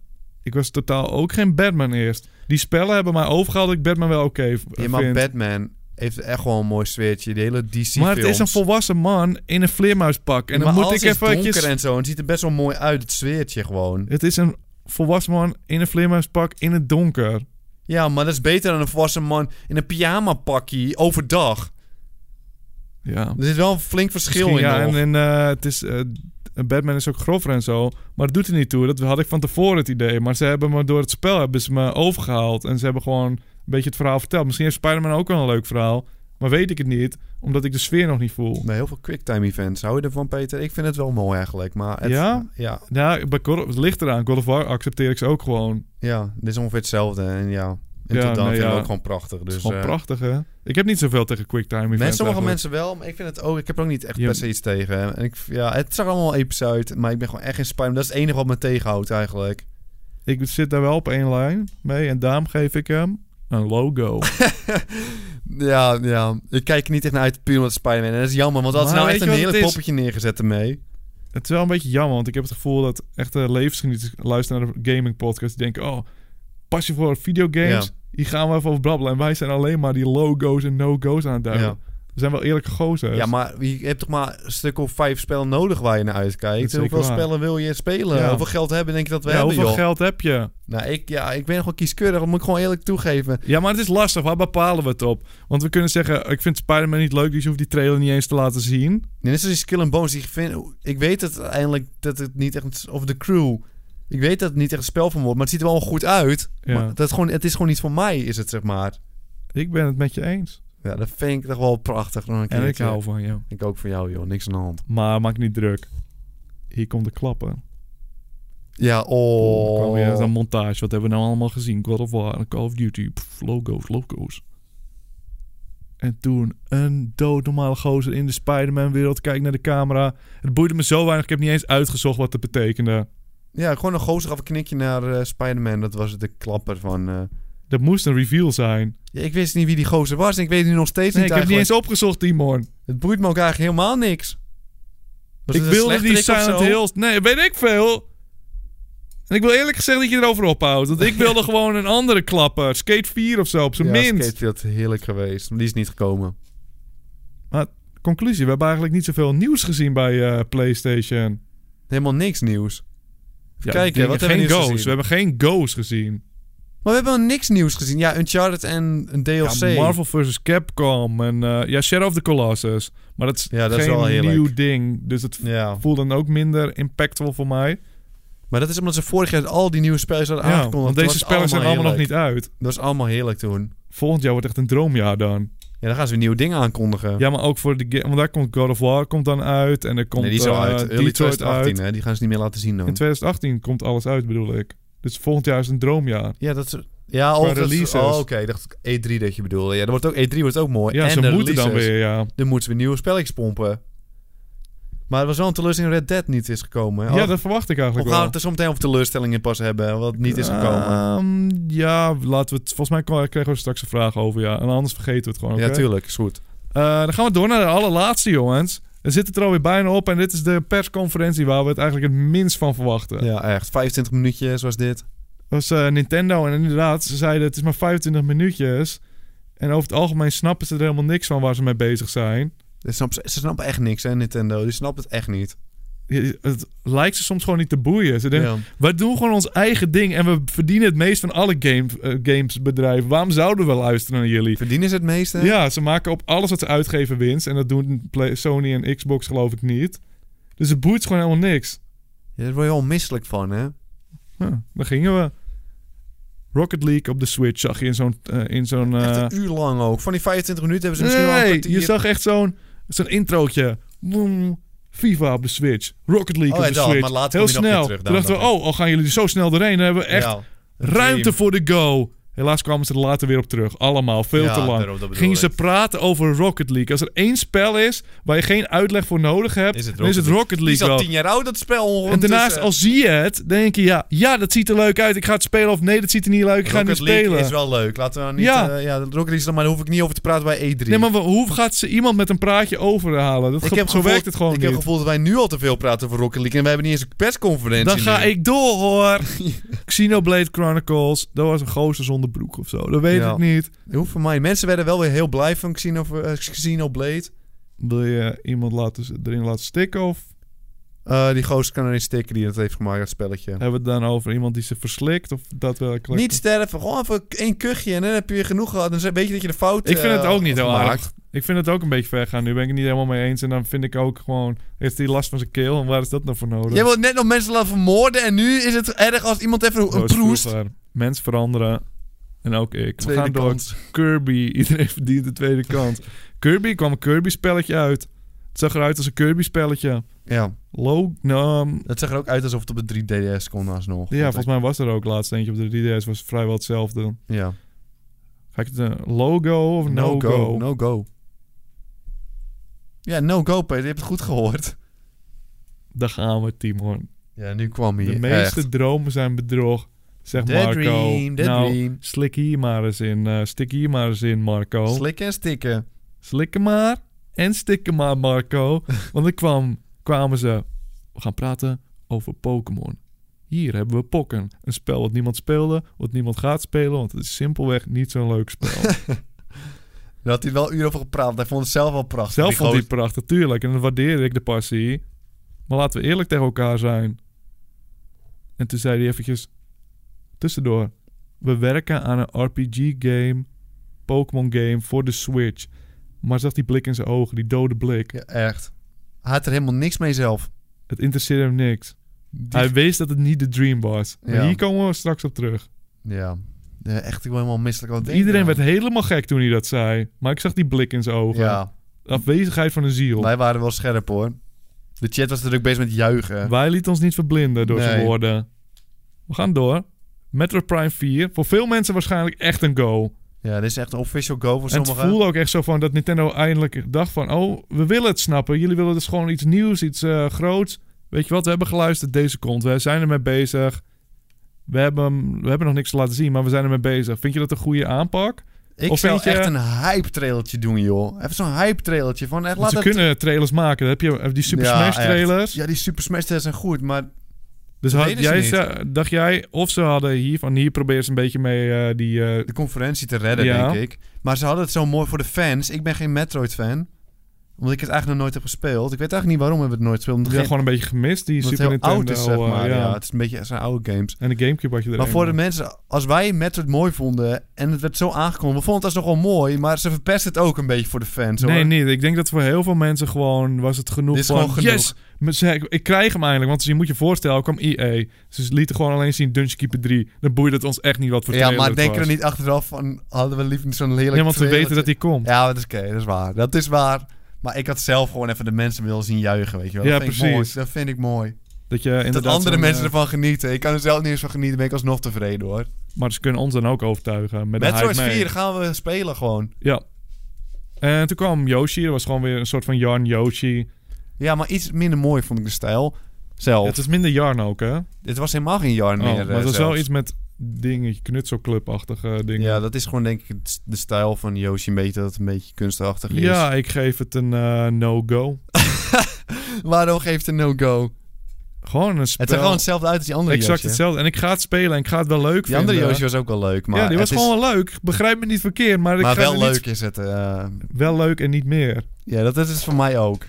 [SPEAKER 3] ik was totaal ook geen Batman eerst. Die spellen hebben mij overgehaald. dat Ik Batman wel oké v-
[SPEAKER 2] Ja, maar
[SPEAKER 3] vind.
[SPEAKER 2] Batman heeft echt wel een mooi sfeertje. De hele DC
[SPEAKER 3] maar het is een volwassen man in een vleermuispak. En dan moet ik
[SPEAKER 2] even
[SPEAKER 3] eventjes...
[SPEAKER 2] en zo. En het ziet er best wel mooi uit, het sfeertje gewoon.
[SPEAKER 3] Het is een volwassen man in een vleermuispak in het donker.
[SPEAKER 2] Ja, maar dat is beter dan een volwassen man in een pyjama pakje overdag.
[SPEAKER 3] Ja.
[SPEAKER 2] Er zit wel een flink verschil
[SPEAKER 3] Misschien,
[SPEAKER 2] in
[SPEAKER 3] ja,
[SPEAKER 2] nog.
[SPEAKER 3] en, en eh, het is, eh, Batman is ook grover en zo. Maar het doet er niet toe. Dat had ik van tevoren het idee. Maar ze hebben me door het spel hebben ze me overgehaald. En ze hebben gewoon een beetje het verhaal verteld. Misschien heeft Spider-Man ook wel een leuk verhaal. Maar weet ik het niet, omdat ik de sfeer nog niet voel.
[SPEAKER 2] Bij heel veel quicktime events. Hou je ervan, Peter? Ik vind het wel mooi eigenlijk. Maar het,
[SPEAKER 3] Ja?
[SPEAKER 2] ja?
[SPEAKER 3] Ja, bij God, het ligt eraan. God of War accepteer ik ze ook gewoon.
[SPEAKER 2] Ja, dit is ongeveer hetzelfde. En ja, en
[SPEAKER 3] Ja,
[SPEAKER 2] tot dan
[SPEAKER 3] nee,
[SPEAKER 2] vind ik
[SPEAKER 3] ja.
[SPEAKER 2] ook gewoon prachtig. Dus,
[SPEAKER 3] het is gewoon
[SPEAKER 2] eh,
[SPEAKER 3] prachtig, hè? Ik heb niet zoveel tegen quicktime events
[SPEAKER 2] Mensen, sommige
[SPEAKER 3] eigenlijk.
[SPEAKER 2] mensen wel, maar ik vind het ook. Ik heb er ook niet echt
[SPEAKER 3] Je-
[SPEAKER 2] per se iets tegen. En ik, ja, het zag allemaal wel episch uit, maar ik ben gewoon echt geen Spider-Man. Dat is het enige wat me tegenhoudt eigenlijk.
[SPEAKER 3] Ik zit daar wel op één lijn mee. En daarom geef ik hem een logo.
[SPEAKER 2] Ja, ja. Ik kijk er niet echt naar uit puur omdat het Spider-Man. En dat is jammer, want dat is
[SPEAKER 3] Maar
[SPEAKER 2] nou
[SPEAKER 3] weet
[SPEAKER 2] echt een
[SPEAKER 3] je wat
[SPEAKER 2] hele
[SPEAKER 3] het is?
[SPEAKER 2] poppetje neergezet ermee.
[SPEAKER 3] Het is wel een beetje jammer, want ik heb het gevoel dat echte levensgenieters luisteren naar de gaming podcast. Die denken, oh, pas je voor videogames?
[SPEAKER 2] Ja.
[SPEAKER 3] Hier gaan we even over brabbelen. En wij zijn alleen maar die logo's en no-go's aan het duiden.
[SPEAKER 2] Ja.
[SPEAKER 3] We zijn wel eerlijke gozers.
[SPEAKER 2] Ja, maar je hebt toch maar een stuk of vijf spellen nodig waar je naar
[SPEAKER 3] Dat
[SPEAKER 2] uitkijkt.
[SPEAKER 3] is zeker
[SPEAKER 2] Hoeveel
[SPEAKER 3] waar.
[SPEAKER 2] spellen wil je spelen?
[SPEAKER 3] Ja.
[SPEAKER 2] Hoeveel geld hebben denk je dat we
[SPEAKER 3] Ja,
[SPEAKER 2] hebben,
[SPEAKER 3] hoeveel
[SPEAKER 2] joh?
[SPEAKER 3] geld heb je?
[SPEAKER 2] Nou, ik, ja, ik ben gewoon kieskeurig, dat moet ik gewoon eerlijk toegeven.
[SPEAKER 3] Ja, maar het is lastig. Waar bepalen we het op? Want we kunnen zeggen, ik vind Spider-Man niet leuk, dus je hoeft die trailer niet eens te laten zien.
[SPEAKER 2] Net als die skill en bones die ik vind... Ik weet dat uiteindelijk dat het niet echt... Of de crew. Ik weet dat het niet echt een spel van wordt, maar het ziet er wel goed uit.
[SPEAKER 3] Ja.
[SPEAKER 2] Maar dat is gewoon, het is gewoon niet voor mij, is het, zeg maar.
[SPEAKER 3] Ik ben het met je eens.
[SPEAKER 2] Ja, dat vind ik toch wel prachtig. nog Een
[SPEAKER 3] En ik
[SPEAKER 2] keertje.
[SPEAKER 3] hou van je.
[SPEAKER 2] Ik ook van jou, joh. Niks aan de hand.
[SPEAKER 3] Maar maak niet druk. Hier komt de klappen.
[SPEAKER 2] Ja,
[SPEAKER 3] Oh. kwam weer
[SPEAKER 2] oh.
[SPEAKER 3] zo'n montage. Wat hebben we nou allemaal gezien? God of War, Call of Duty, pff, logo's, logo's. En toen een doodnormale gozer in de Spider-Man-wereld. Kijk naar de camera. Het boeide me zo weinig. Ik heb niet eens uitgezocht wat het betekende.
[SPEAKER 2] Ja, gewoon een gozer gaf een knikje naar eh, Spider-Man. Dat was de klapper van... eh,
[SPEAKER 3] Dat moest een reveal zijn.
[SPEAKER 2] Ja, ik wist niet wie die gozer was en ik weet nu nog steeds
[SPEAKER 3] Nee, ik
[SPEAKER 2] niet
[SPEAKER 3] heb niet
[SPEAKER 2] eigenlijk.
[SPEAKER 3] eens opgezocht, Timon.
[SPEAKER 2] Het boeit me ook eigenlijk helemaal niks. Was
[SPEAKER 3] Ik
[SPEAKER 2] het een
[SPEAKER 3] wilde die
[SPEAKER 2] slechterik of
[SPEAKER 3] Silent
[SPEAKER 2] zo?
[SPEAKER 3] Hills. Nee, weet ik veel. En ik wil eerlijk gezegd dat je erover ophoudt. Want ik wilde gewoon een andere klapper. Skate 4 of zo, op zijn
[SPEAKER 2] Ja,
[SPEAKER 3] minst.
[SPEAKER 2] Skatefield, heerlijk geweest. Maar die is niet gekomen.
[SPEAKER 3] Conclusie, we hebben eigenlijk niet zoveel nieuws gezien bij eh, PlayStation.
[SPEAKER 2] Helemaal niks nieuws.
[SPEAKER 3] Ja,
[SPEAKER 2] kijken,
[SPEAKER 3] dingen-
[SPEAKER 2] wat
[SPEAKER 3] geen
[SPEAKER 2] hebben we nieuws
[SPEAKER 3] go's.
[SPEAKER 2] gezien?
[SPEAKER 3] We hebben geen go's gezien.
[SPEAKER 2] Maar we hebben wel niks nieuws gezien. Ja, Uncharted en een DLC.
[SPEAKER 3] Ja, Marvel vs. Capcom en eh, ja, Shadow of the Colossus. Maar dat is
[SPEAKER 2] Ja, dat is
[SPEAKER 3] geen
[SPEAKER 2] wel heerlijk.
[SPEAKER 3] nieuw ding. Dus het
[SPEAKER 2] Ja.
[SPEAKER 3] voelt dan ook minder impactvol voor mij.
[SPEAKER 2] Maar dat is omdat ze vorig jaar al die nieuwe spelers hadden
[SPEAKER 3] Ja,
[SPEAKER 2] aangekondigd.
[SPEAKER 3] want
[SPEAKER 2] Dat
[SPEAKER 3] deze
[SPEAKER 2] was
[SPEAKER 3] spellen zijn allemaal nog
[SPEAKER 2] heerlijk.
[SPEAKER 3] niet uit.
[SPEAKER 2] Dat was allemaal heerlijk toen.
[SPEAKER 3] Volgend jaar wordt echt een droomjaar dan.
[SPEAKER 2] Ja, dan gaan ze weer nieuwe dingen aankondigen.
[SPEAKER 3] Ja, maar ook voor de game. Want daar komt God of War komt dan uit. En er komt
[SPEAKER 2] nee, die is al
[SPEAKER 3] eh,
[SPEAKER 2] uit. Early
[SPEAKER 3] Detroit
[SPEAKER 2] 2018,
[SPEAKER 3] uit.
[SPEAKER 2] hè. Die gaan ze niet meer laten zien
[SPEAKER 3] In
[SPEAKER 2] dan.
[SPEAKER 3] 2018 komt alles uit, bedoel ik. Dus volgend jaar is een droomjaar.
[SPEAKER 2] Ja, dat is... Ja, oh,
[SPEAKER 3] Qua
[SPEAKER 2] dat is-
[SPEAKER 3] releases.
[SPEAKER 2] Oh, oké. Ik dacht E3 dat je bedoelde. Ja, dat wordt ook, E3 wordt ook mooi.
[SPEAKER 3] Ja,
[SPEAKER 2] Oh, en
[SPEAKER 3] ze
[SPEAKER 2] de
[SPEAKER 3] moeten dan
[SPEAKER 2] releases.
[SPEAKER 3] weer, ja.
[SPEAKER 2] Dan moeten ze weer nieuwe spelletjes pompen. Maar het was wel een teleurstelling dat Red Dead niet is gekomen. hè?
[SPEAKER 3] Ja,
[SPEAKER 2] Of-
[SPEAKER 3] dat verwacht ik eigenlijk
[SPEAKER 2] Of gaan
[SPEAKER 3] wel.
[SPEAKER 2] we het er zometeen over teleurstellingen pas hebben, wat niet is gekomen?
[SPEAKER 3] Ehm, ja, laten we het. Volgens mij kon- krijgen we er straks een vraag over. Ja, en anders vergeten we het gewoon.
[SPEAKER 2] Ja,
[SPEAKER 3] oké?
[SPEAKER 2] tuurlijk, is goed.
[SPEAKER 3] Eh, dan gaan we door naar de allerlaatste, jongens. Er zit het er alweer bijna op. En dit is de persconferentie waar we het eigenlijk het minst van verwachten.
[SPEAKER 2] Ja, echt. 25 minuutjes was dit.
[SPEAKER 3] Dat was eh, Nintendo. En inderdaad, ze zeiden het is maar 25 minuutjes. En over het algemeen snappen ze er helemaal niks van waar ze mee bezig zijn.
[SPEAKER 2] Ze snappen, ze snappen echt niks, hè, Nintendo. Die snappen het echt niet.
[SPEAKER 3] Je- Het lijkt ze soms gewoon niet te boeien. Ze denken,
[SPEAKER 2] Ja.
[SPEAKER 3] We doen gewoon ons eigen ding en we verdienen het meest van alle game, eh, gamesbedrijven. Waarom zouden we luisteren naar jullie?
[SPEAKER 2] Verdienen ze het meeste?
[SPEAKER 3] Ja, ze maken op alles wat ze uitgeven winst. En dat doen Play- Sony en Xbox geloof ik niet. Dus het boeit gewoon helemaal niks.
[SPEAKER 2] Ja, Daar word je wel misselijk van, hè?
[SPEAKER 3] Huh, daar gingen we. Rocket League op de Switch zag je in zo'n... eh, in zo'n eh,
[SPEAKER 2] Echt een uur lang ook. Van die 25 minuten hebben ze misschien wel een
[SPEAKER 3] nee,
[SPEAKER 2] kwartier.
[SPEAKER 3] je zag echt zo'n zo'n introotje. Boem, FIFA op de Switch. Rocket League
[SPEAKER 2] Oh,
[SPEAKER 3] op
[SPEAKER 2] en
[SPEAKER 3] de
[SPEAKER 2] dat,
[SPEAKER 3] Switch.
[SPEAKER 2] maar later
[SPEAKER 3] Heel
[SPEAKER 2] kom je nog weer
[SPEAKER 3] snel.
[SPEAKER 2] terug
[SPEAKER 3] Toen
[SPEAKER 2] dan,
[SPEAKER 3] dachten we,
[SPEAKER 2] dat
[SPEAKER 3] oh, al gaan jullie er zo snel doorheen. Dan hebben we echt
[SPEAKER 2] Ja, een
[SPEAKER 3] Ruimte
[SPEAKER 2] dream.
[SPEAKER 3] voor de go. Helaas kwamen ze er later weer op terug. Allemaal, veel
[SPEAKER 2] Ja,
[SPEAKER 3] te lang.
[SPEAKER 2] daarom, dat bedoel
[SPEAKER 3] Gingen ze
[SPEAKER 2] ik.
[SPEAKER 3] praten over Rocket League. Als er één spel is waar je geen uitleg voor nodig hebt,
[SPEAKER 2] Is het
[SPEAKER 3] dan is het
[SPEAKER 2] Die
[SPEAKER 3] Rocket
[SPEAKER 2] is
[SPEAKER 3] League
[SPEAKER 2] al
[SPEAKER 3] wel.
[SPEAKER 2] 10 jaar oud, dat spel.
[SPEAKER 3] En daarnaast,
[SPEAKER 2] ondertussen.
[SPEAKER 3] al zie je het, denk je ja, ja, dat ziet er leuk uit. Ik ga het spelen. Of nee, dat ziet er niet leuk uit. Ik ga het niet
[SPEAKER 2] Rocket League
[SPEAKER 3] spelen.
[SPEAKER 2] is wel leuk. Laten we nou niet...
[SPEAKER 3] Ja.
[SPEAKER 2] Ja, ja Rocket League is dan... Maar daar hoef ik niet over te praten bij E3.
[SPEAKER 3] Nee, maar wa- hoe gaat ze iemand met een praatje overhalen? Dat
[SPEAKER 2] Ik
[SPEAKER 3] ge-
[SPEAKER 2] heb
[SPEAKER 3] zo
[SPEAKER 2] gevoel-
[SPEAKER 3] werkt het gewoon
[SPEAKER 2] Ik
[SPEAKER 3] niet.
[SPEAKER 2] heb het gevoel dat wij nu al te veel praten over Rocket League. En we hebben niet eens een persconferentie.
[SPEAKER 3] Dan ga
[SPEAKER 2] nu.
[SPEAKER 3] ik door, hoor. Xenoblade Chronicles. Dat was een gozer zonder onderbroek of zo. Dat weet
[SPEAKER 2] Ja.
[SPEAKER 3] ik niet.
[SPEAKER 2] Hoeft van mij. Mensen werden wel weer heel blij van Xeno, eh, Xenoblade.
[SPEAKER 3] Wil je iemand laten, erin laten stikken? Of
[SPEAKER 2] Eh, die gozer kan erin stikken die dat heeft gemaakt, dat spelletje.
[SPEAKER 3] hebben we het dan over iemand die ze verslikt? Of daadwerkelijk?
[SPEAKER 2] Niet sterven, gewoon even één kuchje en dan heb je genoeg gehad. Dan weet je dat je de fout
[SPEAKER 3] Ik vind het
[SPEAKER 2] eh,
[SPEAKER 3] ook niet heel
[SPEAKER 2] gemaakt.
[SPEAKER 3] aardig. Ik vind het ook een beetje ver gaan. Nu ben ik het niet helemaal mee eens. En dan vind ik ook gewoon... Heeft hij last van zijn keel? En waar is dat nou voor nodig?
[SPEAKER 2] Jij wilt net nog mensen laten vermoorden en nu is het erg als iemand even een
[SPEAKER 3] Zoals
[SPEAKER 2] proest.
[SPEAKER 3] vroeger. Mensen veranderen. En ook ik.
[SPEAKER 2] Tweede
[SPEAKER 3] We eh, gaan door
[SPEAKER 2] kans.
[SPEAKER 3] Kirby. Iedereen verdient de tweede kans. Kirby kwam een Kirby-spelletje uit. Het zag eruit als een Kirby-spelletje.
[SPEAKER 2] Ja,
[SPEAKER 3] Low... Nou, ehm,
[SPEAKER 2] dat zag er ook uit alsof het op de 3DS kon alsnog.
[SPEAKER 3] ja, volgens mij was er ook laatst eentje op de 3DS. was vrijwel hetzelfde.
[SPEAKER 2] Ja.
[SPEAKER 3] Ga ik het een logo of no-go?
[SPEAKER 2] No go. Ja, no go, Peter. Je hebt het goed gehoord.
[SPEAKER 3] Daar gaan we, Timon.
[SPEAKER 2] Ja, nu kwam hij.
[SPEAKER 3] De meeste
[SPEAKER 2] echt.
[SPEAKER 3] dromen zijn bedrog, zegt
[SPEAKER 2] The
[SPEAKER 3] Marco.
[SPEAKER 2] dream, the
[SPEAKER 3] nou,
[SPEAKER 2] dream.
[SPEAKER 3] slik hier maar eens in. eh, stik hier maar eens in, Marco.
[SPEAKER 2] Slikken en stikken.
[SPEAKER 3] Slikken maar en stikken maar, Marco. Want dan kwam, kwamen ze... We gaan praten over Pokémon. Hier hebben we Pokken. Een spel wat niemand speelde, wat niemand gaat spelen... want het is simpelweg niet zo'n leuk spel.
[SPEAKER 2] Daar had hij wel uren over gepraat. Hij vond het zelf wel prachtig.
[SPEAKER 3] Zelf vond
[SPEAKER 2] gozer-
[SPEAKER 3] ik prachtig, tuurlijk. En dan waardeerde ik de passie. Maar laten we eerlijk tegen elkaar zijn. En toen zei hij eventjes... Tussendoor. We werken aan een RPG-game... Pokémon-game voor de Switch. Maar zag die blik in zijn ogen, die dode blik.
[SPEAKER 2] Ja, echt. Hij had er helemaal niks mee zelf.
[SPEAKER 3] Het interesseerde hem niks.
[SPEAKER 2] Die-
[SPEAKER 3] Hij wist dat het niet de dream was. Maar
[SPEAKER 2] Ja.
[SPEAKER 3] hier komen we straks op terug.
[SPEAKER 2] Ja. Ja, Echt, ik wil helemaal misselijk wat
[SPEAKER 3] Iedereen werd helemaal gek toen hij dat zei. Maar ik zag die blik in zijn ogen.
[SPEAKER 2] Ja,
[SPEAKER 3] De afwezigheid van een ziel.
[SPEAKER 2] wij waren wel scherp hoor. De chat was natuurlijk bezig met juichen.
[SPEAKER 3] Wij lieten ons niet verblinden door zijn
[SPEAKER 2] Nee.
[SPEAKER 3] woorden. We gaan door. Metro Prime 4. Voor veel mensen waarschijnlijk echt een go.
[SPEAKER 2] Ja, dit is echt een official go voor
[SPEAKER 3] En het
[SPEAKER 2] sommigen.
[SPEAKER 3] voelde ook echt zo van dat Nintendo eindelijk dacht van... Oh, we willen het snappen. Jullie willen dus gewoon iets nieuws, iets eh, groots. Weet je wat, we hebben geluisterd. Deze komt. We zijn ermee bezig. We hebben, we hebben nog niks laten zien, maar we zijn ermee bezig. Vind je dat een goede aanpak?
[SPEAKER 2] Ik
[SPEAKER 3] Of
[SPEAKER 2] zou
[SPEAKER 3] vind je-
[SPEAKER 2] echt een hype trailertje doen, joh. Even zo'n hype trailertje. Van echt,
[SPEAKER 3] Want
[SPEAKER 2] laat
[SPEAKER 3] ze
[SPEAKER 2] het...
[SPEAKER 3] kunnen trailers maken. Dan heb je eh, die Super
[SPEAKER 2] Ja,
[SPEAKER 3] Smash
[SPEAKER 2] echt.
[SPEAKER 3] trailers.
[SPEAKER 2] Ja, die Super Smash Test zijn goed, maar
[SPEAKER 3] Dus
[SPEAKER 2] Dat
[SPEAKER 3] had
[SPEAKER 2] deden ze
[SPEAKER 3] jij,
[SPEAKER 2] niet.
[SPEAKER 3] ze- dacht jij, of ze hadden hier van... Hier probeer ze een beetje mee eh, die... eh,
[SPEAKER 2] de conferentie te redden,
[SPEAKER 3] Ja.
[SPEAKER 2] denk ik. Maar ze hadden het zo mooi voor de fans. Ik ben geen Metroid-fan, omdat ik het eigenlijk nog nooit heb gespeeld. Ik weet eigenlijk niet waarom we het nooit gespeeld. Omdat,
[SPEAKER 3] Die had
[SPEAKER 2] geen-
[SPEAKER 3] gewoon een beetje gemist, die
[SPEAKER 2] omdat het
[SPEAKER 3] Super
[SPEAKER 2] heel
[SPEAKER 3] Nintendo.
[SPEAKER 2] oud is, zeg
[SPEAKER 3] eh,
[SPEAKER 2] maar. ja.
[SPEAKER 3] ja. eh.
[SPEAKER 2] het is een beetje het zijn oude games.
[SPEAKER 3] En de Gamecube had je er
[SPEAKER 2] Maar
[SPEAKER 3] een.
[SPEAKER 2] voor de mensen, als wij Metroid mooi vonden en het werd zo aangekondigd, we vonden het alsnog wel mooi, maar ze verpesten het ook een beetje voor de fans. Hoor.
[SPEAKER 3] Nee, niet. Ik denk dat voor heel veel mensen gewoon was het genoeg
[SPEAKER 2] Dit is
[SPEAKER 3] van...
[SPEAKER 2] gewoon genoeg.
[SPEAKER 3] Yes! Maar ze- Ik krijg hem eindelijk. Want je moet je voorstellen, er kwam EA. Ze lieten gewoon alleen zien Dungeon Keeper 3. Dan boeide het ons echt niet wat voor
[SPEAKER 2] Ja,
[SPEAKER 3] trailer
[SPEAKER 2] maar
[SPEAKER 3] het
[SPEAKER 2] denk
[SPEAKER 3] was.
[SPEAKER 2] er niet achteraf van, hadden we liever niet zo'n lelijk
[SPEAKER 3] Nee, want we weten dat
[SPEAKER 2] trailertje.
[SPEAKER 3] die komt.
[SPEAKER 2] Ja, dat is oké, dat is waar. Dat is waar. Maar ik had zelf gewoon even de mensen willen zien juichen, weet je wel.
[SPEAKER 3] Ja,
[SPEAKER 2] dat vind Ik
[SPEAKER 3] precies.
[SPEAKER 2] mooi. Dat vind ik mooi.
[SPEAKER 3] Dat, je inderdaad
[SPEAKER 2] dat andere
[SPEAKER 3] zo'n,
[SPEAKER 2] mensen
[SPEAKER 3] eh,
[SPEAKER 2] ervan genieten. Ik kan er zelf niet eens van genieten, ben ik alsnog tevreden hoor.
[SPEAKER 3] Maar ze kunnen ons dan ook overtuigen. Met een
[SPEAKER 2] Metroid
[SPEAKER 3] hype mee.
[SPEAKER 2] 4 gaan we spelen gewoon.
[SPEAKER 3] Ja. En toen kwam Yoshi. Er was gewoon weer een soort van Jarn Yoshi.
[SPEAKER 2] Ja, maar iets minder mooi vond ik de stijl zelf.
[SPEAKER 3] Het is minder Jarn ook, hè?
[SPEAKER 2] Dit was helemaal geen jaar
[SPEAKER 3] Oh,
[SPEAKER 2] meer.
[SPEAKER 3] maar
[SPEAKER 2] eh,
[SPEAKER 3] het was wel
[SPEAKER 2] zelfs.
[SPEAKER 3] iets met dingen, knutselclub-achtige dingen.
[SPEAKER 2] Ja, dat is gewoon denk ik het- de stijl van Yoshi een beetje, dat het een beetje kunstachtig is.
[SPEAKER 3] Ja, ik geef het een eh, no-go.
[SPEAKER 2] Waarom geeft een no-go?
[SPEAKER 3] Gewoon een
[SPEAKER 2] Het
[SPEAKER 3] spel.
[SPEAKER 2] zag gewoon hetzelfde uit als die andere
[SPEAKER 3] exact
[SPEAKER 2] Yoshi. hè?
[SPEAKER 3] hetzelfde. En ik ga het spelen en ik ga het wel leuk
[SPEAKER 2] Die
[SPEAKER 3] vinden.
[SPEAKER 2] andere Yoshi was ook wel leuk, maar
[SPEAKER 3] ja, die was
[SPEAKER 2] het is-
[SPEAKER 3] gewoon wel leuk. Begrijp me niet verkeerd, maar,
[SPEAKER 2] maar
[SPEAKER 3] ik ga
[SPEAKER 2] wel
[SPEAKER 3] er niet-
[SPEAKER 2] leuk is het. eh.
[SPEAKER 3] wel leuk en niet meer.
[SPEAKER 2] ja, dat is het voor mij ook.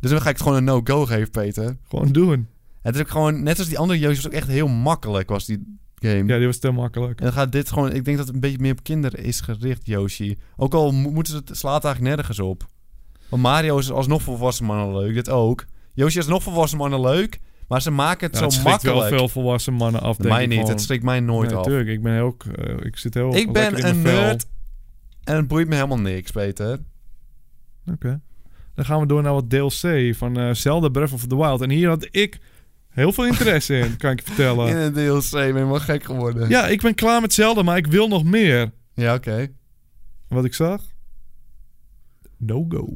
[SPEAKER 2] Dus dan ga ik het gewoon een no-go geven, Peter.
[SPEAKER 3] Gewoon doen.
[SPEAKER 2] Het is ook gewoon, net als die andere Yoshi was ook echt heel makkelijk was die game.
[SPEAKER 3] Ja, die was te makkelijk.
[SPEAKER 2] En dan gaat dit gewoon, ik denk dat het een beetje meer op kinderen is gericht, Yoshi. Ook al mo- moeten ze het, slaat het eigenlijk nergens op. Want Mario is alsnog voor volwassen mannen leuk, dit ook. Yoshi is nog voor volwassen mannen leuk, maar ze maken het
[SPEAKER 3] Ja, het
[SPEAKER 2] zo
[SPEAKER 3] schrikt
[SPEAKER 2] makkelijk.
[SPEAKER 3] wel veel volwassen mannen af, denk
[SPEAKER 2] mij
[SPEAKER 3] ik
[SPEAKER 2] niet,
[SPEAKER 3] gewoon.
[SPEAKER 2] het schrikt mij nooit
[SPEAKER 3] nee,
[SPEAKER 2] af.
[SPEAKER 3] tuurlijk, ik ben heel... eh, ik zit heel
[SPEAKER 2] Ik
[SPEAKER 3] lekker in
[SPEAKER 2] ben
[SPEAKER 3] mijn
[SPEAKER 2] een
[SPEAKER 3] vel.
[SPEAKER 2] nerd en het boeit me helemaal niks, Peter.
[SPEAKER 3] Dan gaan we door naar wat DLC van eh, Zelda Breath of the Wild. En hier had ik heel veel interesse in, kan ik je
[SPEAKER 2] In
[SPEAKER 3] vertellen.
[SPEAKER 2] een DLC ben je helemaal gek geworden.
[SPEAKER 3] Ja, ik ben klaar met Zelda, maar ik wil nog meer.
[SPEAKER 2] Ja, oké.
[SPEAKER 3] Wat ik zag? No-go.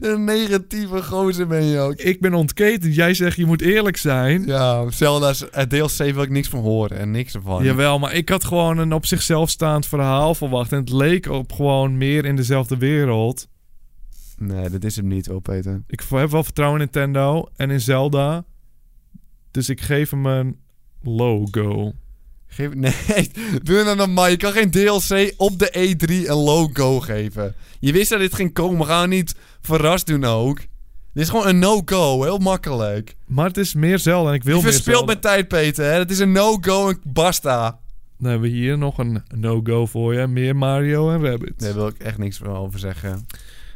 [SPEAKER 2] Een negatieve gozer ben je ook.
[SPEAKER 3] ik ben ontketend. Jij zegt, je moet eerlijk zijn.
[SPEAKER 2] Ja, Zelda's het DLC wil ik niks van horen en niks ervan.
[SPEAKER 3] Jawel, maar ik had gewoon een op zichzelf staand verhaal verwacht. En het leek op gewoon meer in dezelfde wereld.
[SPEAKER 2] Nee, dat is hem niet hoor, Peter.
[SPEAKER 3] Ik v- heb wel vertrouwen in Nintendo en in Zelda. Dus ik geef hem een logo.
[SPEAKER 2] Geef, nee, doe het dan normaal. Je kan geen DLC op de E3 een logo geven. Je wist dat dit ging komen. Gaan we niet verrast doen ook. Dit is gewoon een no-go. Heel makkelijk.
[SPEAKER 3] Maar het is meer Zelda en ik wil
[SPEAKER 2] Je
[SPEAKER 3] meer
[SPEAKER 2] verspeelt
[SPEAKER 3] Zelda.
[SPEAKER 2] met tijd, Peter. Hè? Het is een no-go en basta.
[SPEAKER 3] Dan hebben we hier nog een no-go voor je. Meer Mario en Rabbit.
[SPEAKER 2] Daar wil ik echt niks meer over zeggen.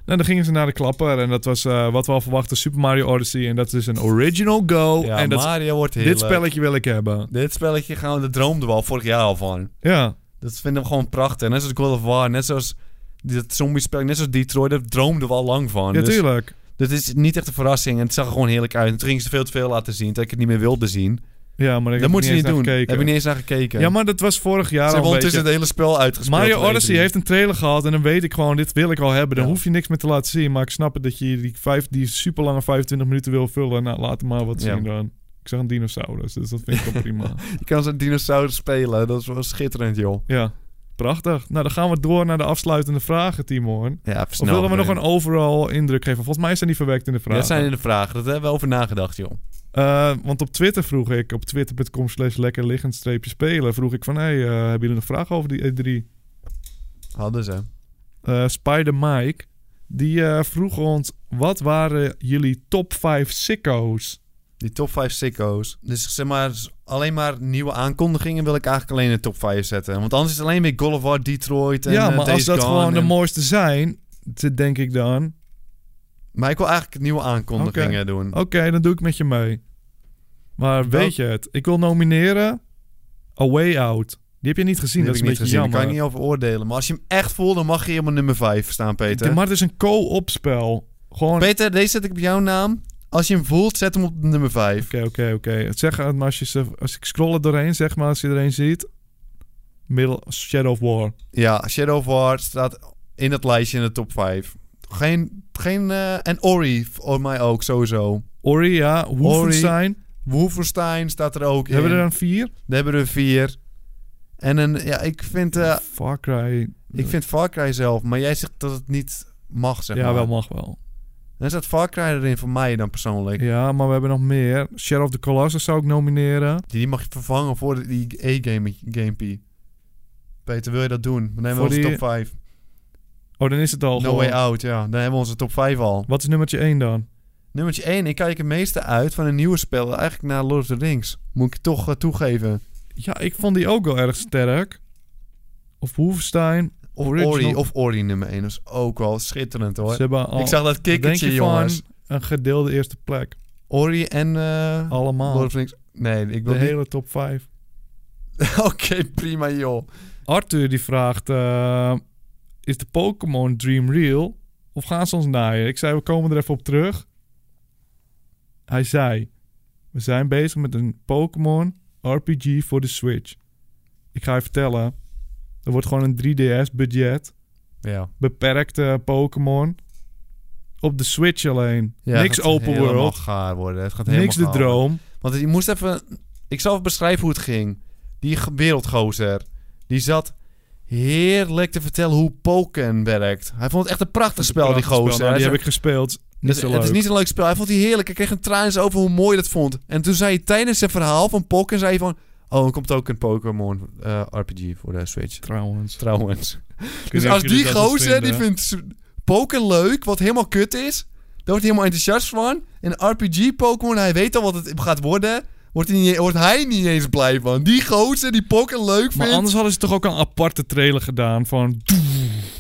[SPEAKER 3] Nou, dan gingen ze naar de klapper. En dat was eh, wat we al verwachten. Super Mario Odyssey. En dat is een original go.
[SPEAKER 2] Ja,
[SPEAKER 3] en dat is-
[SPEAKER 2] Mario wordt heel
[SPEAKER 3] dit
[SPEAKER 2] leuk.
[SPEAKER 3] spelletje wil ik hebben.
[SPEAKER 2] Dit spelletje gaan we, dat droomden we al vorig jaar al van.
[SPEAKER 3] Ja.
[SPEAKER 2] Dat vinden we gewoon prachtig. Net zoals God of War, net zoals dat zombie-spel, net zoals Detroit. Daar droomden we al lang van.
[SPEAKER 3] Ja,
[SPEAKER 2] Dus
[SPEAKER 3] tuurlijk.
[SPEAKER 2] dat is niet echt een verrassing. En het zag er gewoon heerlijk uit. En toen gingen ze veel te veel laten zien, dat ik het niet meer wilde zien.
[SPEAKER 3] Ja, maar
[SPEAKER 2] dat
[SPEAKER 3] ik heb
[SPEAKER 2] moeten
[SPEAKER 3] er
[SPEAKER 2] ze niet doen.
[SPEAKER 3] eens naar
[SPEAKER 2] Daar
[SPEAKER 3] gekeken.
[SPEAKER 2] heb ik niet eens naar gekeken.
[SPEAKER 3] Ja, maar dat was vorig jaar
[SPEAKER 2] ze
[SPEAKER 3] al
[SPEAKER 2] hebben
[SPEAKER 3] een
[SPEAKER 2] ondertussen
[SPEAKER 3] beetje.
[SPEAKER 2] het hele spel uitgespeeld.
[SPEAKER 3] Mario
[SPEAKER 2] op E3.
[SPEAKER 3] Odyssey heeft een trailer gehad en dan weet ik gewoon, dit wil ik al hebben. Dan
[SPEAKER 2] Ja.
[SPEAKER 3] hoef je niks meer te laten zien. Maar ik snap het dat je die, vijf, die super lange 25 minuten wil vullen. Nou, laat hem maar wat
[SPEAKER 2] Ja.
[SPEAKER 3] zien dan. Ik zag een dinosaurus, dus dat vind ik wel prima.
[SPEAKER 2] Je kan zo'n dinosaurus spelen. Dat is wel schitterend, joh.
[SPEAKER 3] Ja, prachtig. Nou, dan gaan we door naar de afsluitende vragen, Timon.
[SPEAKER 2] Ja,
[SPEAKER 3] Of
[SPEAKER 2] snel.
[SPEAKER 3] willen we nog een overall indruk geven? Volgens mij zijn die verwerkt in de
[SPEAKER 2] Nou, Ja,
[SPEAKER 3] vragen.
[SPEAKER 2] dat zijn in de vragen. Dat hebben we over nagedacht, joh.
[SPEAKER 3] Eh, want op Twitter vroeg ik, op twitter.com slash lekker liggend streepje spelen, vroeg ik van, hey, eh, hebben jullie nog vragen over die E3?
[SPEAKER 2] Hadden ze.
[SPEAKER 3] Eh, Spider Mike, die eh, vroeg ons, wat waren jullie top 5 sicko's?
[SPEAKER 2] Die top 5 sicko's. Dus zeg maar, s- alleen maar nieuwe aankondigingen wil ik eigenlijk alleen in de top 5 zetten. Want anders is het alleen weer Call of War, Detroit en
[SPEAKER 3] ja,
[SPEAKER 2] eh,
[SPEAKER 3] maar als
[SPEAKER 2] Days
[SPEAKER 3] dat
[SPEAKER 2] Gone
[SPEAKER 3] gewoon de
[SPEAKER 2] en-
[SPEAKER 3] mooiste zijn, te- denk ik dan,
[SPEAKER 2] Maar ik wil eigenlijk nieuwe aankondigingen doen.
[SPEAKER 3] oké, Oh, dan doe ik met je mee. Maar weet je het, ik wil nomineren A Way Out. Die heb je niet gezien,
[SPEAKER 2] Die
[SPEAKER 3] dat is
[SPEAKER 2] heb
[SPEAKER 3] een
[SPEAKER 2] ik niet
[SPEAKER 3] beetje
[SPEAKER 2] gezien. Daar
[SPEAKER 3] jammer.
[SPEAKER 2] kan ik niet over oordelen. Maar als je hem echt voelt, dan mag je helemaal nummer 5 staan, Peter.
[SPEAKER 3] Maar het is een co-op spel. Gewoon
[SPEAKER 2] Peter, deze zet ik op jouw naam. Als je hem voelt, zet hem op nummer 5.
[SPEAKER 3] Oké, oké, oké. Het Zeg maar als, je ze, als ik scroll er doorheen, zeg maar als je er een ziet. Middle Shadow of War.
[SPEAKER 2] Ja, Shadow of War staat in het lijstje in de top 5. Geen... geen eh, en Ori, voor mij ook, sowieso.
[SPEAKER 3] Ori, ja. Wolfenstein.
[SPEAKER 2] Wolfenstein staat er ook in.
[SPEAKER 3] Hebben we er dan vier?
[SPEAKER 2] Daar hebben we er vier. En een, ja, ik vind, eh,
[SPEAKER 3] Far Cry.
[SPEAKER 2] ik vind Far Cry zelf, maar jij zegt dat het niet mag, zeg
[SPEAKER 3] ja,
[SPEAKER 2] maar.
[SPEAKER 3] wel mag wel.
[SPEAKER 2] Dan staat Far Cry erin voor mij dan persoonlijk.
[SPEAKER 3] Ja, maar we hebben nog meer. Shadow of the Colossus zou ik nomineren.
[SPEAKER 2] Die, die mag je vervangen voor die E-game, gamepie. Peter, wil je dat doen? Dan hebben we
[SPEAKER 3] Voor
[SPEAKER 2] onze
[SPEAKER 3] die-
[SPEAKER 2] top 5.
[SPEAKER 3] Oh, dan is het al
[SPEAKER 2] No
[SPEAKER 3] gewoon.
[SPEAKER 2] Way Out, ja. Dan hebben we onze top 5 al.
[SPEAKER 3] Wat is nummertje één dan?
[SPEAKER 2] Nummertje 1. Ik kijk het meeste uit van een nieuwe spel. Eigenlijk naar Lord of the Rings. Moet ik toch eh, toegeven.
[SPEAKER 3] Ja, ik vond die ook wel erg sterk. Of Wolfenstein.
[SPEAKER 2] Of
[SPEAKER 3] Original.
[SPEAKER 2] Ori, of Ori nummer 1. Dat is ook wel schitterend, hoor.
[SPEAKER 3] Ze hebben al...
[SPEAKER 2] ik zag dat kikkertje,
[SPEAKER 3] denk je van
[SPEAKER 2] jongens.
[SPEAKER 3] een gedeelde eerste plek.
[SPEAKER 2] Ori en... eh,
[SPEAKER 3] Allemaal.
[SPEAKER 2] Lord of the Rings. Nee, ik
[SPEAKER 3] Oh, de
[SPEAKER 2] wil niet...
[SPEAKER 3] hele top 5.
[SPEAKER 2] Oké, prima joh.
[SPEAKER 3] Arthur die vraagt: eh, Is de Pokémon Dream real? Of gaan ze ons naaien? Ik zei: We komen er even op terug. Hij zei: We zijn bezig met een Pokémon RPG voor de Switch. Ik ga je vertellen: er wordt gewoon een 3DS budget.
[SPEAKER 2] Ja.
[SPEAKER 3] Beperkte Pokémon. Op de Switch alleen. Niks open
[SPEAKER 2] Het
[SPEAKER 3] world.
[SPEAKER 2] gaat helemaal gaar worden. Het gaat helemaal
[SPEAKER 3] Niks de
[SPEAKER 2] gaar worden.
[SPEAKER 3] droom.
[SPEAKER 2] Want je moest even... Ik zal even beschrijven hoe het ging. Die ge- wereldgozer, die zat heerlijk te vertellen hoe Pokken werkt. Hij vond het echt een prachtig spel, die
[SPEAKER 3] Prachtig spel.
[SPEAKER 2] gozer.
[SPEAKER 3] Nou,
[SPEAKER 2] Hij
[SPEAKER 3] die
[SPEAKER 2] zei,
[SPEAKER 3] heb ik gespeeld. Niet
[SPEAKER 2] het,
[SPEAKER 3] zo
[SPEAKER 2] het is
[SPEAKER 3] leuk.
[SPEAKER 2] niet een leuk spel. Hij vond die heerlijk. Hij kreeg een traan in zijn over hoe mooi dat vond. En toen zei hij tijdens zijn verhaal van Pokken, zei hij van... Oh, er komt ook een Pokémon eh, RPG voor de Switch.
[SPEAKER 3] Trouwens.
[SPEAKER 2] Trouwens.
[SPEAKER 3] Ik weet
[SPEAKER 2] Dus
[SPEAKER 3] niet
[SPEAKER 2] als
[SPEAKER 3] of jullie
[SPEAKER 2] die
[SPEAKER 3] dat nog
[SPEAKER 2] gozer die
[SPEAKER 3] vinden.
[SPEAKER 2] vindt s- poker leuk, wat helemaal kut is, daar wordt hij helemaal enthousiast van. En RPG-Pokémon, hij weet al wat het gaat worden, wordt hij niet, wordt hij niet eens blij van. Die gozer die poker leuk
[SPEAKER 3] Maar
[SPEAKER 2] vindt.
[SPEAKER 3] anders hadden ze toch ook een aparte trailer gedaan van...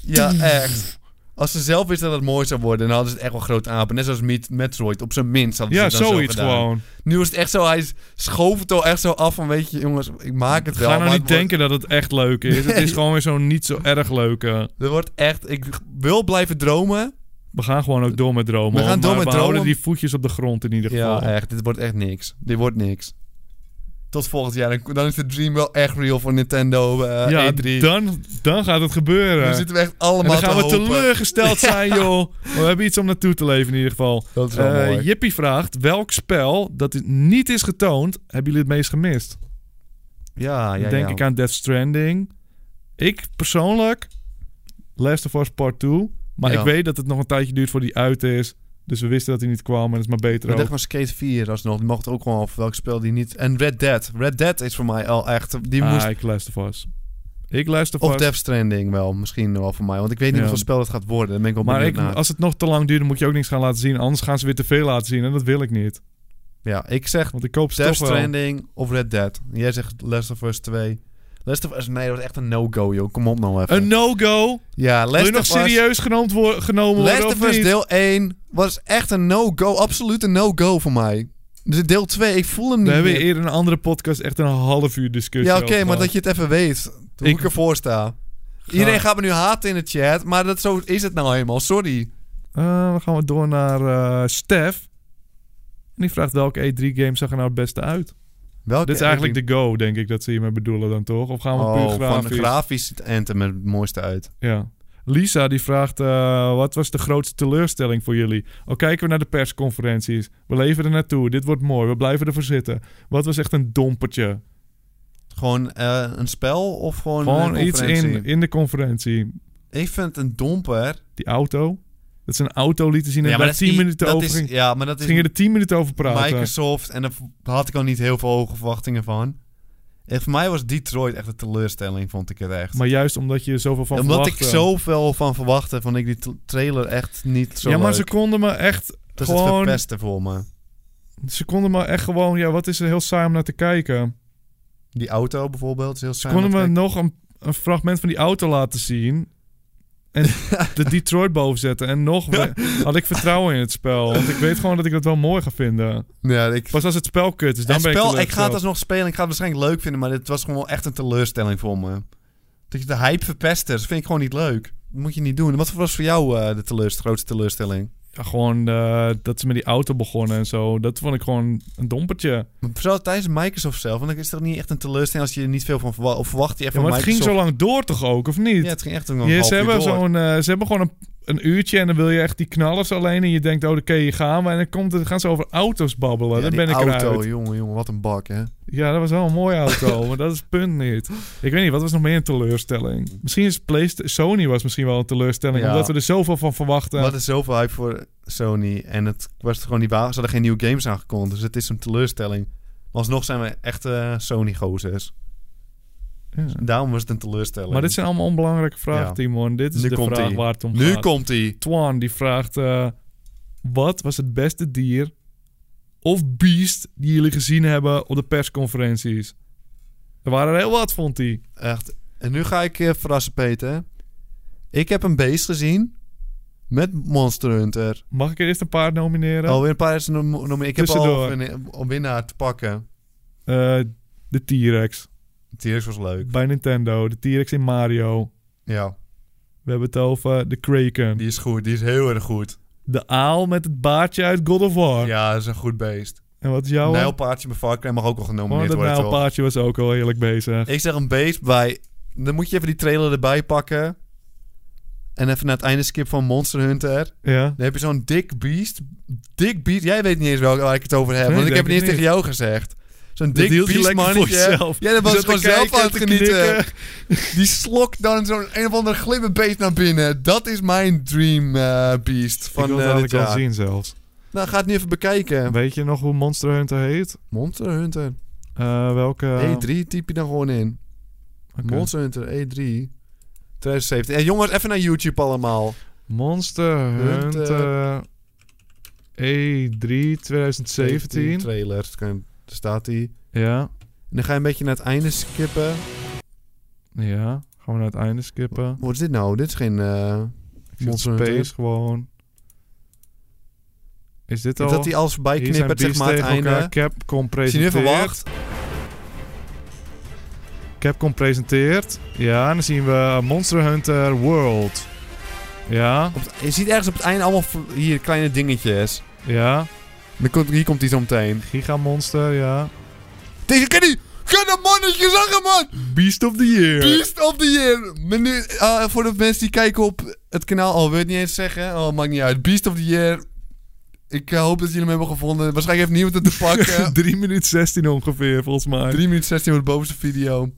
[SPEAKER 2] Ja, echt. Als ze zelf wisten dat het mooi zou worden, dan hadden ze het echt wel groot apen. Net zoals Met- Metroid, op zijn minst. hadden ze
[SPEAKER 3] Ja,
[SPEAKER 2] het dan zo
[SPEAKER 3] zoiets
[SPEAKER 2] gedaan.
[SPEAKER 3] gewoon.
[SPEAKER 2] Nu is het echt zo, hij schoof het al echt zo af van, weet je jongens, ik maak het wel.
[SPEAKER 3] Ga nou
[SPEAKER 2] maar
[SPEAKER 3] niet
[SPEAKER 2] het wordt-
[SPEAKER 3] denken dat het echt leuk is. Het is
[SPEAKER 2] Nee.
[SPEAKER 3] gewoon weer zo'n niet zo erg leuke.
[SPEAKER 2] Er wordt echt, ik wil blijven dromen.
[SPEAKER 3] We gaan gewoon ook door met dromen.
[SPEAKER 2] We
[SPEAKER 3] hoor.
[SPEAKER 2] gaan door
[SPEAKER 3] Maar
[SPEAKER 2] met
[SPEAKER 3] we houden
[SPEAKER 2] dromen.
[SPEAKER 3] die voetjes op de grond in ieder
[SPEAKER 2] Ja, eh,
[SPEAKER 3] geval.
[SPEAKER 2] echt. Dit wordt echt niks. Dit wordt niks. Tot volgend jaar. Dan, dan is de dream wel echt real voor Nintendo eh
[SPEAKER 3] ja,
[SPEAKER 2] E3. Dan,
[SPEAKER 3] dan, dan gaat het gebeuren.
[SPEAKER 2] zitten we echt
[SPEAKER 3] en
[SPEAKER 2] allemaal
[SPEAKER 3] dan gaan
[SPEAKER 2] te
[SPEAKER 3] we
[SPEAKER 2] hopen.
[SPEAKER 3] teleurgesteld zijn, joh. Maar we hebben iets om naartoe te leven in ieder geval.
[SPEAKER 2] Dat is wel
[SPEAKER 3] Eh
[SPEAKER 2] mooi.
[SPEAKER 3] Jippie vraagt, welk spel dat is- niet is getoond, hebben jullie het meest gemist?
[SPEAKER 2] Ja, Ah, ja,
[SPEAKER 3] Dan denk
[SPEAKER 2] ja.
[SPEAKER 3] ik aan Death Stranding. Ik persoonlijk, Last of Us Part 2. Maar
[SPEAKER 2] Ja.
[SPEAKER 3] ik weet dat het nog een tijdje duurt voor die uit is. Dus we wisten dat hij niet kwam en dat is maar beter
[SPEAKER 2] Ik
[SPEAKER 3] ook.
[SPEAKER 2] dacht maar Skate 4 alsnog. Die mocht ook gewoon voor welk spel die niet... En Red Dead. Red Dead is voor mij al echt... Die
[SPEAKER 3] ah,
[SPEAKER 2] moest...
[SPEAKER 3] ik luister vast. Ik luister
[SPEAKER 2] Of
[SPEAKER 3] vast.
[SPEAKER 2] Death Stranding wel, misschien wel voor mij. Want ik weet niet
[SPEAKER 3] Ja.
[SPEAKER 2] hoeveel spel het gaat worden. Dan ben ik wel
[SPEAKER 3] maar
[SPEAKER 2] benieuwd
[SPEAKER 3] ik, oh.
[SPEAKER 2] naar.
[SPEAKER 3] als het nog te lang duurt, dan moet je ook niks gaan laten zien. Anders gaan ze weer te veel laten zien en dat wil ik niet.
[SPEAKER 2] Ja, ik zeg
[SPEAKER 3] Want ik koop ze
[SPEAKER 2] Death
[SPEAKER 3] toch wel.
[SPEAKER 2] Stranding of Red Dead. En Jij zegt Last of Us 2. Last of Us, nee, dat is echt een no-go, joh. Kom op nou even.
[SPEAKER 3] Een no-go?
[SPEAKER 2] ja,
[SPEAKER 3] Wil
[SPEAKER 2] Last
[SPEAKER 3] je nog
[SPEAKER 2] of Us...
[SPEAKER 3] serieus genomen worden? Genomen
[SPEAKER 2] Last
[SPEAKER 3] worden of
[SPEAKER 2] of Us
[SPEAKER 3] niet?
[SPEAKER 2] deel 1 was echt een no-go. Absoluut een no-go voor mij. Dus deel 2, ik voel hem
[SPEAKER 3] We
[SPEAKER 2] niet
[SPEAKER 3] hebben
[SPEAKER 2] meer.
[SPEAKER 3] in een andere podcast echt een half uur discussie
[SPEAKER 2] Ja, oké,
[SPEAKER 3] over
[SPEAKER 2] maar
[SPEAKER 3] gehad.
[SPEAKER 2] dat je het even weet. Hoe
[SPEAKER 3] Ik-
[SPEAKER 2] ik ervoor sta. Iedereen gaat me nu haten in de chat, maar dat, zo is het nou helemaal. Sorry.
[SPEAKER 3] Eh, dan gaan we door naar eh, Stef. En die vraagt welke E3-game zag er nou het beste uit?
[SPEAKER 2] Welke E
[SPEAKER 3] Dit is eigenlijk de go, denk ik, dat ze hiermee bedoelen dan toch? Of gaan we
[SPEAKER 2] Oh,
[SPEAKER 3] puur
[SPEAKER 2] van
[SPEAKER 3] grafisch?
[SPEAKER 2] grafisch ziet Anthem er het mooiste uit.
[SPEAKER 3] ja. Lisa die vraagt, eh, wat was de grootste teleurstelling voor jullie? Al kijken we naar de persconferenties. We leven er naartoe. Dit wordt mooi. We blijven ervoor zitten. Wat was echt een dompertje?
[SPEAKER 2] Gewoon eh, een spel of gewoon,
[SPEAKER 3] Gewoon
[SPEAKER 2] een
[SPEAKER 3] iets
[SPEAKER 2] conferentie?
[SPEAKER 3] in, in de conferentie.
[SPEAKER 2] Ik vind het een domper.
[SPEAKER 3] Die auto. Dat ze een auto lieten zien en daar
[SPEAKER 2] is
[SPEAKER 3] 10
[SPEAKER 2] i-
[SPEAKER 3] minuten
[SPEAKER 2] dat
[SPEAKER 3] over
[SPEAKER 2] is-
[SPEAKER 3] ging.
[SPEAKER 2] Ja, maar dat
[SPEAKER 3] Ze
[SPEAKER 2] is
[SPEAKER 3] gingen er 10 minuten over praten.
[SPEAKER 2] Microsoft en daar had ik al niet heel veel hoge verwachtingen van. En voor mij was Detroit echt een teleurstelling, vond ik het echt.
[SPEAKER 3] Maar juist omdat je er zoveel van
[SPEAKER 2] Omdat
[SPEAKER 3] verwachtte.
[SPEAKER 2] ik zoveel van verwachtte, vond ik die t- trailer echt niet zo
[SPEAKER 3] ja, maar
[SPEAKER 2] leuk.
[SPEAKER 3] ze konden me echt.
[SPEAKER 2] dat is het
[SPEAKER 3] gewoon-
[SPEAKER 2] verpesten voor me.
[SPEAKER 3] Ze konden me echt gewoon. Ja, wat is er heel saai om naar te kijken?
[SPEAKER 2] Die auto bijvoorbeeld is heel
[SPEAKER 3] Ze
[SPEAKER 2] saai.
[SPEAKER 3] konden me
[SPEAKER 2] om te
[SPEAKER 3] nog een, een fragment van die auto laten zien. En de Detroit boven zetten. En nog we- had ik vertrouwen in het spel. Want ik weet gewoon dat ik dat wel mooi ga vinden.
[SPEAKER 2] kijken. Ja, ik...
[SPEAKER 3] Pas als het spel kut is, dan
[SPEAKER 2] het
[SPEAKER 3] ben
[SPEAKER 2] spel, ik,
[SPEAKER 3] ik
[SPEAKER 2] ga het
[SPEAKER 3] teleurgesteld.
[SPEAKER 2] alsnog spelen. Ik ga het waarschijnlijk leuk vinden, maar dit was gewoon echt een teleurstelling voor me. Dat je de hype verpest is, vind ik gewoon niet leuk. Dat moet je niet doen. Wat was voor jou eh, de teleurst- grootste teleurstelling?
[SPEAKER 3] Ja, gewoon eh, dat ze met die auto begonnen en zo. Dat vond ik gewoon een dompertje.
[SPEAKER 2] Maar Vooral tijdens Microsoft zelf, want dan is het toch niet echt een teleurstelling als je er niet veel van verwacht. Of verwacht je echt
[SPEAKER 3] Ja,
[SPEAKER 2] van
[SPEAKER 3] maar het ging zo
[SPEAKER 2] Microsoft?
[SPEAKER 3] lang door toch ook, of niet?
[SPEAKER 2] Ja, het ging echt een
[SPEAKER 3] Ja,
[SPEAKER 2] half
[SPEAKER 3] ze,
[SPEAKER 2] uur
[SPEAKER 3] hebben
[SPEAKER 2] door.
[SPEAKER 3] zo'n, eh, ze hebben gewoon een, een uurtje en dan wil je echt die knallers alleen. En je denkt, oh, oké, hier gaan we. En dan, komt, het- gaan ze over auto's babbelen.
[SPEAKER 2] Ja,
[SPEAKER 3] dan
[SPEAKER 2] die
[SPEAKER 3] ben ik
[SPEAKER 2] auto,
[SPEAKER 3] eruit.
[SPEAKER 2] jongen, jongen, wat een bak, hè.
[SPEAKER 3] Ja, dat was wel een mooie auto. maar dat is het punt niet. Ik weet niet, wat was nog meer een teleurstelling? Misschien is Playsta- Sony was misschien wel een teleurstelling.
[SPEAKER 2] Ja.
[SPEAKER 3] Omdat we er zoveel van verwachten.
[SPEAKER 2] Wat is zoveel hype voor Sony. En het was gewoon niet waar. Ze hadden geen nieuwe games aangekondigd. Dus het is een teleurstelling. Maar alsnog zijn we echte Sony-gozers.
[SPEAKER 3] Ja.
[SPEAKER 2] Daarom was het een teleurstelling.
[SPEAKER 3] Maar dit zijn allemaal onbelangrijke vragen,
[SPEAKER 2] Ja.
[SPEAKER 3] Timon. Dit is
[SPEAKER 2] Nu
[SPEAKER 3] de
[SPEAKER 2] komt
[SPEAKER 3] vraag
[SPEAKER 2] ie.
[SPEAKER 3] waar het om
[SPEAKER 2] nu
[SPEAKER 3] gaat.
[SPEAKER 2] komt hij.
[SPEAKER 3] Twan, die vraagt... eh, wat was het beste dier of beest die jullie gezien hebben op de persconferenties? Er waren er heel wat, vond hij.
[SPEAKER 2] Echt. En nu ga ik je verrassen, Peter. Ik heb een beest gezien met Monster Hunter.
[SPEAKER 3] Mag ik er eerst een paar nomineren?
[SPEAKER 2] Alweer een paar is noemen. Ik heb al
[SPEAKER 3] Tussendoor.
[SPEAKER 2] een, een winnaar te pakken.
[SPEAKER 3] Eh, de T-Rex
[SPEAKER 2] T-Rex was leuk.
[SPEAKER 3] bij Nintendo. De T-Rex in Mario.
[SPEAKER 2] Ja,
[SPEAKER 3] We hebben het over de Kraken.
[SPEAKER 2] die is goed. Die is heel erg goed.
[SPEAKER 3] De aal met het baardje uit God of War.
[SPEAKER 2] Ja, dat is een goed beest.
[SPEAKER 3] En wat is jouw?
[SPEAKER 2] Nijlpaardje bij Far Cry mag ook wel
[SPEAKER 3] Oh,
[SPEAKER 2] genomineerd
[SPEAKER 3] dat
[SPEAKER 2] worden, toch?
[SPEAKER 3] nijlpaardje was ook al heerlijk bezig.
[SPEAKER 2] Ik zeg een beest bij. Dan moet je even die trailer erbij pakken. En even naar het einde skip van Monster Hunter.
[SPEAKER 3] Ja.
[SPEAKER 2] Dan heb je zo'n dik beest. Dik beest. Jij weet niet eens welke- waar ik het over heb.
[SPEAKER 3] Nee,
[SPEAKER 2] want ik
[SPEAKER 3] denk
[SPEAKER 2] heb het
[SPEAKER 3] ik
[SPEAKER 2] eerst tegen
[SPEAKER 3] niet.
[SPEAKER 2] jou gezegd. Zo'n
[SPEAKER 3] Dat
[SPEAKER 2] dik
[SPEAKER 3] hield je
[SPEAKER 2] beest
[SPEAKER 3] lekker voor
[SPEAKER 2] mannetje.
[SPEAKER 3] jezelf.
[SPEAKER 2] Ja, dat was
[SPEAKER 3] Zat te
[SPEAKER 2] gewoon zelf
[SPEAKER 3] kijken,
[SPEAKER 2] aan het
[SPEAKER 3] te knikken.
[SPEAKER 2] genieten. Die slokt dan zo'n een of ander glimmerbeest naar binnen. Dat is mijn dream eh, beest
[SPEAKER 3] ik
[SPEAKER 2] van
[SPEAKER 3] wil
[SPEAKER 2] eh,
[SPEAKER 3] het
[SPEAKER 2] dit
[SPEAKER 3] eigenlijk al
[SPEAKER 2] jaar.
[SPEAKER 3] zien zelfs.
[SPEAKER 2] Nou, ga het nu even bekijken.
[SPEAKER 3] Weet je nog hoe Monster Hunter heet?
[SPEAKER 2] Monster Hunter.
[SPEAKER 3] Eh, welke?
[SPEAKER 2] E3 typ je dan gewoon in.
[SPEAKER 3] Oké.
[SPEAKER 2] Monster Hunter E E3 2017. En jongens, even naar YouTube allemaal.
[SPEAKER 3] Monster Hunter E
[SPEAKER 2] Hunter. E
[SPEAKER 3] E3
[SPEAKER 2] Die
[SPEAKER 3] 2017.
[SPEAKER 2] Trailer. Dat kan- Daar staat hij.
[SPEAKER 3] Ja,
[SPEAKER 2] En dan ga je een beetje naar het einde skippen.
[SPEAKER 3] ja. Gaan we naar het einde skippen.
[SPEAKER 2] Wat is dit nou? Dit is geen... eh,
[SPEAKER 3] Ik zit
[SPEAKER 2] Monster Hunter.
[SPEAKER 3] Space gewoon. Is dit al?
[SPEAKER 2] dat hij alles voorbij
[SPEAKER 3] Hier zijn
[SPEAKER 2] knippert, zeg
[SPEAKER 3] beasts
[SPEAKER 2] maar, het
[SPEAKER 3] tegen
[SPEAKER 2] einde.
[SPEAKER 3] elkaar. Capcom
[SPEAKER 2] Als je nu
[SPEAKER 3] presenteert.
[SPEAKER 2] even wacht.
[SPEAKER 3] Capcom presenteert. Ja, en dan zien we Monster Hunter World. Ja,
[SPEAKER 2] Op het- je ziet ergens op het einde allemaal v- hier kleine dingetjes.
[SPEAKER 3] ja.
[SPEAKER 2] Dan komt, hier komt hij zo meteen.
[SPEAKER 3] Gigamonster, ja.
[SPEAKER 2] Deze ken die! Ken dat mannetje zeggen, man!
[SPEAKER 3] Beast of the Year.
[SPEAKER 2] Beast of the Year! Maar nu, eh, voor de mensen die kijken op het kanaal, al wil je het niet eens zeggen. Oh, maakt niet uit. Beast of the Year. Ik eh, hoop dat jullie hem hebben gevonden. Waarschijnlijk heeft niemand het te pakken.
[SPEAKER 3] 3 minuten 16 ongeveer, volgens mij.
[SPEAKER 2] 3 minuten 16 voor de bovenste video.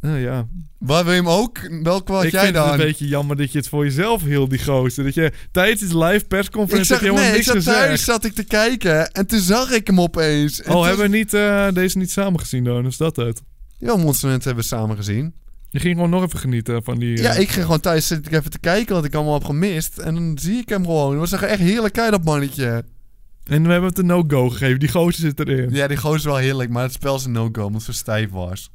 [SPEAKER 3] Nou ja.
[SPEAKER 2] Waar wil je hem ook? Welk kwaad
[SPEAKER 3] Ik
[SPEAKER 2] jij
[SPEAKER 3] vind
[SPEAKER 2] dan?
[SPEAKER 3] het een beetje jammer dat je het voor jezelf hield, die gozer. Dat je tijdens de live
[SPEAKER 2] ik
[SPEAKER 3] persconferentie
[SPEAKER 2] zag,
[SPEAKER 3] heb je helemaal
[SPEAKER 2] nee, ik
[SPEAKER 3] niks
[SPEAKER 2] zat
[SPEAKER 3] gezegd.
[SPEAKER 2] thuis zat ik te kijken en toen zag ik hem opeens. En
[SPEAKER 3] Oh,
[SPEAKER 2] toen-
[SPEAKER 3] hebben we niet, eh, deze niet samen gezien dan? Is dat het?
[SPEAKER 2] Ja, Monster Hunter hebben we samen gezien.
[SPEAKER 3] Je ging gewoon nog even genieten van die... eh,
[SPEAKER 2] Ja, ik ging gewoon thuis zitten even te kijken wat ik allemaal heb gemist. En dan zie ik hem gewoon. Het was echt heerlijk, kijk dat mannetje.
[SPEAKER 3] En we hebben het een no-go gegeven. Die gozer zit erin.
[SPEAKER 2] Ja, die gozer is wel heerlijk, maar het spel is een no-go omdat het zo stijf was.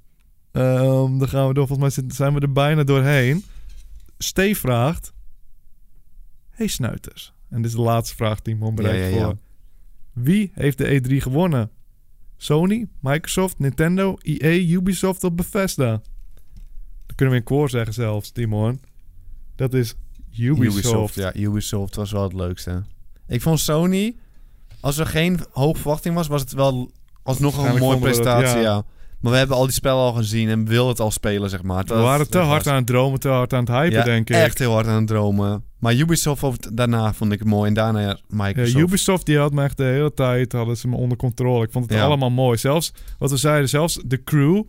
[SPEAKER 3] Ehm, dan gaan we door. Volgens mij zit- zijn we er bijna doorheen. Steve vraagt... Hey snuiters. En dit is de laatste vraag die Mon bereikt
[SPEAKER 2] Ja, ja, ja.
[SPEAKER 3] voor. Wie heeft de E3 gewonnen? Sony, Microsoft, Nintendo, EA, Ubisoft of Bethesda? Dat kunnen we in koor zeggen zelfs, Timon. Dat is Ubisoft.
[SPEAKER 2] ja, Ubisoft was wel het leukste. Ik vond Sony, als er geen hoge verwachting was, was het wel alsnog een
[SPEAKER 3] Waarschijnlijk
[SPEAKER 2] mooie
[SPEAKER 3] vonden we dat,
[SPEAKER 2] prestatie.
[SPEAKER 3] ja.
[SPEAKER 2] ja. Maar we hebben al die spellen al gezien en wilden het al spelen, zeg maar.
[SPEAKER 3] We
[SPEAKER 2] Dat-
[SPEAKER 3] waren te
[SPEAKER 2] dat
[SPEAKER 3] hard
[SPEAKER 2] was-
[SPEAKER 3] aan het dromen, te hard aan het hypen,
[SPEAKER 2] ja,
[SPEAKER 3] denk ik.
[SPEAKER 2] echt heel hard aan het dromen. Maar Ubisoft op- daarna vond ik het mooi. En daarna ja,
[SPEAKER 3] Ja,
[SPEAKER 2] Microsoft.
[SPEAKER 3] Eh, Ubisoft die had me echt de hele tijd hadden ze me onder controle. Ik vond het
[SPEAKER 2] Ja.
[SPEAKER 3] allemaal mooi. Zelfs wat we zeiden, zelfs de crew,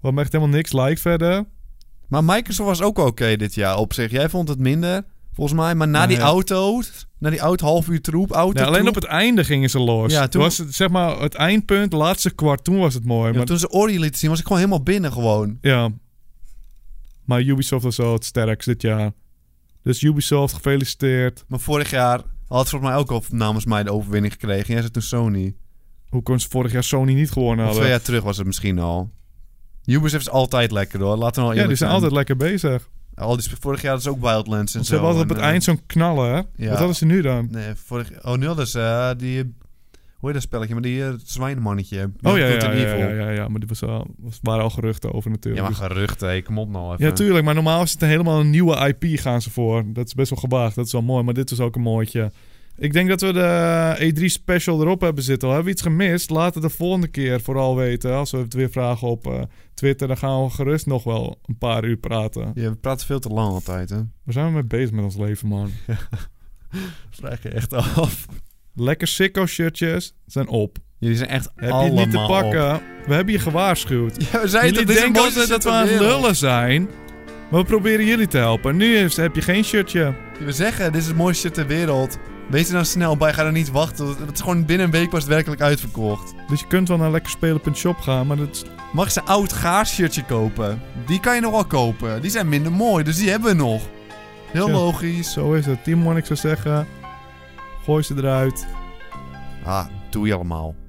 [SPEAKER 3] wat me echt helemaal niks lijkt verder.
[SPEAKER 2] Maar Microsoft was ook wel oké dit jaar op zich. Jij vond het minder, volgens mij. Maar na
[SPEAKER 3] Ja,
[SPEAKER 2] die
[SPEAKER 3] ja.
[SPEAKER 2] auto, na die oud half uur troep, auto
[SPEAKER 3] Ja, alleen op het einde gingen ze los.
[SPEAKER 2] Ja,
[SPEAKER 3] toen
[SPEAKER 2] toen-
[SPEAKER 3] was het zeg maar het eindpunt, laatste kwart, toen was het mooi. maar,
[SPEAKER 2] toen ze Ori lieten zien, was ik gewoon helemaal binnen gewoon.
[SPEAKER 3] ja. maar Ubisoft was wel het sterkst dit jaar. Dus Ubisoft, gefeliciteerd.
[SPEAKER 2] Maar vorig jaar had volgens mij ook al namens mij de overwinning gekregen. Jij zei toen
[SPEAKER 3] Nou,
[SPEAKER 2] Sony.
[SPEAKER 3] Hoe kon ze vorig jaar Sony niet gewonnen
[SPEAKER 2] Of twee
[SPEAKER 3] hadden?
[SPEAKER 2] jaar terug was het misschien al. Ubisoft is altijd lekker hoor. Laten we al
[SPEAKER 3] Ja, die
[SPEAKER 2] eerlijk zijn.
[SPEAKER 3] zijn altijd lekker bezig.
[SPEAKER 2] Al die sp- vorig jaar hadden ze ook Wildlands en
[SPEAKER 3] Want Ze
[SPEAKER 2] zo.
[SPEAKER 3] hebben altijd op
[SPEAKER 2] en,
[SPEAKER 3] het
[SPEAKER 2] eh,
[SPEAKER 3] eind zo'n knallen, hè?
[SPEAKER 2] ja.
[SPEAKER 3] Wat hadden ze nu dan?
[SPEAKER 2] Nee, vorig... Oh, nu hadden ze eh, die... eh, Hoe heet dat spelletje? Maar die eh, zwijnmannetje.
[SPEAKER 3] Oh ja, ja,
[SPEAKER 2] Resident
[SPEAKER 3] ja,
[SPEAKER 2] Evil.
[SPEAKER 3] ja, ja, ja, maar er was al- was- waren al geruchten over
[SPEAKER 2] Ja,
[SPEAKER 3] natuurlijk.
[SPEAKER 2] maar geruchten. hé, Kom op nou even.
[SPEAKER 3] Ja, tuurlijk. Maar normaal is het een helemaal een nieuwe IP gaan ze voor. Dat is best wel gewaagd. Dat is wel mooi. Maar dit is ook een mooitje. Ik denk dat we de E3 special erop hebben zitten. Al hebben we iets gemist? Laat het de volgende keer vooral weten. Als we het weer vragen op eh, Twitter, dan gaan we gerust nog wel een paar uur praten.
[SPEAKER 2] Ja, we praten veel te lang altijd, hè?
[SPEAKER 3] Waar zijn we mee bezig met ons leven, man?
[SPEAKER 2] Vraag je echt af.
[SPEAKER 3] Lekker sicko shirtjes zijn op.
[SPEAKER 2] Jullie zijn echt
[SPEAKER 3] Heb je
[SPEAKER 2] allemaal
[SPEAKER 3] niet te
[SPEAKER 2] op.
[SPEAKER 3] pakken. We hebben je gewaarschuwd.
[SPEAKER 2] Ja, we zeiden
[SPEAKER 3] Jullie
[SPEAKER 2] toch, dit is
[SPEAKER 3] denken
[SPEAKER 2] een
[SPEAKER 3] altijd dat we aan
[SPEAKER 2] mooiste
[SPEAKER 3] het
[SPEAKER 2] wereld.
[SPEAKER 3] lullen zijn. Maar we proberen jullie te helpen. Nu is- heb je geen shirtje.
[SPEAKER 2] We zeggen, dit is het mooiste shit ter wereld. Wees er nou snel bij, ga er niet wachten. want Het is gewoon binnen een week pas werkelijk uitverkocht.
[SPEAKER 3] Dus je kunt wel naar lekkerspelen.shop gaan. Maar dat is
[SPEAKER 2] Mag ze oud gaar shirtje kopen? Die kan je nog wel kopen. Die zijn minder mooi, dus die hebben we nog. Heel
[SPEAKER 3] Ja.
[SPEAKER 2] logisch.
[SPEAKER 3] Zo is het. Team One, ik zou zeggen, gooi ze eruit.
[SPEAKER 2] Ah, doe je allemaal.